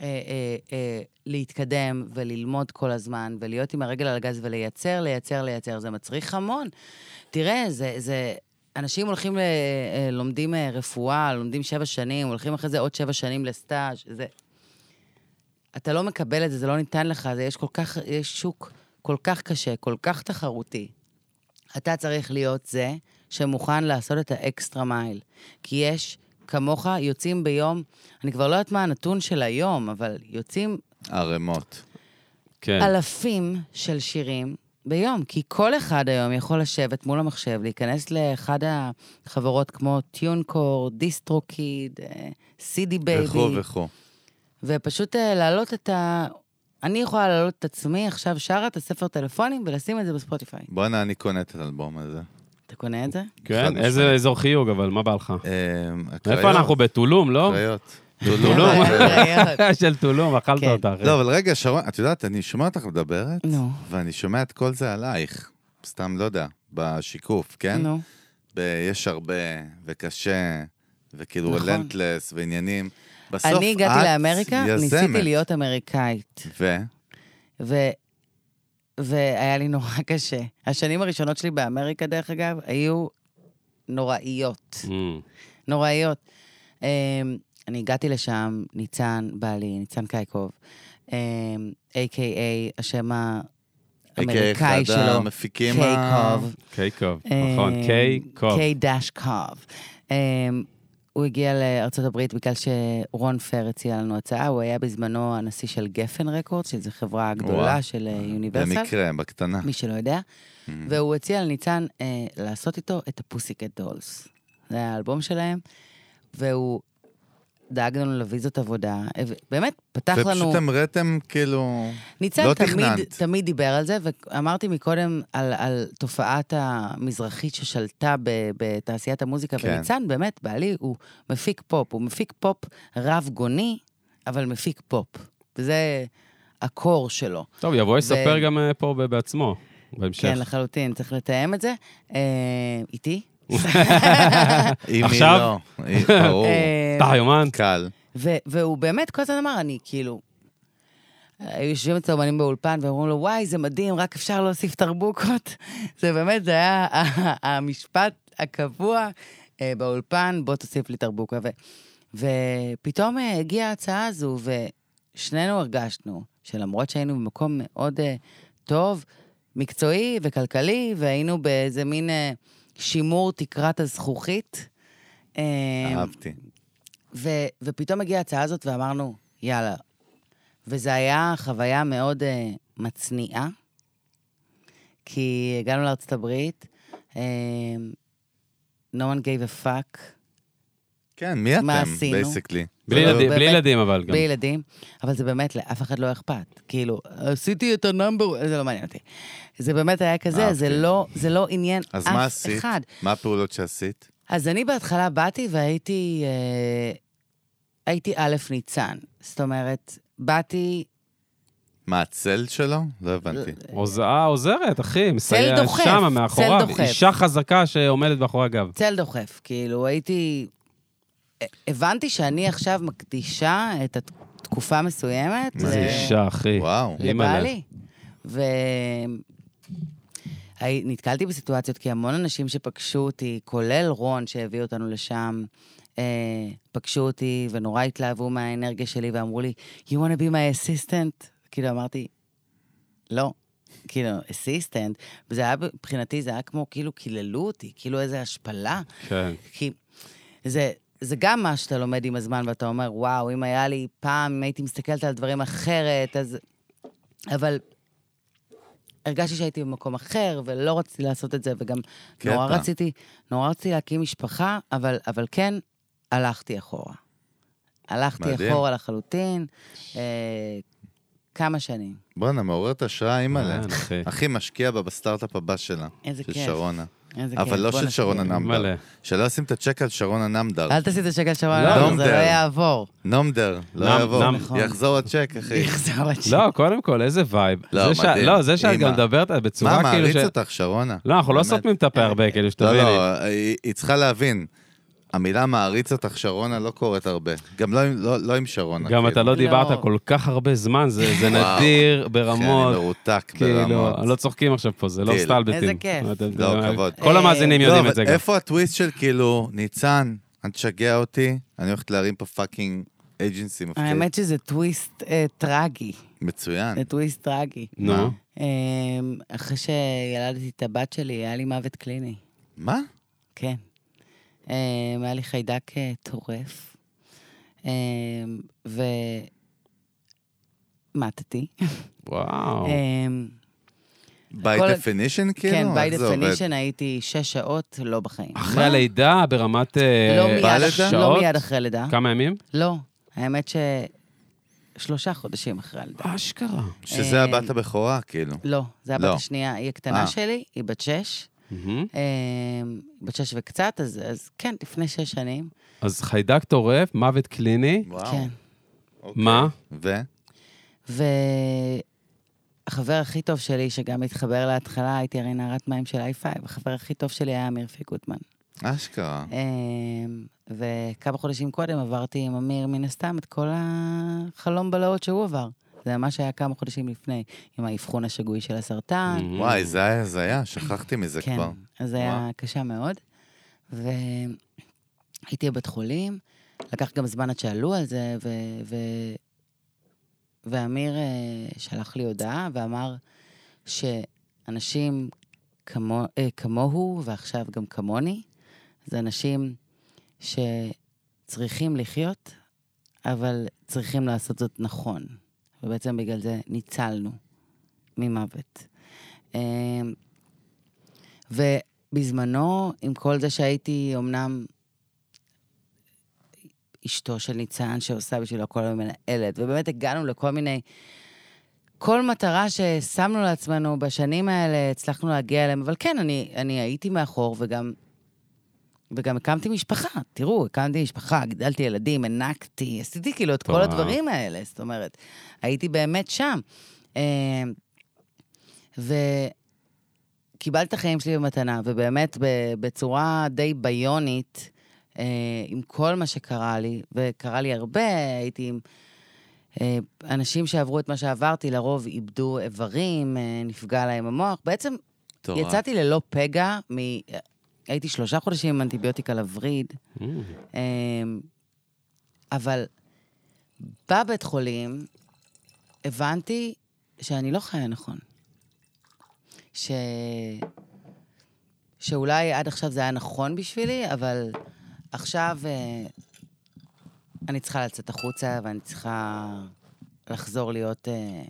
Speaker 4: אה, אה, אה, להתקדם וללמוד כל הזמן, ולהיות עם הרגל על הגז ולייצר, לייצר, לייצר. זה מצריך המון. תראה, זה... זה אנשים הולכים, ל- אה, לומדים אה, רפואה, לומדים שבע שנים, הולכים אחרי זה עוד שבע שנים לסטאז', זה... אתה לא מקבל את זה, זה לא ניתן לך, זה יש כל כך, יש שוק כל כך קשה, כל כך תחרותי. אתה צריך להיות זה שמוכן לעשות את האקסטרה מייל. כי יש, כמוך, יוצאים ביום, אני כבר לא יודעת מה הנתון של היום, אבל יוצאים
Speaker 2: ערימות.
Speaker 1: כן.
Speaker 4: אלפים של שירים ביום, כי כל אחד היום יכול לשבת מול המחשב, להיכנס לאחד החברות כמו אה, טיונקור, דיסטרוקיד, סידי
Speaker 2: וכו'
Speaker 4: בייבי,
Speaker 2: וכו'.
Speaker 4: ופשוט אה, להעלות את ה... אני יכולה להעלות את עצמי עכשיו שרה את הספר טלפונים ולשים את זה בספוטיפיי.
Speaker 2: בואנה, אני קונה את האלבום הזה.
Speaker 4: אתה קונה את זה?
Speaker 1: כן,
Speaker 2: חד
Speaker 1: איזה
Speaker 2: משמעית.
Speaker 1: אזור חיוג, אבל מה בא לך?
Speaker 2: אמ,
Speaker 1: איפה
Speaker 2: הקריות,
Speaker 1: אנחנו? בטולום, לא?
Speaker 2: הקריות.
Speaker 1: טולום.
Speaker 4: הקריות.
Speaker 1: של טולום, אכלת
Speaker 4: כן.
Speaker 1: אותה. אחי.
Speaker 2: לא, אבל רגע, שרון, את יודעת, אני שומע אותך מדברת,
Speaker 4: נו.
Speaker 2: ואני שומע את כל זה עלייך. סתם, לא יודע, בשיקוף, כן?
Speaker 4: נו.
Speaker 2: ב- יש הרבה, וקשה, וכאילו
Speaker 4: נכון.
Speaker 2: רלנטלס, ועניינים. בסוף
Speaker 4: אני הגעתי
Speaker 2: את
Speaker 4: לאמריקה, ניסיתי
Speaker 2: יזמת.
Speaker 4: להיות אמריקאית.
Speaker 2: ו?
Speaker 4: ו... והיה לי נורא קשה. השנים הראשונות שלי באמריקה, דרך אגב, היו נוראיות.
Speaker 1: Mm.
Speaker 4: נוראיות. אמ, אני הגעתי לשם, ניצן, בעלי, ניצן קייקוב. אמ, A.K.A, השם
Speaker 2: אחד
Speaker 4: האמריקאי שלו,
Speaker 2: המפיקים ה...
Speaker 4: קייקוב.
Speaker 1: קייקוב, נכון,
Speaker 4: אמ,
Speaker 1: קייקוב.
Speaker 4: K-Kov. אמ, הוא הגיע לארצות הברית בגלל שרון פר הציע לנו הצעה, הוא היה בזמנו הנשיא של גפן רקורד, שזו חברה
Speaker 2: וואו.
Speaker 4: הגדולה של אה, יוניברסל,
Speaker 2: במקרה, בקטנה.
Speaker 4: מי שלא יודע,
Speaker 2: Mm-hmm.
Speaker 4: והוא הציע לניצן אה, לעשות איתו את הפוסיקט דולס. זה היה האלבום שלהם, והוא דאג לנו לוויזות עבודה, אה, באמת, פתח לנו...
Speaker 2: ופשוט המראתם כאילו...
Speaker 4: ניצן
Speaker 2: לא
Speaker 4: תמיד,
Speaker 2: תכננת.
Speaker 4: תמיד דיבר על זה, ואמרתי מקודם על, על תופעת המזרחית ששלטה ב, בתעשיית המוזיקה,
Speaker 2: כן.
Speaker 4: כן. וניצן באמת, בעלי, הוא מפיק פופ, הוא מפיק פופ רב גוני, אבל מפיק פופ. וזה הקור שלו.
Speaker 1: טוב, יבוא יספר גם אה, פה ב- בעצמו, בהמשך.
Speaker 4: כן, לחלוטין, צריך לתאם את זה. אה, איתי?
Speaker 2: אם היא
Speaker 1: עכשיו?
Speaker 2: לא. היא- ברור.
Speaker 4: אה,
Speaker 1: אתה יומן.
Speaker 2: קל.
Speaker 4: ו- והוא באמת כל הזמן אמר, אני כאילו... היו יושבים אצל אומנים באולפן ואומרים לו, וואי, זה מדהים, רק אפשר להוסיף תרבוקות. זה באמת, זה היה ה- המשפט הקבוע אה, באולפן, בוא תוסיף לי תרבוקה. ו- ופתאום אה, הגיעה ההצעה הזו, ושנינו הרגשנו שלמרות שהיינו במקום מאוד אה, טוב, מקצועי וכלכלי, והיינו באיזה מין אה, שימור תקרת הזכוכית. אה,
Speaker 2: אהבתי.
Speaker 4: ו, ופתאום הגיעה ההצעה הזאת ואמרנו, יאללה. וזו הייתה חוויה מאוד uh, מצניעה, כי הגענו לארצות הברית, um, no one gave a fuck,
Speaker 2: כן, מי אתם?
Speaker 4: מה עשינו?
Speaker 2: בייסקלי.
Speaker 1: בלי
Speaker 4: לא,
Speaker 1: ילדים-
Speaker 4: באמת.
Speaker 1: בלי ילדים אבל גם.
Speaker 4: בלי ילדים, אבל זה באמת, לאף אחד לא אכפת. כאילו, עשיתי את הנאמבר, זה לא מעניין אותי. זה באמת היה כזה, זה
Speaker 2: אהבתי.
Speaker 4: לא, זה לא עניין אף אחד.
Speaker 2: אה, אוקיי. אז מה עשית? מה הפעולות שעשית?
Speaker 4: אז אני בהתחלה באתי והייתי... אה, הייתי א' ניצן. זאת אומרת, באתי
Speaker 2: מה, הצל שלו? לא הבנתי.
Speaker 1: עוז- אה, עוזרת, אחי, מסייעת
Speaker 4: דוחף,
Speaker 1: שמה
Speaker 4: צל
Speaker 1: מאחוריו.
Speaker 4: דוחף.
Speaker 1: אישה חזקה שעומדת מאחורי הגב.
Speaker 4: צל דוחף, כאילו הייתי... אה, הבנתי שאני עכשיו מקדישה את התקופה מסוימת
Speaker 2: מה
Speaker 1: איזה
Speaker 2: זה?
Speaker 1: אישה, אחי.
Speaker 2: וואו.
Speaker 1: אימא'לה.
Speaker 4: לבעלי. ונתקלתי בסיטואציות, כי המון אנשים שפגשו אותי, כולל רון שהביא אותנו לשם, אה, פגשו אותי ונורא התלהבו מהאנרגיה שלי ואמרו לי, you want to be my assistant? כאילו אמרתי, לא. כאילו, אסיסטנט, וזה היה, מבחינתי, זה היה כמו, כאילו, קיללו אותי, כאילו איזו השפלה.
Speaker 1: כן.
Speaker 4: כי זה, זה גם מה שאתה לומד עם הזמן, ואתה אומר, וואו, אם היה לי פעם, אם הייתי מסתכלת על דברים אחרת, אז... אבל הרגשתי שהייתי במקום אחר, ולא רציתי לעשות את זה, וגם
Speaker 2: קטע.
Speaker 4: נורא רציתי, נורא רציתי להקים משפחה, אבל, אבל כן, הלכתי אחורה. הלכתי
Speaker 2: מדהים.
Speaker 4: אחורה לחלוטין, אה, כמה שנים.
Speaker 2: בואנה, מעוררת השראה,
Speaker 1: אה,
Speaker 2: אימא'לה.
Speaker 1: אחי.
Speaker 2: אחי, משקיע בה בסטארט-אפ הבא שלה.
Speaker 4: איזה
Speaker 2: של
Speaker 4: כיף.
Speaker 2: שרונה.
Speaker 4: איזה
Speaker 2: אבל
Speaker 4: כיף,
Speaker 2: לא
Speaker 4: בוא
Speaker 2: של
Speaker 4: נשקיע.
Speaker 2: שרונה נמדר.
Speaker 1: אימא'לה.
Speaker 2: שלא עושים את הצ'ק על שרונה נמדר.
Speaker 4: אל תעשי את השקל
Speaker 1: לא,
Speaker 4: שלנו, זה
Speaker 2: נומדר.
Speaker 4: לא יעבור.
Speaker 2: נומדר, לא
Speaker 1: נם-
Speaker 2: יעבור.
Speaker 1: נם.
Speaker 4: נכון.
Speaker 2: יחזור הצ'ק, אחי.
Speaker 4: יחזור הצ'ק.
Speaker 1: לא, קודם כל, איזה וייב.
Speaker 2: לא,
Speaker 1: זה שה-
Speaker 2: מדהים.
Speaker 1: לא, זה שאת
Speaker 2: אימא.
Speaker 1: גם מדברת
Speaker 2: מה,
Speaker 1: בצורה כאילו
Speaker 2: מעריץ
Speaker 1: ש...
Speaker 2: אותך, שרונה?
Speaker 1: לא, אנחנו לא
Speaker 2: באמת.
Speaker 1: סותמים את הפה הרבה, כאילו,
Speaker 2: לא,
Speaker 1: שתביני.
Speaker 2: לא, היא- היא צריכה להבין. המילה מעריץ אותך, שרונה, לא קורית הרבה. גם לא עם- לא לא עם שרונה.
Speaker 1: גם אתה
Speaker 2: כאילו.
Speaker 1: לא דיברת
Speaker 4: לא.
Speaker 1: כל כך הרבה זמן, זה זה
Speaker 2: וואו.
Speaker 1: נדיר
Speaker 2: אחי, אני
Speaker 1: ברמות.
Speaker 2: מרותק ברמות.
Speaker 1: כאילו, לא צוחקים עכשיו פה, זה לא
Speaker 2: טיל.
Speaker 1: סטלבטים.
Speaker 4: איזה כיף.
Speaker 1: אתם-
Speaker 2: לא,
Speaker 1: אתם-
Speaker 2: כבוד.
Speaker 1: כל המאזינים
Speaker 2: לא,
Speaker 1: יודעים
Speaker 2: אבל
Speaker 1: את זה גם.
Speaker 2: איפה הטוויסט של כאילו, ניצן, אל תשגע אותי, אני הולכת להרים פה פאקינג אייג'נסי מפחיד.
Speaker 4: האמת שזה טוויסט אה, טרגי.
Speaker 2: מצוין.
Speaker 4: זה טוויסט טרגי.
Speaker 1: נו.
Speaker 4: אה, אחרי שילדתי את הבת שלי, היה לי מוות קליני.
Speaker 2: מה?
Speaker 4: כן. אה, היה לי חיידק אה, טורף. אה, ומטתי.
Speaker 1: וואו.
Speaker 4: אה,
Speaker 2: by
Speaker 4: הכל-
Speaker 2: definition כאילו?
Speaker 4: כן, by
Speaker 2: איך זה עובד?
Speaker 4: definition הייתי שש שעות לא בחיים.
Speaker 1: אחרי הלידה, ברמת אה,
Speaker 4: לא מיד
Speaker 2: בלידה?
Speaker 4: אח-
Speaker 1: שעות?
Speaker 4: לא מיד אחרי לידה.
Speaker 1: כמה ימים?
Speaker 4: לא. האמת ש... שלושה חודשים אחרי הלידה.
Speaker 1: אשכרה.
Speaker 2: שזה
Speaker 4: אה,
Speaker 2: הבת הבכורה, כאילו.
Speaker 4: לא, זה הבת
Speaker 2: לא.
Speaker 4: השנייה, היא
Speaker 2: אה.
Speaker 4: הקטנה שלי, היא בת שש.
Speaker 1: מהמם.
Speaker 4: אה, בת שש וקצת, אז, אז כן, לפני שש שנים.
Speaker 1: אז חיידק טורף, מוות קליני,
Speaker 2: וואו.
Speaker 4: כן.
Speaker 2: אוקיי.
Speaker 1: מה?
Speaker 2: ו?
Speaker 4: והחבר הכי טוב שלי, שגם התחבר להתחלה, הייתי הרי נערת מים של i5, החבר הכי טוב שלי היה אמיר פי גוטמן.
Speaker 2: אשכרה.
Speaker 4: אה, וכמה חודשים קודם עברתי עם אמיר, מן הסתם, את כל החלום בלהות שהוא עבר. זה ממש היה כמה חודשים לפני, עם האבחון השגוי של הסרטן.
Speaker 1: מהמם.
Speaker 2: וואי, זה היה הזיה, שכחתי מזה
Speaker 4: כן,
Speaker 2: כבר.
Speaker 4: אז זה היה קשה מאוד. והייתי בבית חולים, לקח גם זמן עד שעלו על זה, ו... ו... ואמיר אה, שלח לי הודעה ואמר שאנשים כמו, אה, כמוהו, ועכשיו גם כמוני, זה אנשים שצריכים לחיות, אבל צריכים לעשות זאת נכון. ובעצם בגלל זה ניצלנו ממוות. אה, ובזמנו, עם כל זה שהייתי אומנם אשתו של ניצן, שעושה בשבילו כל היום מנהלת, ובאמת הגענו לכל מיני... כל מטרה ששמנו לעצמנו בשנים האלה, הצלחנו להגיע אליהם, אבל כן, אני, אני הייתי מאחור וגם... וגם הקמתי משפחה, תראו, הקמתי משפחה, גידלתי ילדים, הענקתי, עשיתי כאילו את כל
Speaker 1: וואו.
Speaker 4: הדברים האלה, זאת אומרת, הייתי באמת שם. אה, ו... קיבלתי את החיים שלי במתנה, ובאמת ב- בצורה די ביונית, אה, עם כל מה שקרה לי, וקרה לי הרבה, הייתי עם אה, אנשים שעברו את מה שעברתי, לרוב איבדו איברים, אה, נפגע להם המוח. בעצם
Speaker 2: תורה.
Speaker 4: יצאתי ללא פגע, מ... הייתי שלושה חודשים עם אנטיביוטיקה לווריד, אה, אבל בבית חולים הבנתי שאני לא חיה נכון. ש... שאולי עד עכשיו זה היה נכון בשבילי, אבל עכשיו אה, אני צריכה לצאת החוצה ואני צריכה לחזור להיות אה,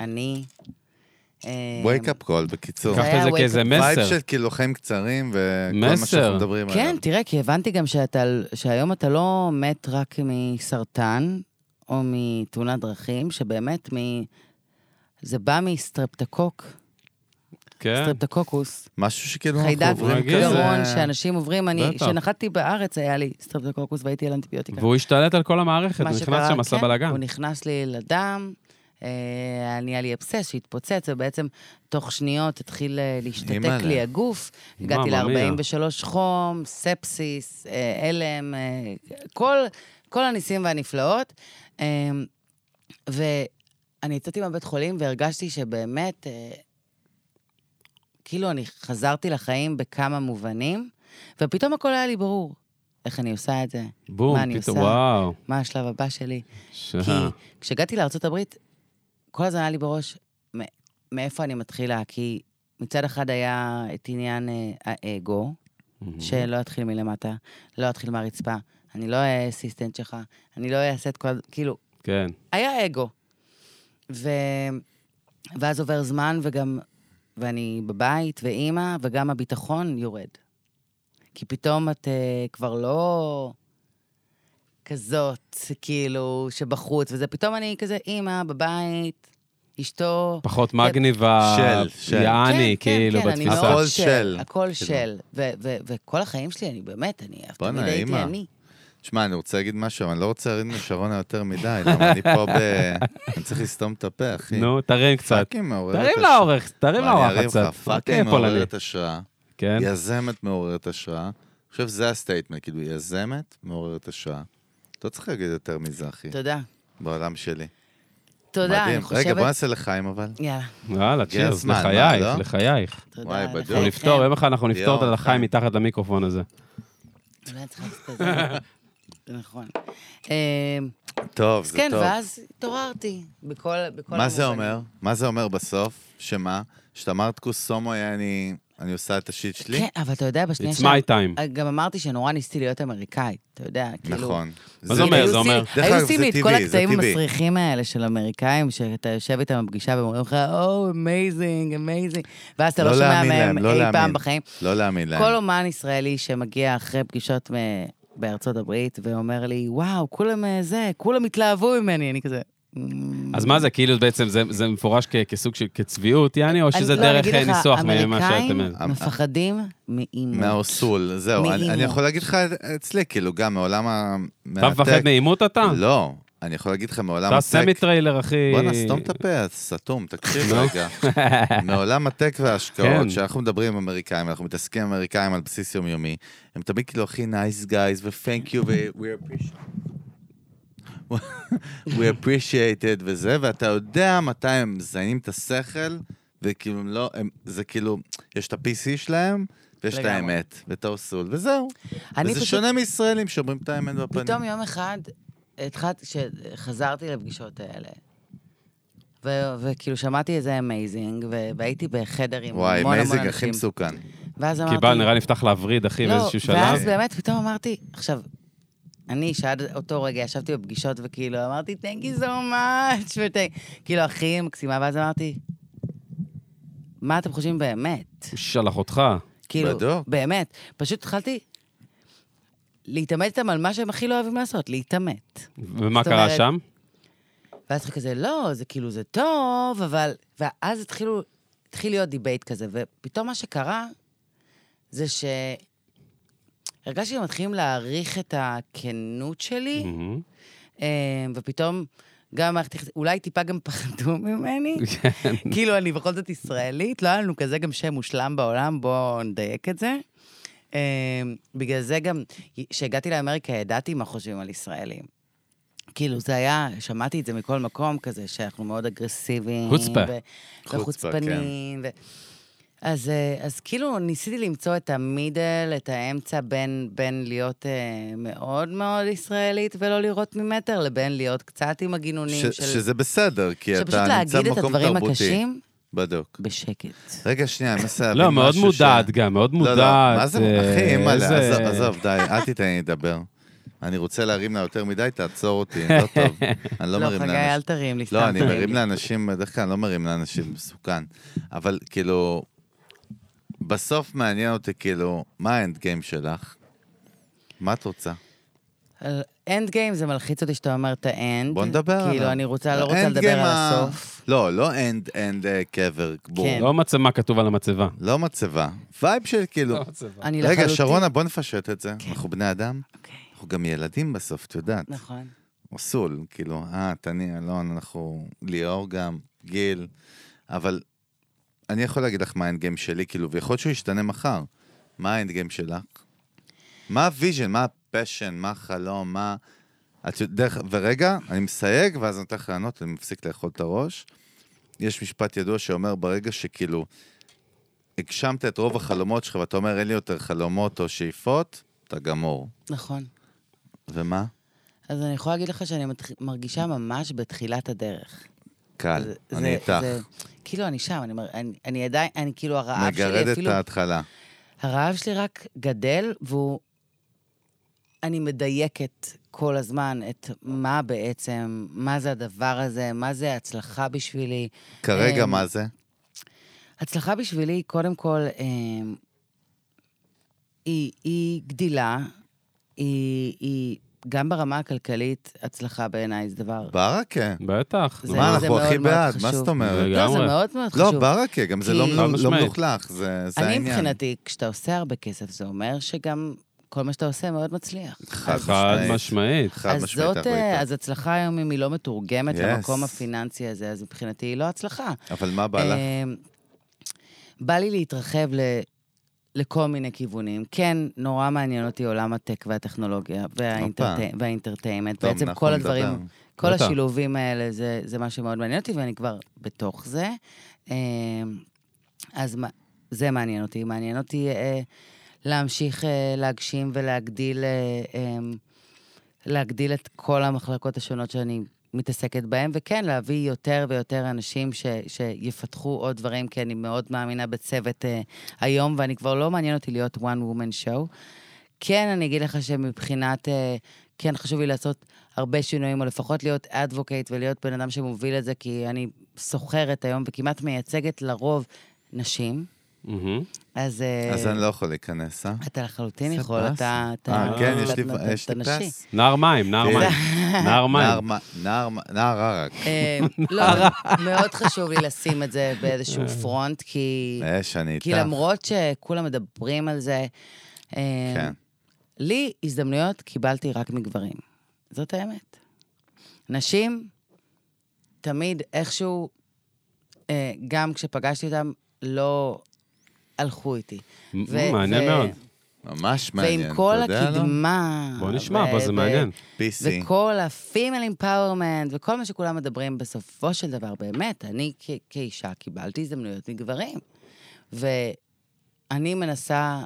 Speaker 4: אני. אה,
Speaker 2: wake up call, בקיצור.
Speaker 4: זה
Speaker 1: לקחת
Speaker 4: היה
Speaker 1: את זה
Speaker 4: wake
Speaker 1: כאיזה
Speaker 4: up.
Speaker 2: וייב
Speaker 1: מסר.
Speaker 2: של כאילו חיים קצרים וכל
Speaker 1: מסר.
Speaker 2: מה שאנחנו מדברים עליו.
Speaker 4: כן, תראה, כי הבנתי גם שאתה, שהיום אתה לא מת רק מסרטן או מתאונת דרכים, שבאמת מ... זה בא מסטרפטקוק,
Speaker 1: כן.
Speaker 4: סטרפטקוקוס.
Speaker 2: משהו שכאילו אנחנו
Speaker 4: חיידק
Speaker 2: עוברים
Speaker 1: רגיל.
Speaker 4: גרון
Speaker 2: כזה...
Speaker 4: שאנשים עוברים, אני,
Speaker 1: בטח.
Speaker 4: כשנחתתי בארץ היה לי סטרפטוקוקוס והייתי על אנטיביוטיקה.
Speaker 1: והוא השתלט על כל המערכת,
Speaker 4: מה
Speaker 1: הוא
Speaker 4: שקרה,
Speaker 1: נכנס שם, עשה
Speaker 4: כן,
Speaker 1: בלאגן.
Speaker 4: הוא נכנס לי לדם, אה, נהיה לי אבסס שהתפוצץ, ובעצם תוך שניות התחיל אה,
Speaker 2: אימא'לה.
Speaker 4: להשתתק לי הגוף. הגעתי
Speaker 1: מאמא מיה.
Speaker 4: ל-43 חום, ספסיס, אה, הלם, אה, כל, כל הניסים והנפלאות. אה, ואני יצאתי מהבית חולים והרגשתי שבאמת, אה, כאילו אני חזרתי לחיים בכמה מובנים, ופתאום הכל היה לי ברור. איך אני עושה את זה? מה
Speaker 1: בום,
Speaker 4: אני
Speaker 1: פתאום,
Speaker 4: עושה?
Speaker 1: וואו. אה,
Speaker 4: מה השלב הבא שלי?
Speaker 1: שה-
Speaker 4: כי כשהגעתי לארה"ב, כל הזמן היה לי בראש מ- מאיפה אני מתחילה, כי מצד אחד היה את עניין אה, האגו, שלא אתחיל מלמטה, לא אתחיל מהרצפה, אני לא אהיה אסיסטנט שלך, אני לא אעשה את כל... ה- כאילו,
Speaker 1: כן.
Speaker 4: היה אגו. ו... ואז עובר זמן, וגם... ואני בבית, ואימא, וגם הביטחון יורד. כי פתאום את uh, כבר לא כזאת, כאילו, שבחוץ, וזה פתאום אני כזה אימא, בבית, אשתו. כן,
Speaker 1: פחות מגניבה,
Speaker 2: של, של. כן,
Speaker 1: יעני, כאילו, בתפיסה.
Speaker 2: הכל של.
Speaker 4: הכל
Speaker 2: כאילו.
Speaker 4: של. ו- ו- וכל החיים שלי, אני באמת, אני אף תמיד
Speaker 2: בואנה,
Speaker 4: הייתי
Speaker 2: אימא.
Speaker 4: אני.
Speaker 2: שמע, אני רוצה להגיד משהו, אבל אני לא רוצה להרים לשרונה יותר מדי, למה אני פה ב... אני צריך לסתום את הפה, אחי.
Speaker 1: נו, תרים קצת.
Speaker 2: פאקינג מעוררת
Speaker 1: תרים
Speaker 2: השראה.
Speaker 1: לאורך, תרים
Speaker 2: מה, אני
Speaker 1: לאורך
Speaker 2: ארים
Speaker 1: קצת.
Speaker 2: לך, פאקינג
Speaker 1: תהיה פולני.
Speaker 2: מעוררת השראה.
Speaker 1: כן.
Speaker 2: יזמת מעוררת השראה. אני חושב שזה הסטייטמנט, כאילו, יזמת מעוררת השראה. לא צריך להגיד יותר מזה, אחי,
Speaker 4: תודה.
Speaker 2: בעולם שלי.
Speaker 4: תודה,
Speaker 2: מדהים.
Speaker 4: אני חושבת...
Speaker 2: רגע, בוא נעשה לחיים, אבל.
Speaker 4: יאללה,
Speaker 1: יאללה, צ'ירס,
Speaker 2: הזמן, מה,
Speaker 1: לחייך,
Speaker 2: לא? כן.
Speaker 1: לחייך.
Speaker 4: תודה. כן,
Speaker 2: וואי,
Speaker 4: לחייכם.
Speaker 2: בדיוק.
Speaker 1: אנחנו נפתור, יום אחד אנחנו נפתור את
Speaker 2: ליאור,
Speaker 1: הלחיים
Speaker 2: חיים.
Speaker 1: מתחת למיקרופון הזה.
Speaker 4: אולי אני צריכה לעשות את זה. זה נכון. אמ,
Speaker 2: טוב,
Speaker 4: אז
Speaker 2: זה
Speaker 4: כן,
Speaker 2: טוב.
Speaker 4: ואז התעוררתי בכל בכל
Speaker 2: מה זה
Speaker 4: המובנים.
Speaker 2: אומר? מה זה אומר בסוף? שמה? שאת אמרת כוס הומו, אני אני עושה את השיט שלי?
Speaker 4: כן, אבל אתה יודע, בשנייה
Speaker 1: It's my time.
Speaker 4: גם אמרתי שנורא ניסיתי להיות אמריקאית, אתה יודע, כאילו...
Speaker 2: נכון.
Speaker 1: מה זה אומר?
Speaker 4: היו
Speaker 1: זה
Speaker 4: עושים-
Speaker 1: אומר-
Speaker 2: דרך
Speaker 4: היו
Speaker 2: אגב,
Speaker 4: עושים
Speaker 2: זה
Speaker 4: לי את כל
Speaker 2: טבעי, זה
Speaker 4: הקטעים
Speaker 2: טבעי.
Speaker 4: המסריחים האלה של אמריקאים, שאתה יושב איתם בפגישה והם אומרים לך, או, אמייזינג, אמייזינג, ואז אתה לא
Speaker 2: לא
Speaker 4: שומע
Speaker 2: להאמין
Speaker 4: מהם
Speaker 2: להם, לא
Speaker 4: אי פעם
Speaker 2: להאמין.
Speaker 4: בחיים.
Speaker 2: לא להאמין
Speaker 1: כן.
Speaker 2: להם.
Speaker 4: כל אומן ישראלי שמגיע אחרי פגישות מ- בארצות הברית ואומר לי, וואו, כולם אה, זה, כולם התלהבו ממני, אני כזה... "מ,
Speaker 1: אז מה זה, כאילו בעצם זה- זה מפורש כ- כסוג של כצביעות, יעני, או
Speaker 4: אני-
Speaker 1: שזה
Speaker 4: לא,
Speaker 1: דרך
Speaker 4: אני אגיד
Speaker 1: אה,
Speaker 4: לך,
Speaker 1: ניסוח ממה שאתם...
Speaker 4: אמריקאים מפחדים מאימא.
Speaker 2: מהאוסול, זהו. אני-
Speaker 4: מעימות.
Speaker 2: אני יכול להגיד לך אצלי, כאילו, גם מעולם ה...
Speaker 1: אתה מפחד מעימות אתה?
Speaker 2: לא. אני יכול להגיד לך מעולם
Speaker 1: אתה
Speaker 2: הטק...
Speaker 1: סמי טריילר, אחי.
Speaker 2: בואנה, סתום את הפה, אז סתום, תקשיב רגע. מעולם הטק
Speaker 1: כן.
Speaker 2: וההשקעות, כשאנחנו מדברים עם אמריקאים, אנחנו מתעסקים עם אמריקאים על בסיס יומיומי, הם תמיד כאילו הכי nice guys ו-thank you ו-we appreciate. we appreciated וזה, ואתה יודע מתי הם מזיינים את השכל, וכאילו הם לא, הם, זה כאילו, יש את ה-PC שלהם, ויש את
Speaker 4: לגמרי.
Speaker 2: האמת, ואת האוסול, וזהו.
Speaker 4: אני
Speaker 2: וזה
Speaker 4: פשוט-
Speaker 2: שונה מישראלים שאומרים את האמת בפנים.
Speaker 4: פתאום יום אחד, התחלתי, כשחזרתי לפגישות האלה, ו- וכאילו שמעתי איזה אמייזינג, ו- והייתי בחדר עם המון
Speaker 2: וואי,
Speaker 4: המון אנשים.
Speaker 2: מייזינג הכי מסוכן.
Speaker 4: ואז אמרתי...
Speaker 1: קיבל, נראה לי נפתח להווריד, אחי,
Speaker 4: לא,
Speaker 1: באיזשהו שלב.
Speaker 4: ואז באמת פתאום אמרתי, עכשיו, אני, שעד אותו רגע ישבתי בפגישות וכאילו אמרתי, Thank you so much, וכאילו, הכי מקסימה, ואז אמרתי, מה אתם חושבים באמת?
Speaker 1: הוא שלח אותך.
Speaker 4: כאילו,
Speaker 2: בדוק.
Speaker 4: באמת. פשוט התחלתי להתעמת איתם על מה שהם הכי לא אוהבים לעשות, להתעמת.
Speaker 1: ומה
Speaker 4: זאת
Speaker 1: קרה
Speaker 4: אומרת-
Speaker 1: שם?
Speaker 4: ואז כזה, לא, זה כאילו, זה טוב, אבל... ואז התחילו, התחיל להיות דיבייט כזה, ופתאום מה שקרה, זה ש... הרגשתי שהם מתחילים להעריך את הכנות שלי,
Speaker 1: מהמם.
Speaker 4: אה, ופתאום גם מערכת יחסים, אולי טיפה גם פחדו ממני. כאילו, אני בכל זאת ישראלית, לא היה לנו כזה גם שם מושלם בעולם, בואו נדייק את זה. אה, בגלל זה גם, כשהגעתי לאמריקה, ידעתי מה חושבים על ישראלים. כאילו, זה היה, שמעתי את זה מכל מקום כזה, שאנחנו מאוד אגרסיביים.
Speaker 1: חוצפה.
Speaker 4: ו-
Speaker 2: חוצפה,
Speaker 4: וחוצפנים. ו... אז, אה, אז כאילו, ניסיתי למצוא את המידל, את האמצע בין, בין להיות אה, מאוד מאוד ישראלית ולא לראות ממטר, לבין להיות קצת עם הגינונים
Speaker 2: ש-
Speaker 4: של...
Speaker 2: שזה בסדר, כי
Speaker 4: שפשוט
Speaker 2: אתה נמצא
Speaker 4: להגיד את
Speaker 2: במקום
Speaker 4: הדברים
Speaker 2: תרבותי.
Speaker 4: הקשים
Speaker 2: בדוק.
Speaker 4: בשקט.
Speaker 2: רגע, שנייה, אני מנסה להבין
Speaker 1: לא, מאוד
Speaker 2: משהו ש-
Speaker 1: מודעת גם, מאוד
Speaker 2: לא,
Speaker 1: מודעת.
Speaker 2: לא, מה זה, אחי,
Speaker 1: אה,
Speaker 2: אימא'לה,
Speaker 1: איזה-
Speaker 2: עזוב, עזוב, די, אל תיתן לי לדבר. אני רוצה להרים לה יותר מדי, תעצור אותי, לא טוב. אני לא
Speaker 4: לא,
Speaker 2: מרים
Speaker 4: חגי,
Speaker 2: לאנשים.
Speaker 4: אל תרים לי, סתם
Speaker 2: לא, אני
Speaker 4: תרים
Speaker 2: מרים
Speaker 4: לי.
Speaker 2: לאנשים, בדרך כלל אני לא מרים לאנשים, מסוכן. אבל כאילו, בסוף מעניין אותי, כאילו, מה האנד גיים שלך? מה את רוצה?
Speaker 4: אנד גיים זה מלחיץ אותי שאתה אומר את האנד.
Speaker 2: בוא נדבר עליו.
Speaker 4: כאילו, אני רוצה, לא רוצה
Speaker 2: האנד
Speaker 4: לדבר
Speaker 2: גיים
Speaker 4: על
Speaker 2: ה-
Speaker 4: הסוף.
Speaker 2: לא, לא אנד, אנד אה, קבר, בור.
Speaker 4: כן.
Speaker 1: לא מצבה כתוב על המצבה.
Speaker 2: לא מצבה. וייב של כאילו...
Speaker 4: לא, אני
Speaker 2: רגע,
Speaker 4: לחלוטין-
Speaker 2: שרונה, בוא נפשט את זה. אנחנו בני אדם,
Speaker 4: אוקיי,
Speaker 2: אנחנו גם ילדים בסוף, את יודעת.
Speaker 4: נכון.
Speaker 2: אוסול, כאילו, אה, תני, אלון, אנחנו, ליאור גם, גיל, אבל אני יכול להגיד לך מה האנד גיים שלי, כאילו, ויכול להיות שהוא ישתנה מחר. מה האנד גיים שלך? מה הוויז'ן, מה הפשן, מה החלום, מה... את יודעת, ורגע, אני מסייג, ואז אני נותן לך לענות, אני מפסיק לאכול את הראש. יש משפט ידוע שאומר, ברגע שכאילו הגשמת את רוב החלומות שלך, ואתה אומר, אין לי יותר חלומות או שאיפות, אתה גמור.
Speaker 4: נכון.
Speaker 2: ומה?
Speaker 4: אז אני יכולה להגיד לך שאני מתח- מרגישה ממש בתחילת הדרך.
Speaker 2: קל,
Speaker 4: זה- זה-
Speaker 2: אני איתך.
Speaker 4: זה- כאילו, אני שם, אני מר- אני- אני עדיין, אני כאילו, הרעב שלי
Speaker 2: מגרד את
Speaker 4: אפילו...
Speaker 2: ההתחלה.
Speaker 4: הרעב שלי רק גדל, והוא... אני מדייקת כל הזמן את מה בעצם, מה זה הדבר הזה, מה זה הצלחה בשבילי.
Speaker 2: כרגע
Speaker 4: אמ,
Speaker 2: מה זה?
Speaker 4: הצלחה בשבילי, היא קודם כל, אמ, היא, היא גדילה, היא, היא גם ברמה הכלכלית, הצלחה בעיניי זה דבר...
Speaker 2: ברכה.
Speaker 1: בטח.
Speaker 4: זה-
Speaker 2: מה, אנחנו
Speaker 4: מאוד
Speaker 2: הכי
Speaker 4: מאוד
Speaker 2: בעד, מה
Speaker 4: חשוב.
Speaker 2: זאת אומרת?
Speaker 1: רגע.
Speaker 4: לא, זה
Speaker 1: לגמרי.
Speaker 4: מאוד מאוד
Speaker 2: לא,
Speaker 4: חשוב.
Speaker 2: ברכה, גם זה לא
Speaker 4: כי-
Speaker 2: לא-
Speaker 1: חד
Speaker 2: לא
Speaker 1: משמעית.
Speaker 2: מלוכלך, זה זה
Speaker 4: אני
Speaker 2: העניין.
Speaker 4: מבחינתי, כשאתה עושה הרבה כסף, זה אומר שגם כל מה שאתה עושה מאוד מצליח.
Speaker 2: חד
Speaker 1: חד משמעית.
Speaker 2: חד
Speaker 4: אז
Speaker 2: משמעית,
Speaker 4: זאת,
Speaker 2: אנחנו
Speaker 4: אה,
Speaker 2: איתך.
Speaker 4: אז הצלחה היום, אם היא לא מתורגמת
Speaker 2: Yes.
Speaker 4: למקום הפיננסי הזה, אז מבחינתי היא לא הצלחה.
Speaker 2: אבל מה בא לך?
Speaker 4: אמ, בא לי להתרחב ל... לכל מיני כיוונים. כן, נורא מעניין אותי עולם הטק והטכנולוגיה והאינטרט- והאינטרטיימנט.
Speaker 2: טוב,
Speaker 4: בעצם
Speaker 2: אנחנו
Speaker 4: כל
Speaker 2: נדבר.
Speaker 4: הדברים, כל
Speaker 1: בטח.
Speaker 4: השילובים האלה, זה, זה מה שמאוד מעניין אותי, ואני כבר בתוך זה. אמ, אז מה, זה מעניין אותי. מעניין אותי אה, להמשיך אה, להגשים ולהגדיל אה, אמ, להגדיל את כל המחלקות השונות שאני מתעסקת בהן, וכן, להביא יותר ויותר אנשים ש, שיפתחו עוד דברים, כי אני מאוד מאמינה בצוות אה, היום, ואני כבר לא מעניין אותי להיות one woman show. כן, אני אגיד לך שמבחינת, אה, כן חשוב לי לעשות הרבה שינויים, או לפחות להיות אדווקייט ולהיות בן אדם שמוביל את זה, כי אני סוחרת היום וכמעט מייצגת לרוב נשים.
Speaker 1: מהמם.
Speaker 4: אז... אה,
Speaker 2: אז אני לא יכול להיכנס, אה?
Speaker 4: אתה לחלוטין
Speaker 2: סבבה.
Speaker 4: יכול, אתה... אתה-
Speaker 2: אה, כן, יש לי-
Speaker 4: אתה- אתה-
Speaker 2: יש לי
Speaker 4: אתה נשי.
Speaker 2: פס.
Speaker 1: נער מים, נער
Speaker 2: תראה.
Speaker 1: מים. נער
Speaker 2: נער
Speaker 1: מים.
Speaker 2: מ- נער מ- נער ערק.
Speaker 4: אה, לא, מאוד חשוב לי לשים את זה באיזשהו פרונט, כי,
Speaker 2: אש, אני אה, איתך.
Speaker 4: כי למרות שכולם מדברים על זה, אה,
Speaker 2: כן.
Speaker 4: לי הזדמנויות קיבלתי רק מגברים. זאת האמת. נשים, תמיד איכשהו, אה, גם כשפגשתי אותם, לא הלכו איתי. ו-
Speaker 1: מעניין
Speaker 4: ו-
Speaker 1: מאוד.
Speaker 2: ממש מעניין,
Speaker 4: ועם
Speaker 2: אתה
Speaker 4: כל
Speaker 2: יודע, לא?
Speaker 4: הקדמה...
Speaker 1: בוא נשמע, בוא, זה
Speaker 4: אה, ו-
Speaker 1: מעניין.
Speaker 2: PC.
Speaker 4: וכל ה-female empowerment, וכל מה שכולם מדברים, בסופו של דבר, באמת, אני כ- כאישה קיבלתי הזדמנויות מגברים. ואני מנסה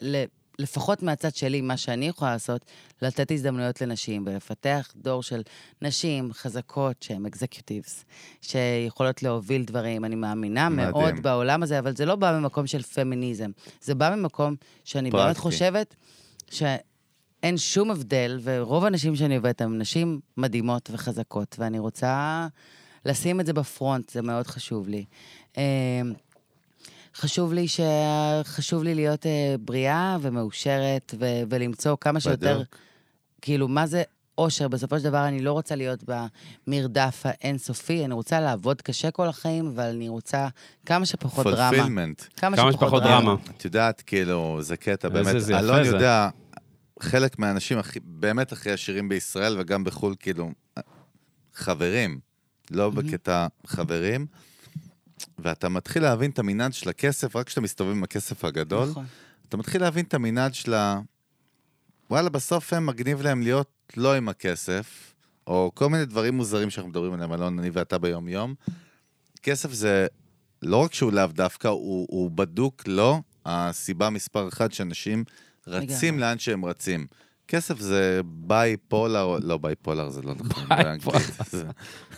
Speaker 4: ל- לפחות מהצד שלי, מה שאני יכולה לעשות, לתת הזדמנויות לנשים ולפתח דור של נשים חזקות שהן אקזקיוטיבס, שיכולות להוביל דברים. אני מאמינה
Speaker 2: מדהים.
Speaker 4: מדהים. מאוד בעולם הזה, אבל זה לא בא ממקום של פמיניזם. זה בא ממקום שאני פרקטי. באמת
Speaker 2: פרקטי.
Speaker 4: חושבת שאין שום הבדל, ורוב הנשים שאני עובדת הן נשים מדהימות וחזקות, ואני רוצה לשים את זה בפרונט, זה מאוד חשוב לי. אמ, חשוב לי, ש... חשוב לי להיות אה, בריאה ומאושרת ו... ולמצוא כמה שיותר,
Speaker 2: בדיוק.
Speaker 4: כאילו, מה זה אושר? בסופו של דבר אני לא רוצה להיות במרדף האינסופי, אני רוצה לעבוד קשה כל החיים, אבל אני רוצה כמה שפחות דרמה.
Speaker 2: פולפילמנט.
Speaker 1: כמה שפחות דרמה.
Speaker 2: את יודעת, כאילו, זה קטע,
Speaker 1: איזה
Speaker 2: באמת.
Speaker 1: זה יפה
Speaker 2: אלון
Speaker 1: זה.
Speaker 2: יודע, חלק מהאנשים הכי- באמת הכי עשירים בישראל וגם בחו"ל, כאילו, חברים, לא בקטע חברים. ואתה מתחיל להבין את המנעד של הכסף, רק כשאתה מסתובב עם הכסף הגדול,
Speaker 4: נכון.
Speaker 2: אתה מתחיל להבין את המנעד של ה... וואלה, בסוף הם מגניב להם להיות לא עם הכסף, או כל מיני דברים מוזרים שאנחנו מדברים עליהם, אלון, אני ואתה ביום-יום. כסף זה לא רק שהוא לאו דווקא, הוא, הוא בדוק לא הסיבה מספר אחת שאנשים רצים
Speaker 4: לגמרי.
Speaker 2: לאן שהם רצים. כסף זה ביי פולר, או- לא ביי פולר זה לא נכון,
Speaker 1: Bipolar.
Speaker 2: באנגלית זה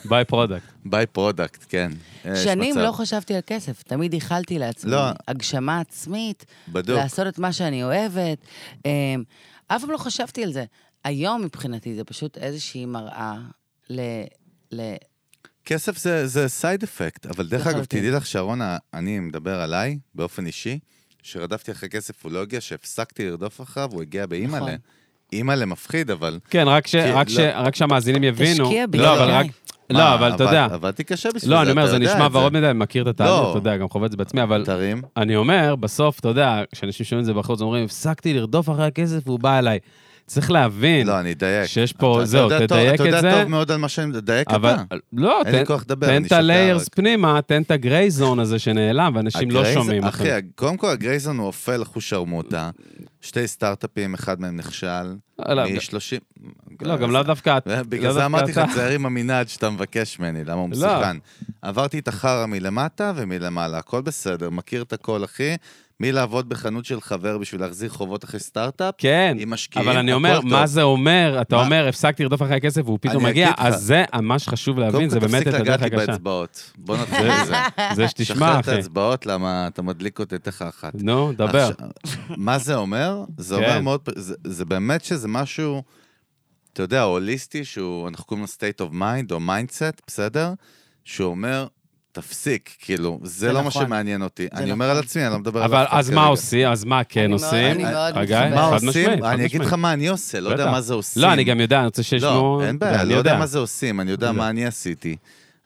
Speaker 1: ביי פרודקט.
Speaker 2: ביי פרודקט, כן. אה, יש
Speaker 4: שנים
Speaker 2: מצב.
Speaker 4: לא חשבתי על כסף, תמיד איחלתי לעצמי
Speaker 2: לא.
Speaker 4: הגשמה עצמית,
Speaker 2: בדוק.
Speaker 4: לעשות את מה שאני אוהבת. אמ, אף פעם לא חשבתי על זה. היום מבחינתי זה פשוט איזושהי מראה ל... ל...
Speaker 2: כסף זה, זה סייד אפקט, אבל דרך אגב,
Speaker 4: לחלוטין.
Speaker 2: תדעי לך, שרונה, אני מדבר עליי, באופן אישי, שרדפתי אחרי כסף, הוא לא הגיע, שהפסקתי לרדוף אחריו, הוא הגיע באימא'לה.
Speaker 4: נכון.
Speaker 2: נכון. אימא'לה מפחיד, אבל...
Speaker 1: כן, רק ש-
Speaker 2: כן,
Speaker 1: רק ש-
Speaker 2: לא.
Speaker 1: רק שהמאזינים יבינו.
Speaker 4: תשקיע בי,
Speaker 1: לא, אבל
Speaker 4: אוקיי.
Speaker 1: רק... לא,
Speaker 2: מה,
Speaker 1: אבל אתה
Speaker 2: עבד-
Speaker 1: יודע.
Speaker 2: עבדתי קשה בשביל זה,
Speaker 1: לא, אני אומר, זה
Speaker 2: אתה יודע
Speaker 1: נשמע
Speaker 2: את
Speaker 1: ורוד מדי, אני מכיר את התהליך,
Speaker 2: לא.
Speaker 1: אתה יודע, גם חווה את זה בעצמי, אבל
Speaker 2: תרים.
Speaker 1: אני אומר, בסוף, אתה יודע, כשאנשים שומעים את זה בחוץ, אומרים, הפסקתי לרדוף אחרי הכסף והוא בא אליי. צריך להבין,
Speaker 2: לא, אני אדייק.
Speaker 1: שיש פה-
Speaker 2: אתה- אתה
Speaker 1: זהו,
Speaker 2: יודע טוב-
Speaker 1: תדייק
Speaker 2: אתה
Speaker 1: את
Speaker 2: יודע
Speaker 1: זה.
Speaker 2: טוב מאוד על מה שאני... דייק
Speaker 1: אבל...
Speaker 2: אתה.
Speaker 1: לא,
Speaker 2: אין לי
Speaker 1: תן-
Speaker 2: כוח לדבר,
Speaker 1: תן
Speaker 2: אני
Speaker 1: את
Speaker 2: שותק.
Speaker 1: הליירס פנימה, תן את הגריי זון הזה שנעלם, ואנשים לא
Speaker 2: הגרייז-
Speaker 1: שומעים.
Speaker 2: אחי, קודם כל הגרייזון הוא אופל אחושרמוטה, שתי סטארט-אפים, אחד מהם נכשל,
Speaker 1: לא,
Speaker 2: מ-30...
Speaker 1: לא, גם לאו דווקא... את-
Speaker 2: בגלל
Speaker 1: לאו
Speaker 2: זה
Speaker 1: לא דווקא
Speaker 2: אמרתי לך,
Speaker 1: אתה.
Speaker 2: תיזהר עם המנעד שאתה מבקש ממני, למה הוא
Speaker 1: לא.
Speaker 2: מסוכן. עברתי את החרא מלמטה ומלמעלה, הכל בסדר, מכיר את הכל, אחי. מלעבוד בחנות של חבר בשביל להחזיר חובות אחרי סטארט-אפ,
Speaker 1: כן,
Speaker 2: עם משקיעים,
Speaker 1: אבל אני
Speaker 2: הכל
Speaker 1: אומר,
Speaker 2: טוב.
Speaker 1: מה זה אומר? אתה
Speaker 2: מה?
Speaker 1: אומר, הפסקתי לרדוף אחרי הכסף והוא פתאום
Speaker 2: אני
Speaker 1: מגיע,
Speaker 2: אגיד לך.
Speaker 1: אז זה מה שחשוב להבין, זה באמת את
Speaker 2: קודם כל
Speaker 1: הדרך
Speaker 2: תפסיק לגעת לי
Speaker 1: הקשה.
Speaker 2: באצבעות. בוא נתחיל
Speaker 1: זה-
Speaker 2: מזה.
Speaker 1: זה
Speaker 2: שחרר
Speaker 1: שתשמע,
Speaker 2: את
Speaker 1: אחי.
Speaker 2: האצבעות, למה אתה מדליק אותי תכף אחת.
Speaker 1: נו, דבר.
Speaker 2: עכשיו, מה זה אומר? זה אומר
Speaker 1: כן.
Speaker 2: מאוד, פ- זה, זה באמת שזה משהו, אתה יודע, הוליסטי, שהוא, אנחנו קוראים לו state of mind או mindset, בסדר? שהוא אומר, תפסיק, כאילו, זה,
Speaker 4: זה
Speaker 2: לא מה
Speaker 4: נכון.
Speaker 2: שמעניין אותי. אני
Speaker 4: נכון.
Speaker 2: אומר על עצמי, אני לא מדבר על
Speaker 1: אבל
Speaker 2: אף אחד
Speaker 1: אז מה
Speaker 2: כרגע.
Speaker 1: עושים? אז מה כן
Speaker 4: אני מאוד-
Speaker 1: עושים?
Speaker 4: אני מאוד
Speaker 1: חגי?
Speaker 4: מתחברת.
Speaker 2: מה
Speaker 1: חד משמעית,
Speaker 2: עושים?
Speaker 1: חד
Speaker 2: אני אגיד לך
Speaker 1: משמעית.
Speaker 2: מה אני עושה, לא יודע
Speaker 1: בטח.
Speaker 2: מה זה עושים.
Speaker 1: לא, אני גם יודע, אני רוצה שיש
Speaker 2: לא,
Speaker 1: לו...
Speaker 2: אין בעיה, לא יודע מה זה עושים, אני יודע
Speaker 1: אני
Speaker 2: מה אני עשיתי.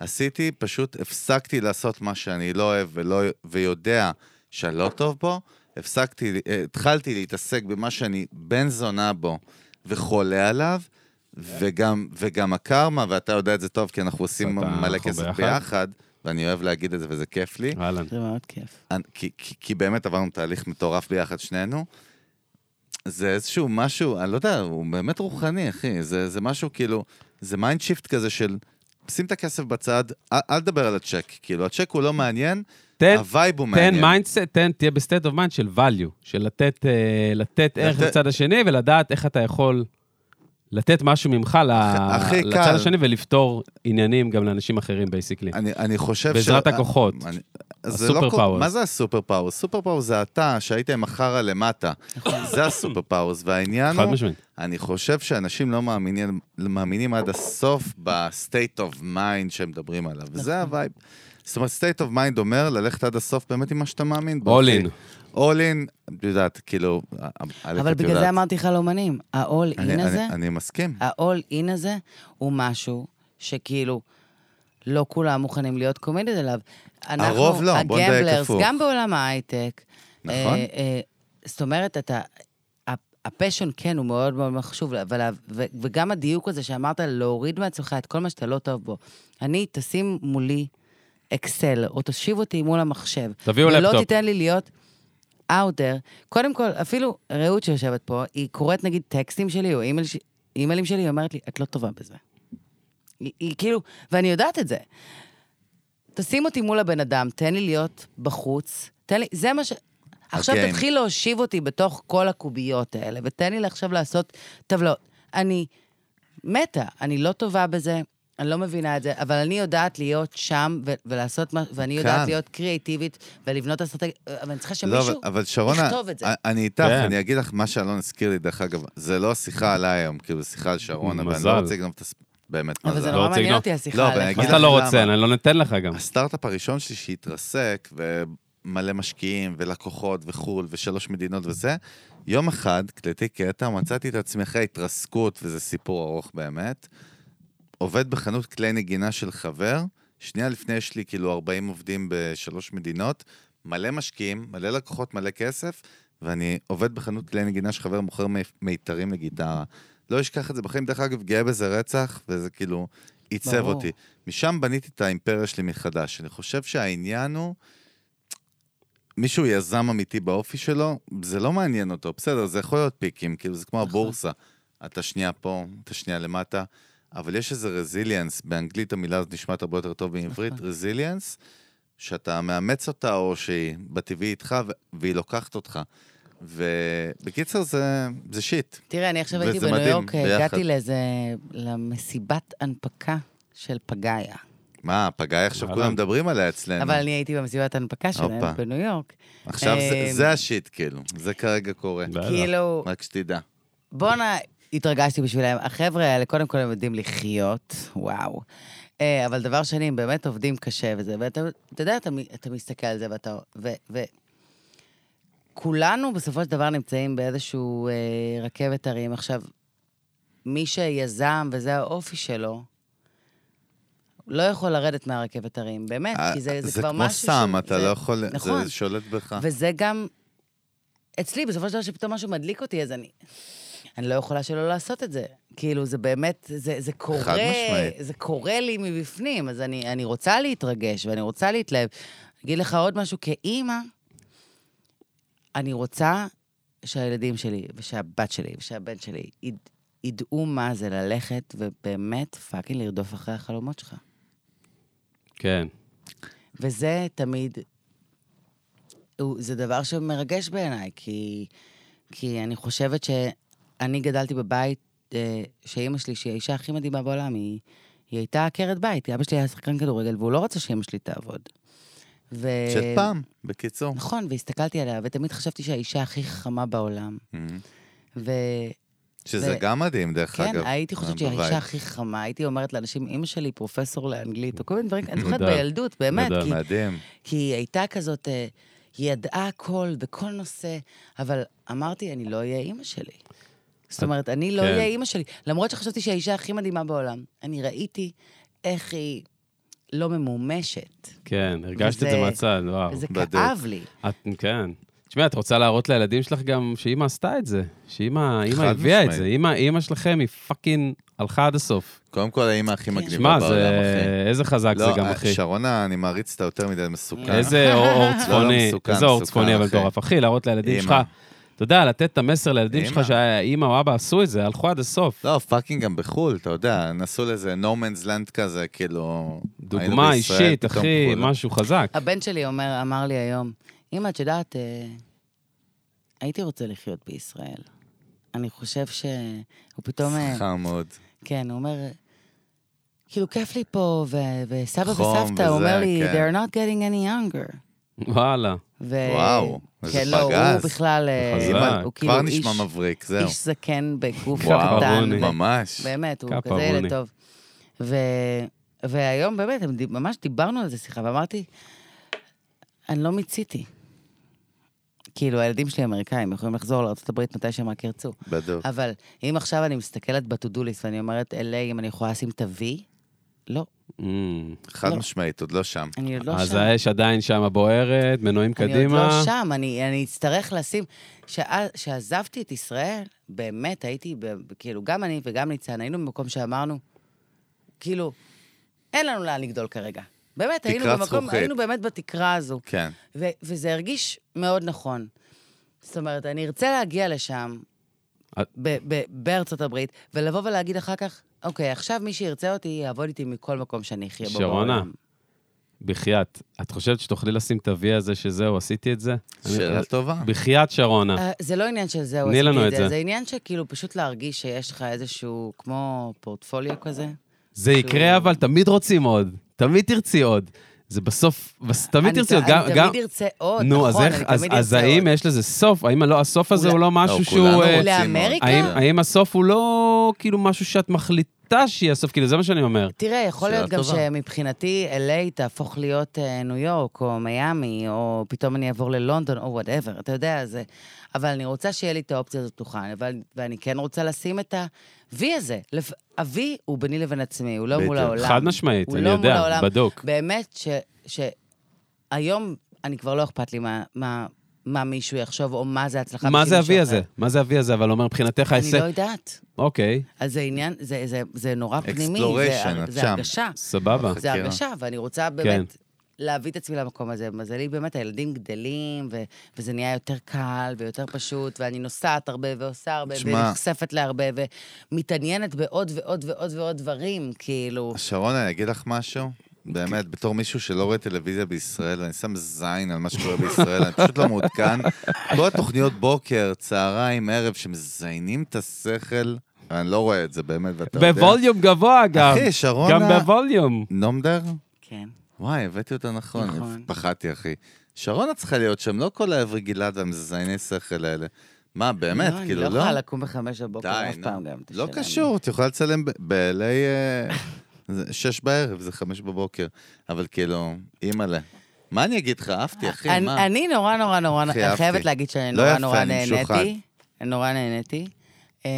Speaker 2: עשיתי, פשוט הפסקתי לעשות מה שאני לא אוהב ולא, ויודע שאני לא טוב בו, הפסקתי, אה, התחלתי להתעסק במה שאני בן זונה בו וחולה עליו, וגם, וגם הקרמה, ואתה יודע את זה טוב, כי אנחנו עושים
Speaker 1: אתה-
Speaker 2: מלא
Speaker 1: אנחנו
Speaker 2: כסף
Speaker 1: ביחד.
Speaker 2: ביחד, ואני אוהב להגיד את זה וזה כיף לי.
Speaker 1: אהלן.
Speaker 4: זה מאוד כיף.
Speaker 2: אני- כי, כי, כי באמת עברנו תהליך מטורף ביחד שנינו. זה איזשהו משהו, אני לא יודע, הוא באמת רוחני, אחי. זה, זה משהו כאילו, זה מיינד שיפט כזה של, שים את הכסף בצד, אל, אל תדבר על הצ'ק. כאילו, הצ'ק הוא לא מעניין,
Speaker 1: תן,
Speaker 2: הווייב הוא מעניין.
Speaker 1: תן מיינדסט, תן, תהיה בסטייט אוף מיינד של value, של לתת, אה, לתת ערך
Speaker 2: לתת-
Speaker 1: לצד השני ולדעת איך אתה יכול לתת משהו ממך ל-
Speaker 2: הכי
Speaker 1: לצד
Speaker 2: קל.
Speaker 1: השני ולפתור עניינים גם לאנשים אחרים, בייסיקלי.
Speaker 2: אני, אני חושב אה,
Speaker 1: בעזרת הכוחות.
Speaker 2: אני- זה
Speaker 1: הסופר
Speaker 2: לא כל-
Speaker 1: פאוורס.
Speaker 2: מה זה הסופר פאוורס? סופר פאוורס זה אתה שהיית עם החרא למטה.
Speaker 4: נכון.
Speaker 2: זה הסופר פאוורס, והעניין
Speaker 1: חד
Speaker 2: הוא...
Speaker 1: משמעית.
Speaker 2: אני חושב שאנשים לא מאמינים, מאמינים עד הסוף בסטייט אוף מיינד שמדברים עליו, וזה
Speaker 4: נכון.
Speaker 2: הווייב. זאת אומרת, סטייט אוף מיינד אומר ללכת עד הסוף באמת עם מה שאתה מאמין בו.
Speaker 1: All in.
Speaker 2: אול אין, את יודעת, כאילו, אלף,
Speaker 4: אבל
Speaker 2: את
Speaker 4: בגלל זה
Speaker 2: יודעת.
Speaker 4: אמרתי לך על אומנים, ה-all
Speaker 2: אני-
Speaker 4: in
Speaker 2: אני-
Speaker 4: הזה,
Speaker 2: אני מסכים.
Speaker 4: ה-all in הזה הוא משהו שכאילו... לא כולם מוכנים להיות קומדד אליו. אנחנו,
Speaker 2: הרוב לא, בוא נדייק
Speaker 4: הגמבלרס,
Speaker 2: הפוך.
Speaker 4: גם בעולם ההייטק.
Speaker 2: נכון.
Speaker 4: אה, אה, זאת אומרת, אתה... ה- הפשן כן, הוא מאוד מאוד חשוב, אבל, ה- ו, וגם הדיוק הזה שאמרת, להוריד מעצמך את כל מה שאתה לא טוב בו. אני, תשים מולי אקסל, או תושיב אותי מול המחשב.
Speaker 1: תביאו
Speaker 4: ולא
Speaker 1: לפטופ.
Speaker 4: תיתן לי להיות out there. קודם כל, אפילו רעות שיושבת פה, היא קוראת נגיד טקסטים שלי או אימייל, ש- אימיילים שלי, היא אומרת לי, את לא טובה בזה. היא, היא כאילו, ואני יודעת את זה. תשים אותי מול הבן אדם, תן לי להיות בחוץ, תן לי, זה מה ש... עכשיו
Speaker 2: הגיים.
Speaker 4: תתחיל להושיב אותי בתוך כל הקוביות האלה, ותן לי עכשיו לעשות טבלאות. אני מתה, אני לא טובה בזה, אני לא מבינה את זה, אבל אני יודעת להיות שם ו- ולעשות מה, ואני יודעת
Speaker 2: כאן.
Speaker 4: להיות קריאיטיבית ולבנות אסטרטגיה, אבל אני צריכה
Speaker 2: לא, אבל,
Speaker 4: שמישהו...
Speaker 2: אבל שרונה,
Speaker 4: יכתוב את זה.
Speaker 2: א- אני איתך,
Speaker 1: כן.
Speaker 2: אני אגיד לך מה שאלון הזכיר לי, דרך אגב, זה לא שיחה עליי היום, כאילו, זה שיחה על שרונה, ואני
Speaker 1: מזל.
Speaker 2: לא רוצה לגנוב את הס... באמת,
Speaker 4: אבל זה
Speaker 1: לא
Speaker 4: נורא
Speaker 1: רוצה
Speaker 4: מעניין
Speaker 1: לגנוב.
Speaker 4: אותי
Speaker 2: לא,
Speaker 4: השיחה
Speaker 2: אבל
Speaker 4: עליך.
Speaker 1: מה
Speaker 2: אגיד
Speaker 1: אתה
Speaker 2: לך
Speaker 1: לא
Speaker 2: למה.
Speaker 1: רוצה? אני לא נותן לך גם.
Speaker 2: הסטארט-אפ הראשון שלי שהתרסק, ומלא משקיעים, ולקוחות, וחו"ל, ושלוש מדינות וזה, יום אחד, קלטי קטע, מצאתי את עצמי אחרי התרסקות, וזה סיפור ארוך באמת, עובד בחנות כלי נגינה של חבר, שנייה לפני יש לי כאילו 40 עובדים בשלוש מדינות, מלא משקיעים, מלא לקוחות, מלא כסף, ואני עובד בחנות כלי נגינה שחבר מוכר מי- מיתרים לגיטרה. לא אשכח את זה בחיים, דרך אגב, גאה בזה רצח, וזה כאילו עיצב
Speaker 4: ברור.
Speaker 2: אותי. משם בניתי את האימפריה שלי מחדש. אני חושב שהעניין הוא, מישהו יזם אמיתי באופי שלו, זה לא מעניין אותו, בסדר, זה יכול להיות פיקים, כאילו זה כמו הבורסה. אתה שנייה פה, אתה שנייה למטה, אבל יש איזה רזיליאנס, באנגלית המילה הזאת נשמעת הרבה יותר טוב בעברית, רזיליאנס, שאתה מאמץ אותה או שהיא בטבעי איתך ו- והיא לוקחת אותך. ובקיצר זה, זה שיט.
Speaker 4: תראה, אני עכשיו
Speaker 2: וזה
Speaker 4: הייתי בניו
Speaker 2: מדהים,
Speaker 4: יורק,
Speaker 2: ביחד.
Speaker 4: הגעתי לאיזה... למסיבת הנפקה של פגאיה.
Speaker 2: מה, פגאי עכשיו
Speaker 1: וואלה.
Speaker 2: כולם מדברים עליה אצלנו.
Speaker 4: אבל אני הייתי במסיבת הנפקה
Speaker 2: כן. הופה.
Speaker 4: שלהם בניו יורק.
Speaker 2: עכשיו זה,
Speaker 4: אמ,
Speaker 2: זה השיט, כאילו, זה כרגע קורה.
Speaker 1: בטח. יאללה.
Speaker 4: כאילו,
Speaker 2: רק שתדע.
Speaker 4: בואנה, התרגשתי בשבילם. החבר'ה האלה, קודם כל הם יודעים לחיות, וואו. אה, אבל דבר שני, הם באמת עובדים קשה וזה, ואתה אתה יודע, אתה, מ- אתה מסתכל על זה ואתה... ו, ו, כולנו בסופו של דבר נמצאים באיזשהו אה, רכבת הרים. עכשיו, מי שיזם וזה האופי שלו, לא יכול לרדת מהרכבת הרים, באמת, כן, כי זה, זה, כבר משהו
Speaker 2: אה, זה כמו סם,
Speaker 4: שהוא-
Speaker 2: אתה
Speaker 4: זה-
Speaker 2: לא יכול...
Speaker 4: נכון.
Speaker 2: זה שולט בך.
Speaker 4: וזה גם... אצלי, בסופו של דבר, שפתאום משהו מדליק אותי, אז אני... אני לא יכולה שלא לעשות את זה. כאילו, זה באמת, זה, זה קורה,
Speaker 2: משמעית.
Speaker 4: זה קורה לי מבפנים, אז אני, אני רוצה להתרגש ואני רוצה להתלהב. אגיד לך עוד משהו, כאימא, אני רוצה שהילדים שלי, ושהבת שלי, ושהבן שלי, יד, ידעו מה זה ללכת ובאמת פאקינג לרדוף אחרי החלומות שלך.
Speaker 1: כן.
Speaker 4: וזה תמיד, הוא, זה דבר שמרגש בעיניי, כי, כי אני חושבת שאני גדלתי בבית אה, שאימא שלי, שהיא האישה הכי מדהימה בעולם, היא, היא הייתה עקרת בית, אבא שלי היה שחקן כדורגל, והוא לא רצה שאימא שלי תעבוד. ו...
Speaker 2: של פעם, בקיצור.
Speaker 4: נכון, והסתכלתי עליה, ותמיד חשבתי שהאישה הכי חכמה בעולם.
Speaker 2: Mhm.
Speaker 4: ו...
Speaker 2: שזה
Speaker 4: ו-
Speaker 2: גם מדהים, דרך אגב.
Speaker 4: כן, הייתי חושבת שהיא
Speaker 2: בבית.
Speaker 4: האישה הכי חכמה, הייתי אומרת לאנשים, אימא שלי פרופסור לאנגלית, או כל מיני דברים, אני זוכרת
Speaker 1: נהדר.
Speaker 4: בילדות, באמת,
Speaker 1: נהדר.
Speaker 4: כי
Speaker 2: מדהים.
Speaker 4: כי היא הייתה כזאת, אה, היא ידעה הכל בכל נושא, אבל אמרתי, אני לא אהיה אימא שלי. זאת אומרת, אני לא
Speaker 1: כן.
Speaker 4: אהיה אימא שלי. למרות שחשבתי שהיא האישה הכי מדהימה בעולם, אני ראיתי איך היא לא ממומשת.
Speaker 1: כן, הרגשת את זה
Speaker 4: וזה-
Speaker 1: מהצד, וואו.
Speaker 4: וזה
Speaker 2: בדיוק.
Speaker 4: כאב לי.
Speaker 1: את, כן. תשמעי, את רוצה להראות לילדים שלך גם שאימא עשתה את זה, שאימא אימא
Speaker 2: חד
Speaker 1: הביאה את
Speaker 2: משמעית.
Speaker 1: זה, אימא אימא שלכם היא פאקינג הלכה עד הסוף.
Speaker 2: קודם כל, האימא
Speaker 4: כן.
Speaker 2: הכי מגניבה
Speaker 1: שמע,
Speaker 2: בעולם,
Speaker 1: זה...
Speaker 2: אחי.
Speaker 1: איזה חזק זה גם,
Speaker 2: אה,
Speaker 1: אחי.
Speaker 2: שרונה, אני מעריץ אותה יותר מדי, מסוכן.
Speaker 1: איזה אור- אור צפוני,
Speaker 2: לא מסוכן,
Speaker 1: איזה אור
Speaker 2: מסוכן,
Speaker 1: צפוני אבל
Speaker 2: אחי.
Speaker 1: מטורף. אחי, להראות לילדים
Speaker 2: אימא.
Speaker 1: שלך, אתה יודע, לתת את המסר לילדים
Speaker 2: אימא.
Speaker 1: שלך שהאימא או אבא עשו את זה, הלכו עד הסוף.
Speaker 2: לא, פאקינג גם בחו"ל, אתה יודע, נסעו לאיזה no man's land כזה, כאילו... היינו
Speaker 1: דוגמה
Speaker 2: בישראל,
Speaker 1: אישית,
Speaker 2: פתאום
Speaker 1: אחי,
Speaker 2: בחו"ל.
Speaker 1: משהו חזק.
Speaker 4: הבן שלי אומר, אמר לי היום, אמא, את יודעת, אה, הייתי רוצה לחיות בישראל. אני חושב שהוא פתאום... אה,
Speaker 2: חמוד.
Speaker 4: כן, הוא אומר, כאילו, כיף לי פה, ו- וסבא
Speaker 2: חום
Speaker 4: וסבתא,
Speaker 2: וזה,
Speaker 4: הוא אומר לי,
Speaker 2: כן.
Speaker 4: they're not getting any younger.
Speaker 1: וואלה.
Speaker 4: ו-
Speaker 2: וואו, איזה
Speaker 4: אה, כן, לא, הוא
Speaker 2: פגז.
Speaker 4: בכלל, אה,
Speaker 1: חזק.
Speaker 2: אימא,
Speaker 4: הוא כאילו
Speaker 2: כבר
Speaker 4: איש-
Speaker 2: נשמע מבריק, זהו.
Speaker 4: איש זקן בגוף
Speaker 1: וואו,
Speaker 4: קטן.
Speaker 1: רוני.
Speaker 4: ו-
Speaker 2: ממש.
Speaker 4: באמת, הוא כזה
Speaker 1: כפרוני.
Speaker 4: ילד טוב. ו- והיום באמת, הם דיב- ממש דיברנו על זה שיחה, ואמרתי, אני לא מיציתי. כאילו, הילדים שלי אמריקאים, יכולים לחזור לארה"ב מתי שהם רק ירצו.
Speaker 2: בדיוק.
Speaker 4: אבל אם עכשיו אני מסתכלת ב-to-do list ואני אומרת, אלה, אם אני יכולה לשים את ה-V, לא,
Speaker 1: אמ.
Speaker 2: חד
Speaker 4: לא.
Speaker 2: משמעית, עוד לא שם.
Speaker 4: אני עוד לא
Speaker 1: אז
Speaker 4: שם.
Speaker 1: האש עדיין שם בוערת, מנועים
Speaker 4: אני עוד לא
Speaker 1: קדימה.
Speaker 4: שם, אני, אני אצטרך לשים... כשעזבתי את ישראל, באמת הייתי, ב, כאילו, גם אני וגם ניצן, היינו במקום שאמרנו, כאילו, אין לנו לאן לגדול כרגע. באמת, היינו
Speaker 2: תקרת
Speaker 4: במקום,
Speaker 2: זכוכית.
Speaker 4: היינו באמת בתקרה הזו.
Speaker 2: כן.
Speaker 4: ו, וזה הרגיש מאוד נכון. זאת אומרת, אני ארצה להגיע לשם,
Speaker 1: את-
Speaker 4: ב, ב, בארצות הברית, ולבוא ולהגיד אחר כך, אוקיי, עכשיו מי שירצה אותי יעבוד איתי מכל מקום שאני אחיה בו בעולם.
Speaker 1: שרונה, בחייאת, את חושבת שתוכלי לשים את ה-V הזה שזהו, עשיתי את זה?
Speaker 2: שאלה
Speaker 1: אני- אה,
Speaker 2: טובה.
Speaker 1: בחייאת, שרונה.
Speaker 4: אה, זה לא עניין של זהו,
Speaker 1: תני
Speaker 4: עשיתי
Speaker 1: לנו
Speaker 4: את
Speaker 1: את
Speaker 4: זה.
Speaker 1: זה.
Speaker 4: זה עניין שכאילו פשוט להרגיש שיש לך איזשהו, כמו פורטפוליו כזה.
Speaker 1: זה יקרה,
Speaker 4: שהוא-
Speaker 1: אבל תמיד רוצים עוד. תמיד תרצי עוד. זה בסוף, בס- תמיד
Speaker 4: אני-
Speaker 1: תרצי עוד. גם-
Speaker 4: אני
Speaker 1: גם-
Speaker 4: תמיד ארצה עוד,
Speaker 1: נו, אז
Speaker 4: נכון,
Speaker 1: איך-
Speaker 4: אני
Speaker 1: אז-
Speaker 4: תמיד
Speaker 1: אז
Speaker 4: ארצה עוד.
Speaker 1: האם יש לזה סוף? האם לא- הסוף הזה
Speaker 4: אולי-
Speaker 1: הוא לא
Speaker 2: לא,
Speaker 1: משהו
Speaker 2: כולנו
Speaker 1: שהוא... אה,
Speaker 2: רוצים עוד.
Speaker 4: לאמריקה?
Speaker 1: האם-
Speaker 4: כן.
Speaker 1: האם הסוף הוא לא כאילו משהו שאת מחליטה שיהיה הסוף? כאילו, זה מה שאני אומר.
Speaker 4: תראה, יכול
Speaker 2: שאלה
Speaker 4: להיות גם
Speaker 2: טובה.
Speaker 4: שמבחינתי LA תהפוך להיות אה, ניו יורק, או מיאמי, או פתאום אני אעבור ללונדון, או וואטאבר, אתה יודע, זה... אבל אני רוצה שיהיה לי את האופציה הזאת פתוחה, אבל- ואני כן רוצה לשים את ה-V הזה. לפ- ה-V הוא ביני לבין עצמי, הוא לא מול
Speaker 2: בדיוק.
Speaker 4: העולם.
Speaker 1: חד משמעית,
Speaker 4: הוא
Speaker 1: אני
Speaker 4: לא מול
Speaker 1: יודע,
Speaker 4: העולם.
Speaker 1: בדוק.
Speaker 4: באמת ש... שהיום אני כבר לא אכפת לי מה, מה, מה מישהו יחשוב, או מה זה הצלחה.
Speaker 1: מה
Speaker 4: בשביל
Speaker 1: זה
Speaker 4: מישהו
Speaker 1: ה-V
Speaker 4: אחר.
Speaker 1: הזה? מה זה ה-V הזה? אבל אומר, מבחינתך
Speaker 4: אני לא
Speaker 1: ההישג...
Speaker 4: יודעת.
Speaker 1: אוקיי,
Speaker 4: אז זה עניין, זה, זה, זה נורא פנימי.
Speaker 2: Exploration,
Speaker 4: זה,
Speaker 2: את
Speaker 4: זה
Speaker 2: שם.
Speaker 4: הרגשה.
Speaker 1: סבבה.
Speaker 2: אוקיי.
Speaker 4: זה
Speaker 2: חקירה. כן.
Speaker 4: הרגשה, ואני רוצה באמת להביא את עצמי למקום הזה. מזלי, באמת, הילדים גדלים, ו- וזה נהיה יותר קל ויותר פשוט, ואני נוסעת הרבה ועושה הרבה,
Speaker 2: תשמע.
Speaker 4: ונחשפת להרבה, ומתעניינת בעוד ועוד ועוד ועוד דברים, כאילו.
Speaker 2: שרונה, אני אגיד לך משהו? באמת, בתור מישהו שלא רואה טלוויזיה בישראל, ואני שם זין על מה שקורה בישראל, אני פשוט לא מעודכן. כל התוכניות בוקר, צהריים, ערב, שמזיינים את השכל, ואני לא רואה את זה באמת, ואתה יודע.
Speaker 1: בווליום גבוה גם.
Speaker 2: אחי, שרונה-
Speaker 1: גם בווליום.
Speaker 2: נומדר?
Speaker 4: כן.
Speaker 2: וואי, הבאתי אותה נכון.
Speaker 4: נכון.
Speaker 2: פחדתי, אחי. שרונה צריכה להיות שם, לא כל האברי גלעד והמזייני שכל האלה. מה, באמת,
Speaker 4: לא,
Speaker 2: כאילו,
Speaker 4: אני לא יכולה לקום בחמש בבוקר אף
Speaker 2: די,
Speaker 4: פעם
Speaker 2: נו.
Speaker 4: גם.
Speaker 2: לא
Speaker 4: תשאלה.
Speaker 2: קשור, את יכולה לצלם ב- ב-LA אה, זה שש בערב, זה חמש בבוקר. אבל כאילו, אימא'לה. מה אני אגיד לך? אהבתי, אחי,
Speaker 4: אה, אני-
Speaker 2: מה?
Speaker 4: אני נורא נורא נורא,
Speaker 2: אחי,
Speaker 4: אני חייבת
Speaker 2: אהבתי.
Speaker 4: להגיד שאני
Speaker 2: לא
Speaker 4: נורא
Speaker 2: יפה,
Speaker 4: נורא
Speaker 2: אני משוחד.
Speaker 4: נהניתי. נורא נהניתי. אה,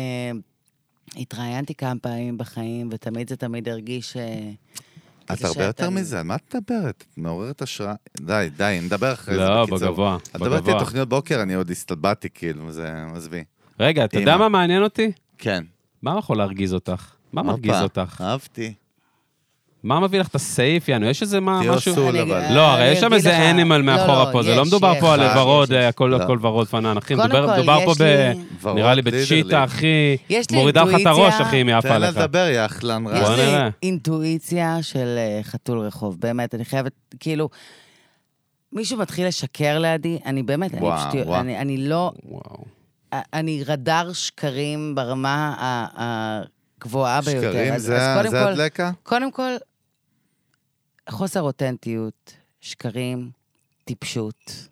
Speaker 4: התראיינתי כמה פעמים בחיים, ותמיד זה תמיד הרגיש... אה,
Speaker 2: את
Speaker 4: כזה
Speaker 2: הרבה יותר
Speaker 4: שאתה-
Speaker 2: מזה, על מה את מדברת? את מעוררת השראה. די, די, נדבר אחרי זה
Speaker 1: לא,
Speaker 2: בקיצור.
Speaker 1: בגבוה,
Speaker 2: את מדברת על
Speaker 1: בגבוה.
Speaker 2: תוכניות בוקר, אני עוד הסתלבטתי, כאילו, זה... עזבי.
Speaker 1: רגע, אתה יודע
Speaker 2: אמא.
Speaker 1: מה מעניין אותי?
Speaker 2: כן.
Speaker 1: מה יכול להרגיז אותך? מה מרגיז
Speaker 2: הופה,
Speaker 1: אותך?
Speaker 2: אהבתי.
Speaker 1: מה מביא לך את הסעיף, יענו? יש איזה מה-
Speaker 2: תהיה
Speaker 1: משהו?
Speaker 2: עשוי.
Speaker 4: אני-
Speaker 2: אבל.
Speaker 1: לא, הרי
Speaker 4: אה, אני
Speaker 1: יש שם
Speaker 4: אגיד
Speaker 1: איזה
Speaker 4: לך-
Speaker 1: אנימל
Speaker 4: לא,
Speaker 1: מאחורה
Speaker 4: לא,
Speaker 1: פה, זה לא
Speaker 4: יש,
Speaker 1: מדובר פה על
Speaker 4: יש,
Speaker 1: ורוד,
Speaker 4: יש.
Speaker 1: אה, הכל
Speaker 2: לא.
Speaker 1: הכל ורוד פנן, אחי.
Speaker 4: קודם
Speaker 1: מדובר-
Speaker 4: כל,
Speaker 1: מדובר
Speaker 4: יש
Speaker 1: פה ב...
Speaker 4: לי-
Speaker 2: ורוד
Speaker 1: נראה לי
Speaker 2: לידרלי.
Speaker 1: בצ'יטה, אחי.
Speaker 4: יש לי
Speaker 1: מורידה לך את הראש,
Speaker 4: אינטואיציה.
Speaker 1: אחי, אם היא עפה
Speaker 2: תן לה
Speaker 1: לך.
Speaker 2: לדבר, יא אכלן רע.
Speaker 1: בוא
Speaker 4: יש לי
Speaker 1: נראה.
Speaker 4: אינטואיציה של אה, חתול רחוב, באמת, אני חייבת, כאילו, מישהו מתחיל לשקר לידי, אני באמת, אני
Speaker 2: וואו,
Speaker 4: פשוט,
Speaker 2: וואו.
Speaker 4: אני- אני לא, אה,
Speaker 1: וואו.
Speaker 4: אני רדאר שקרים ברמה ה- הגבוהה ביותר.
Speaker 2: שקרים,
Speaker 4: אז-
Speaker 2: זה
Speaker 4: אז
Speaker 2: ה-
Speaker 4: קודם
Speaker 2: זה
Speaker 4: כל-
Speaker 2: הדלקה?
Speaker 4: קודם כל, חוסר אותנטיות, שקרים, טיפשות.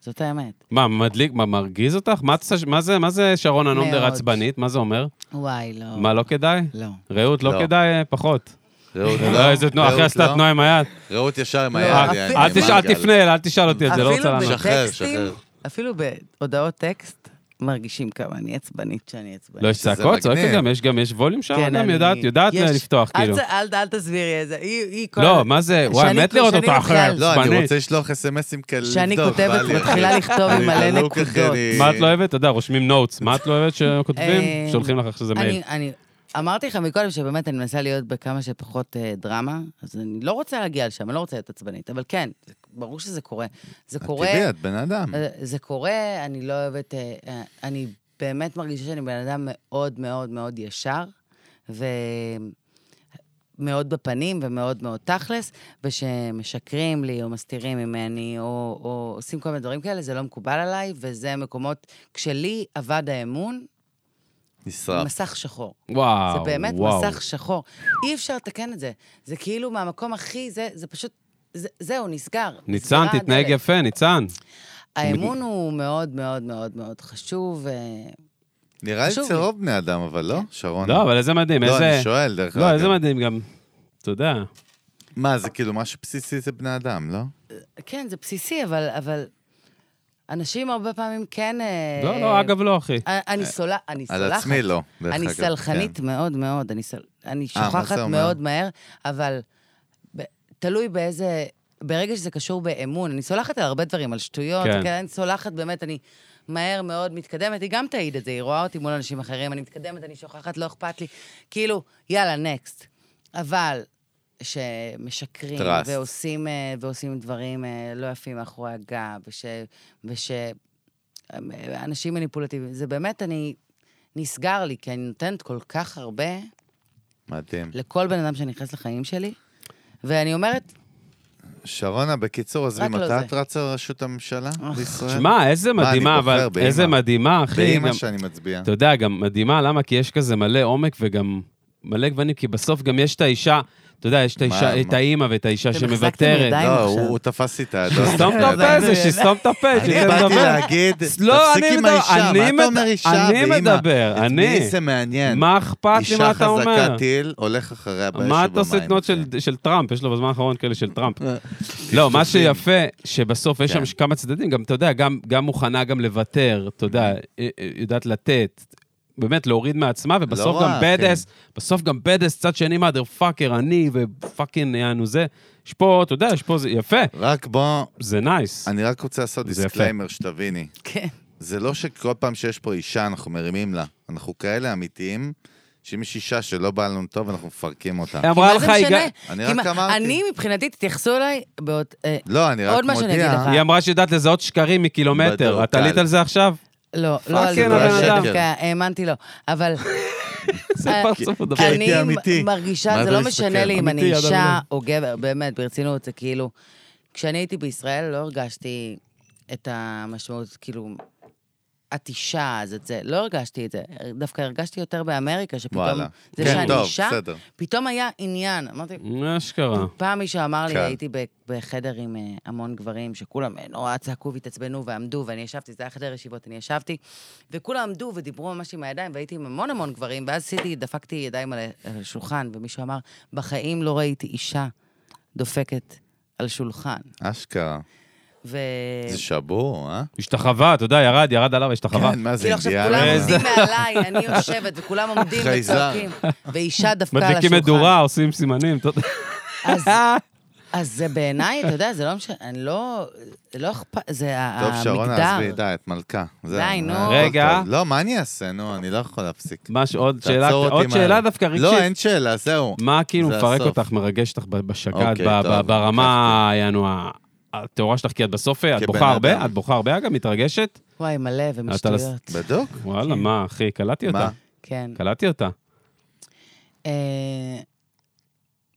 Speaker 4: זאת האמת.
Speaker 1: מה, מדליק, מה, מרגיז אותך? מה את עושה- מה זה- מה זה שרון הנונדר
Speaker 4: מאוד.
Speaker 1: עצבנית? מה זה אומר?
Speaker 4: וואי, לא.
Speaker 1: מה, לא כדאי?
Speaker 4: לא.
Speaker 1: רעות, לא
Speaker 2: לא.
Speaker 1: כדאי? אה, פחות.
Speaker 2: רעות
Speaker 1: לא, איזה תנועה, אחי
Speaker 2: רעות
Speaker 1: עשתה
Speaker 2: לא. אה,
Speaker 1: תנועה עם היד.
Speaker 2: רעות ישר עם
Speaker 4: לא,
Speaker 2: היד.
Speaker 1: אל-
Speaker 4: אני-
Speaker 2: יעני,
Speaker 1: אל תש- אל
Speaker 2: מנגל.
Speaker 1: תפנה אל אל תשאל אותי את זה, לא
Speaker 4: אפילו
Speaker 1: רוצה לענות.
Speaker 2: בש- שחרר,
Speaker 4: בטקסטים,
Speaker 2: שחרר.
Speaker 4: אפילו בהודעות טקסט, מרגישים כמה אני עצבנית שאני עצבנית.
Speaker 1: לא, יש
Speaker 2: שזה
Speaker 1: צעקות, צועקת
Speaker 2: מגניב.
Speaker 1: גם, יש גם, יש ווליום שם,
Speaker 4: כן,
Speaker 1: גם
Speaker 4: אני-
Speaker 1: יודעת, יודעת
Speaker 4: יש-
Speaker 1: לפתוח,
Speaker 4: אל
Speaker 1: כאילו.
Speaker 4: ת- אל אל תסבירי את זה, היא היא כל...
Speaker 1: לא, מה זה, וואי,
Speaker 4: שאני- כאילו
Speaker 1: מת לראות
Speaker 4: שאני
Speaker 1: אותה אחרת,
Speaker 4: בכלל-
Speaker 2: לא, אני
Speaker 1: עצבנית.
Speaker 2: רוצה לשלוח אס.אם.אסים כאלה לבדוק.
Speaker 4: שאני כותבת,
Speaker 2: בא לי, אחי.
Speaker 4: מתחילה לכתוב עם
Speaker 2: אני
Speaker 4: מלא
Speaker 2: דלוק, אחי,
Speaker 4: נקודות.
Speaker 2: אני-
Speaker 1: מה את לא אוהבת? אתה יודע, רושמים נוטס. מה את לא אוהבת שכותבים?
Speaker 4: אה,
Speaker 1: שולחים לך עכשיו איזה מייל.
Speaker 4: אני, אני אמרתי לך מקודם שבאמת אני מנסה להיות בכמה שפחות אה, דרמה, אז אני לא רוצה להגיע לשם, אני לא רוצה להיות עצבנית, אבל כן, זה- ברור שזה קורה. זה
Speaker 1: לא-
Speaker 2: את
Speaker 4: קורה,
Speaker 2: טבעי, את בן
Speaker 1: Mm-hmm.
Speaker 2: אדם.
Speaker 4: אה, זה קורה, אני לא אוהבת... אה, אה, אני באמת מרגישה שאני בן אדם מאוד מאוד מאוד ישר, ומאוד בפנים ומאוד מאוד תכלס, ושמשקרים לי או מסתירים ממני, או, או עושים כל מיני דברים כאלה, זה לא מקובל עליי, וזה מקומות... כשלי אבד האמון,
Speaker 2: נשרף.
Speaker 4: מסך שחור.
Speaker 1: וואו,
Speaker 4: זה באמת
Speaker 1: אה. וואו.
Speaker 4: מסך שחור. אי אפשר לתקן את זה. זה כאילו מהמקום הכי, זה, זה פשוט, זה, זהו, נסגר.
Speaker 1: ניצן,
Speaker 4: נסגרה
Speaker 1: תתנהג
Speaker 4: הדלת.
Speaker 1: יפה, ניצן.
Speaker 4: האמון הוא מאוד מאוד מאוד מאוד חשוב. אה,
Speaker 2: נראה לי
Speaker 4: חשוב
Speaker 2: אצל
Speaker 4: לי.
Speaker 2: רוב בני אדם, אבל לא, שרון.
Speaker 1: לא, אבל איזה מדהים,
Speaker 2: לא,
Speaker 1: איזה...
Speaker 2: אני שואל, דרך
Speaker 1: לא, איזה
Speaker 2: אגב.
Speaker 1: מדהים גם. אתה יודע.
Speaker 2: מה, זה כאילו משהו בסיסי זה בני אדם, לא?
Speaker 4: כן, זה בסיסי, אבל, אבל אנשים הרבה פעמים כן... אה,
Speaker 1: לא, לא, אגב, לא, אחי.
Speaker 4: אה, אני סולה, אני סולחת.
Speaker 2: על עצמי לא, דרך אגב.
Speaker 4: אני סלחנית
Speaker 2: כן.
Speaker 4: מאוד מאוד, אני, סל... אני
Speaker 2: אה, מה זה
Speaker 4: שוכחת
Speaker 2: אומר?
Speaker 4: מאוד מהר, אבל ב... תלוי באיזה... ברגע שזה קשור באמון, אני סולחת על הרבה דברים, על שטויות,
Speaker 1: כן.
Speaker 4: כן. אני סולחת באמת, אני מהר מאוד מתקדמת, היא גם תעיד את זה, היא רואה אותי מול אנשים אחרים, אני מתקדמת, אני שוכחת, לא אכפת לי, כאילו, יאללה, נקסט. אבל שמשקרים,
Speaker 2: Trust.
Speaker 4: ועושים, אה, ועושים דברים אה, לא יפים מאחורי הגב, וש... וש... אה, אנשים מניפולטיביים. זה באמת, אני... נסגר לי, כי אני נותנת כל כך הרבה
Speaker 2: כן, מדהים.
Speaker 4: לא. לכל בן אדם שנכנס לחיים שלי, ואני אומרת,
Speaker 2: שרונה, בקיצור, עזבי,
Speaker 4: רק לא
Speaker 2: מתי
Speaker 4: זה. אה,
Speaker 2: את רצה לראשות הממשלה בישראל?
Speaker 1: שמע, איזה
Speaker 2: מה, אני
Speaker 1: מדהימה,
Speaker 2: בוחר
Speaker 1: אבל...
Speaker 2: באמא.
Speaker 1: איזה מדהימה, אחי.
Speaker 2: באימא
Speaker 1: גם-
Speaker 2: שאני מצביע.
Speaker 1: אתה יודע, גם מדהימה, למה? כי יש כזה מלא עומק וגם מלא גוונים, כי בסוף גם יש את האישה, אתה יודע, יש את האישה,
Speaker 2: מה?
Speaker 1: את האימא ואת האישה
Speaker 4: אתם החזקתם
Speaker 1: שמוותרת.
Speaker 4: ידיים?
Speaker 2: לא,
Speaker 4: עכשיו.
Speaker 2: הוא הוא תפס איתה. לא,
Speaker 1: שסתום את
Speaker 2: אתה יודע.
Speaker 1: הפה, זה שסתום את הפה,
Speaker 2: אני
Speaker 1: שתיתן
Speaker 2: באתי
Speaker 1: לדבר.
Speaker 2: להגיד,
Speaker 1: לא, אני
Speaker 2: תפסיק עם
Speaker 1: מדבר-
Speaker 2: האישה,
Speaker 1: אני
Speaker 2: מה אתה אומר
Speaker 1: מד-
Speaker 2: אישה
Speaker 1: אני
Speaker 2: ואימא?
Speaker 1: מדבר,
Speaker 2: את
Speaker 1: אני.
Speaker 2: מי זה מעניין?
Speaker 1: מה אכפת לי מה אתה
Speaker 2: אישה
Speaker 1: אומר?
Speaker 2: חזקה טיל, הולך אחריה באש ובמים.
Speaker 1: מה אתה עושה תנועות של-
Speaker 2: אחי.
Speaker 1: של טראמפ? יש לו בזמן האחרון כאלה של טראמפ. לא, מה שיפה, שבסוף יש
Speaker 2: אה, כן.
Speaker 1: שם כמה צדדים, גם, אתה יודע, גם, גם מוכנה גם לוותר, אתה יודע, אה, אה, יודעת לתת, באמת להוריד מעצמה, ובסוף
Speaker 2: לא
Speaker 1: גם
Speaker 2: רע,
Speaker 1: בד אס, בסוף גם בד אס, צד שני מאדר פאקר, אני ופאקינג יענו זה. יש פה, אתה יודע, יש פה, זה יפה,
Speaker 2: רק בוא,
Speaker 1: זה נייס.
Speaker 2: אני רק רוצה לעשות
Speaker 1: זה יפה.
Speaker 2: דיסקליימר שתביני.
Speaker 4: כן.
Speaker 2: זה לא שכל פעם שיש פה אישה, אנחנו מרימים לה. אנחנו כאלה אמיתיים, שאם יש אישה שלא באה לנו טוב, אנחנו מפרקים אותה.
Speaker 1: היא אמרה
Speaker 4: מה זה
Speaker 1: לך, היא
Speaker 4: משנה?
Speaker 1: גם-
Speaker 2: אני
Speaker 4: כי
Speaker 2: רק
Speaker 4: מה-
Speaker 2: אמרתי.
Speaker 4: אני, מבחינתי, תתייחסו אליי באות... אה,
Speaker 2: לא, אני רק
Speaker 4: עוד מה שאני אגיד
Speaker 2: מודיע.
Speaker 4: לך.
Speaker 1: היא אמרה שהיא יודעת לזהות שקרים
Speaker 2: בדיוק,
Speaker 1: מקילומטר. את עלית
Speaker 2: טל.
Speaker 1: על זה עכשיו?
Speaker 4: לא, לא על זה,
Speaker 1: פאקינג
Speaker 2: הבן אדם.
Speaker 4: דווקא האמנתי לו, אבל...
Speaker 1: זה
Speaker 4: אה,
Speaker 1: פרצוף הדבר.
Speaker 2: כן.
Speaker 4: אני
Speaker 2: הייתי אמיתי.
Speaker 4: מרגישה,
Speaker 2: מה
Speaker 4: זה
Speaker 2: אתה
Speaker 4: לא
Speaker 2: מסתכל?
Speaker 4: משנה לי אם אני
Speaker 1: אמיתי, אדם
Speaker 4: אישה
Speaker 1: אדם.
Speaker 4: או גבר, באמת, ברצינות, זה כאילו... כשאני הייתי בישראל לא הרגשתי את המשמעות, כאילו, את אישה, אז את זה, לא הרגשתי את זה. דווקא הרגשתי יותר באמריקה, שפתאום...
Speaker 2: וואלה.
Speaker 4: זה
Speaker 2: כן,
Speaker 4: שאני
Speaker 2: טוב,
Speaker 4: אישה,
Speaker 2: בסדר.
Speaker 4: פתאום היה עניין. אמרתי,
Speaker 1: אשכרה.
Speaker 4: פעם מישהו אמר לי,
Speaker 2: כן.
Speaker 4: הייתי ב- בחדר עם אה, המון גברים, שכולם אה, נורא צעקו והתעצבנו ועמדו, ואני ישבתי, זה היה חדר ישיבות, אני ישבתי, וכולם עמדו ודיברו ממש עם הידיים, והייתי עם המון המון גברים, ואז עשיתי, דפקתי ידיים על ה- על השולחן, ומישהו אמר, בחיים לא ראיתי אישה דופקת על שולחן.
Speaker 2: אשכרה.
Speaker 4: ו...
Speaker 2: זה שבור, אה?
Speaker 1: השתחווה, אתה יודע, ירד, ירד עליו, השתחווה.
Speaker 2: כן, מה זה
Speaker 4: כאילו עכשיו
Speaker 2: אינדיאנה?
Speaker 4: כולם
Speaker 1: איזה-
Speaker 4: עומדים מעליי, אני יושבת, וכולם עומדים
Speaker 2: חייזר.
Speaker 4: וצועקים, ואישה דפקה על השולחן.
Speaker 1: מדליקים מדורה, עושים סימנים, אתה יודע.
Speaker 4: אז אז זה בעיניי, אתה יודע, זה לא משנה, אני לא... זה לא אכפת, זה ה-
Speaker 2: טוב,
Speaker 4: המגדר.
Speaker 2: שרונה, עזבי, די, את מלכה. זהו,
Speaker 4: אה, די, נו.
Speaker 2: הכל
Speaker 1: רגע.
Speaker 2: טוב. לא, מה אני אעשה? נו, אני לא יכול להפסיק.
Speaker 1: מה שעוד
Speaker 2: תעצור
Speaker 1: שאלה,
Speaker 2: אותי
Speaker 1: עוד
Speaker 2: מהר.
Speaker 1: שאלה דווקא רגשית.
Speaker 2: לא, אין שאלה, זהו.
Speaker 1: מה כאילו
Speaker 2: זה
Speaker 1: מפרק
Speaker 2: הסוף.
Speaker 1: אותך, מרגש אותך ב- בשגעת,
Speaker 2: אוקיי,
Speaker 1: ב-
Speaker 2: טוב,
Speaker 1: ב- ברמה, יענו, ה- הטהורה שלך, כי את בסוף, את
Speaker 2: כבן
Speaker 1: בוכה הרבה,
Speaker 2: אדם.
Speaker 1: את בוכה הרבה, אגב, מתרגשת?
Speaker 4: וואי, מלא ומשטויות.
Speaker 2: בדוק?
Speaker 1: וואלה, מה, אחי, קלטתי אותה.
Speaker 2: כן. מה?
Speaker 4: כן.
Speaker 1: קלטתי אותה.
Speaker 4: אה,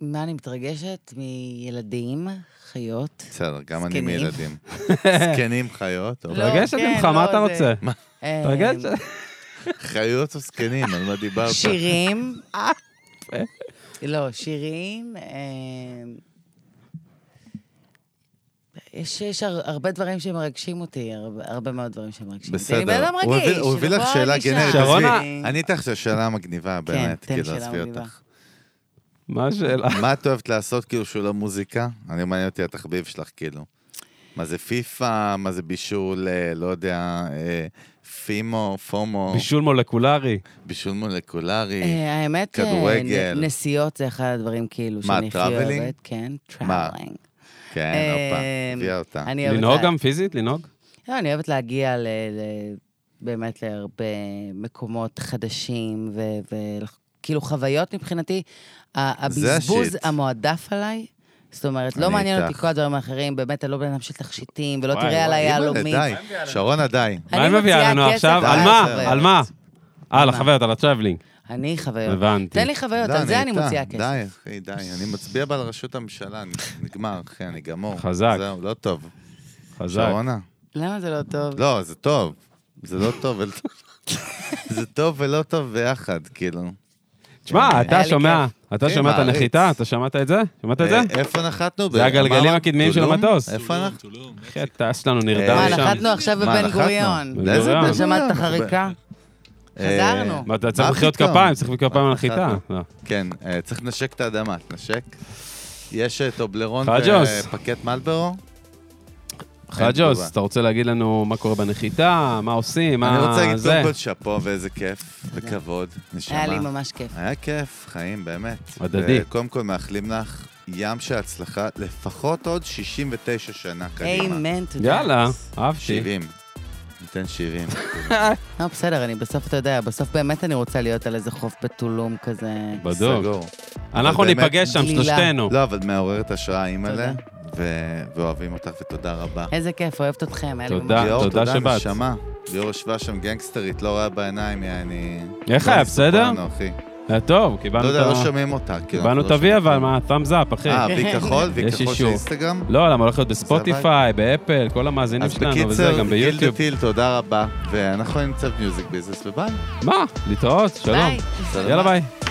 Speaker 4: מה אני מתרגשת? מילדים, חיות.
Speaker 2: בסדר, גם אני
Speaker 4: זקנים.
Speaker 2: מילדים. זקנים חיות, או
Speaker 4: לא,
Speaker 1: מתרגשת
Speaker 4: כן,
Speaker 1: ממך, מה
Speaker 4: לא,
Speaker 1: אתה
Speaker 4: זה-
Speaker 1: רוצה?
Speaker 4: אה,
Speaker 1: מתרגשת?
Speaker 2: חיות או זקנים, על מה דיברת?
Speaker 4: אה, שירים.
Speaker 2: אה,
Speaker 4: לא, שירים. אה, יש, יש הר, הרבה דברים שמרגשים אותי, הרבה, הרבה מאוד דברים שמרגשים אותי. אני בן
Speaker 2: בסדר.
Speaker 4: אדם
Speaker 2: הוא
Speaker 4: רגיש.
Speaker 2: הביא- הוא הביא
Speaker 4: לא
Speaker 2: לך
Speaker 4: כל
Speaker 2: שאלה
Speaker 4: אישה. כן,
Speaker 2: גנרית,
Speaker 1: שרונה-
Speaker 2: עזבי. אני אתן לך שאלה מגניבה, באמת,
Speaker 4: תן
Speaker 2: כאילו,
Speaker 4: שאלה
Speaker 2: עזבי
Speaker 4: מגניבה.
Speaker 2: אותך.
Speaker 1: מה השאלה?
Speaker 2: מה את אוהבת לעשות, כאילו, שהוא לא מוזיקה? אני מעניין אותי התחביב שלך, כאילו. מה זה פיפא, מה זה בישול, אה, לא יודע, אה, פימו, פומו,
Speaker 1: בישול מולקולרי.
Speaker 2: בישול מולקולרי.
Speaker 4: אה, האמת, אה,
Speaker 2: כדורגל.
Speaker 4: נ- נסיעות זה אחד הדברים כאילו
Speaker 2: מה,
Speaker 4: שאני הכי
Speaker 2: טראבלינג?
Speaker 4: אוהבת. כן,
Speaker 2: מה? אה.
Speaker 4: טראבלינג.
Speaker 2: כן,
Speaker 4: אה,
Speaker 2: הופה, הביאה אותה.
Speaker 4: אני אוהבת
Speaker 1: לנהוג
Speaker 4: לה-
Speaker 1: גם פיזית? לנהוג?
Speaker 4: לא, אני אוהבת להגיע ל... ל- באמת להרבה מקומות חדשים, וכאילו כאילו חוויות מבחינתי. ה-
Speaker 2: זה
Speaker 4: הבזבוז
Speaker 2: השיט.
Speaker 4: המועדף עליי, זאת אומרת, לא
Speaker 2: אני
Speaker 4: מעניין אותי
Speaker 2: איתך.
Speaker 4: כל הדברים האחרים, באמת, אני לא בן אדם של תכשיטים, ולא
Speaker 1: וואי,
Speaker 4: תראה
Speaker 1: וואי,
Speaker 4: עליי
Speaker 2: אימא'לה,
Speaker 4: יהלומים.
Speaker 2: אה, די, שרונה, די.
Speaker 4: אני
Speaker 1: מה היא מביאה
Speaker 4: מוציאה
Speaker 1: לנו
Speaker 4: כסף
Speaker 1: עכשיו?
Speaker 4: על
Speaker 1: על מה?
Speaker 2: החוויות.
Speaker 1: על מה? אה, על
Speaker 4: מה?
Speaker 1: החוויות, על הטרבלינג.
Speaker 4: אני חוויות.
Speaker 1: הבנתי.
Speaker 4: תן לי חוויות,
Speaker 2: לא,
Speaker 4: על זה אני
Speaker 2: איתה.
Speaker 4: מוציאה כסף.
Speaker 2: די, אחי, די. אני מצביע בה לראשות הממשלה, נ- נגמר, אחי, אני גמור.
Speaker 1: חזק.
Speaker 2: זהו, לא טוב.
Speaker 1: חזק.
Speaker 2: שרונה?
Speaker 4: למה זה לא טוב?
Speaker 2: לא, זה טוב. זה לא טוב ולא טוב. זה טוב ולא טוב ביחד, כאילו.
Speaker 1: תשמע,
Speaker 4: היה
Speaker 1: אתה
Speaker 4: לי
Speaker 1: שומע, אתה
Speaker 2: אני
Speaker 1: שומע את
Speaker 2: מעריץ.
Speaker 1: הנחיתה? אתה שמעת את זה? שמעת את זה?
Speaker 2: אה, איפה נחתנו?
Speaker 1: זה הגלגלים
Speaker 2: אמרת,
Speaker 1: הקדמיים של
Speaker 2: טולום?
Speaker 1: המטוס.
Speaker 2: איפה אנחנו?
Speaker 3: טולום,
Speaker 1: אחי, הטס שלנו נרדם
Speaker 4: מה,
Speaker 2: אה,
Speaker 1: שם.
Speaker 4: נחתנו עכשיו
Speaker 2: מה,
Speaker 4: בבן
Speaker 2: נחתנו? לא,
Speaker 4: גוריון.
Speaker 1: בן
Speaker 2: לאיזה
Speaker 1: גוריון?
Speaker 2: בן
Speaker 4: אתה שמעת את
Speaker 2: גוריון?
Speaker 4: החריקה?
Speaker 2: אה,
Speaker 4: חזרנו.
Speaker 1: מה, אתה צריך
Speaker 2: מה
Speaker 1: מחיאות
Speaker 2: פתאום? אה,
Speaker 1: כפיים, צריך מחיאות כפיים על
Speaker 2: נחתנו.
Speaker 1: הנחיתה. לא.
Speaker 2: כן, אה, צריך לנשק את האדמה, תנשק. יש אה, טובלרון
Speaker 1: חג'וס.
Speaker 2: ופקט מלברו?
Speaker 1: חג'וס,
Speaker 2: תגובה.
Speaker 1: אתה רוצה להגיד לנו מה קורה בנחיתה, מה עושים,
Speaker 2: אני
Speaker 1: מה
Speaker 2: רוצה להגיד
Speaker 1: זה?
Speaker 2: קודם כל שאפו ואיזה כיף, וכבוד, נשמה.
Speaker 4: היה לי ממש כיף.
Speaker 2: היה כיף, חיים, באמת. אה,
Speaker 1: הדדי.
Speaker 2: קודם כל מאחלים לך ים של הצלחה, לפחות עוד 69 שנה קדימה.
Speaker 4: איימן, תודה.
Speaker 1: יאללה, אהבתי.
Speaker 2: 70. ניתן 70.
Speaker 4: לא, בסדר, אני בסוף, אתה יודע, בסוף באמת אני רוצה להיות על איזה חוף בטולום כזה.
Speaker 1: בדוק.
Speaker 2: סגור.
Speaker 1: אנחנו
Speaker 2: אבל באמת-
Speaker 1: ניפגש שם,
Speaker 4: גלילה.
Speaker 1: שלושתנו.
Speaker 2: לא, אבל מעוררת השראה, אימא'לה, ו- ואוהבים אותך, ותודה רבה.
Speaker 4: איזה כיף, אוהבת אתכם. היה לי
Speaker 1: תודה.
Speaker 4: ממש-
Speaker 2: ליאור,
Speaker 1: תודה שבאת.
Speaker 2: נשמה. ליאור ישבה שם גנגסטרית, לא ראה בעיניים, יעני...
Speaker 1: איך היה,
Speaker 2: לא
Speaker 1: בסדר?
Speaker 2: מסופרנו, אחי.
Speaker 1: היה אה, טוב,
Speaker 2: לא
Speaker 1: קיבלנו
Speaker 2: יודע, לא
Speaker 1: את ה...
Speaker 2: שומעים אותה. כאילו,
Speaker 1: קיבלנו
Speaker 2: אנחנו
Speaker 1: את
Speaker 2: לא
Speaker 1: ה-V אבל,
Speaker 2: שומעים.
Speaker 1: מה, thumbs up, אחי.
Speaker 2: אה, וי כחול? וי
Speaker 1: יש
Speaker 2: כחול של
Speaker 1: אישור.
Speaker 2: אינסטגרם?
Speaker 1: לא, למה הולך להיות בספוטיפיי, באפל, כל המאזינים
Speaker 2: אז
Speaker 1: שלנו, וזה,
Speaker 2: בקיצר,
Speaker 1: גם
Speaker 2: גילדה
Speaker 1: ביוטיוב.
Speaker 2: טיל, תודה רבה, ואנחנו נמצא במיוזיק ביזנס, וביי.
Speaker 1: מה? להתראות, שלום.
Speaker 4: ביי.
Speaker 1: יאללה ביי.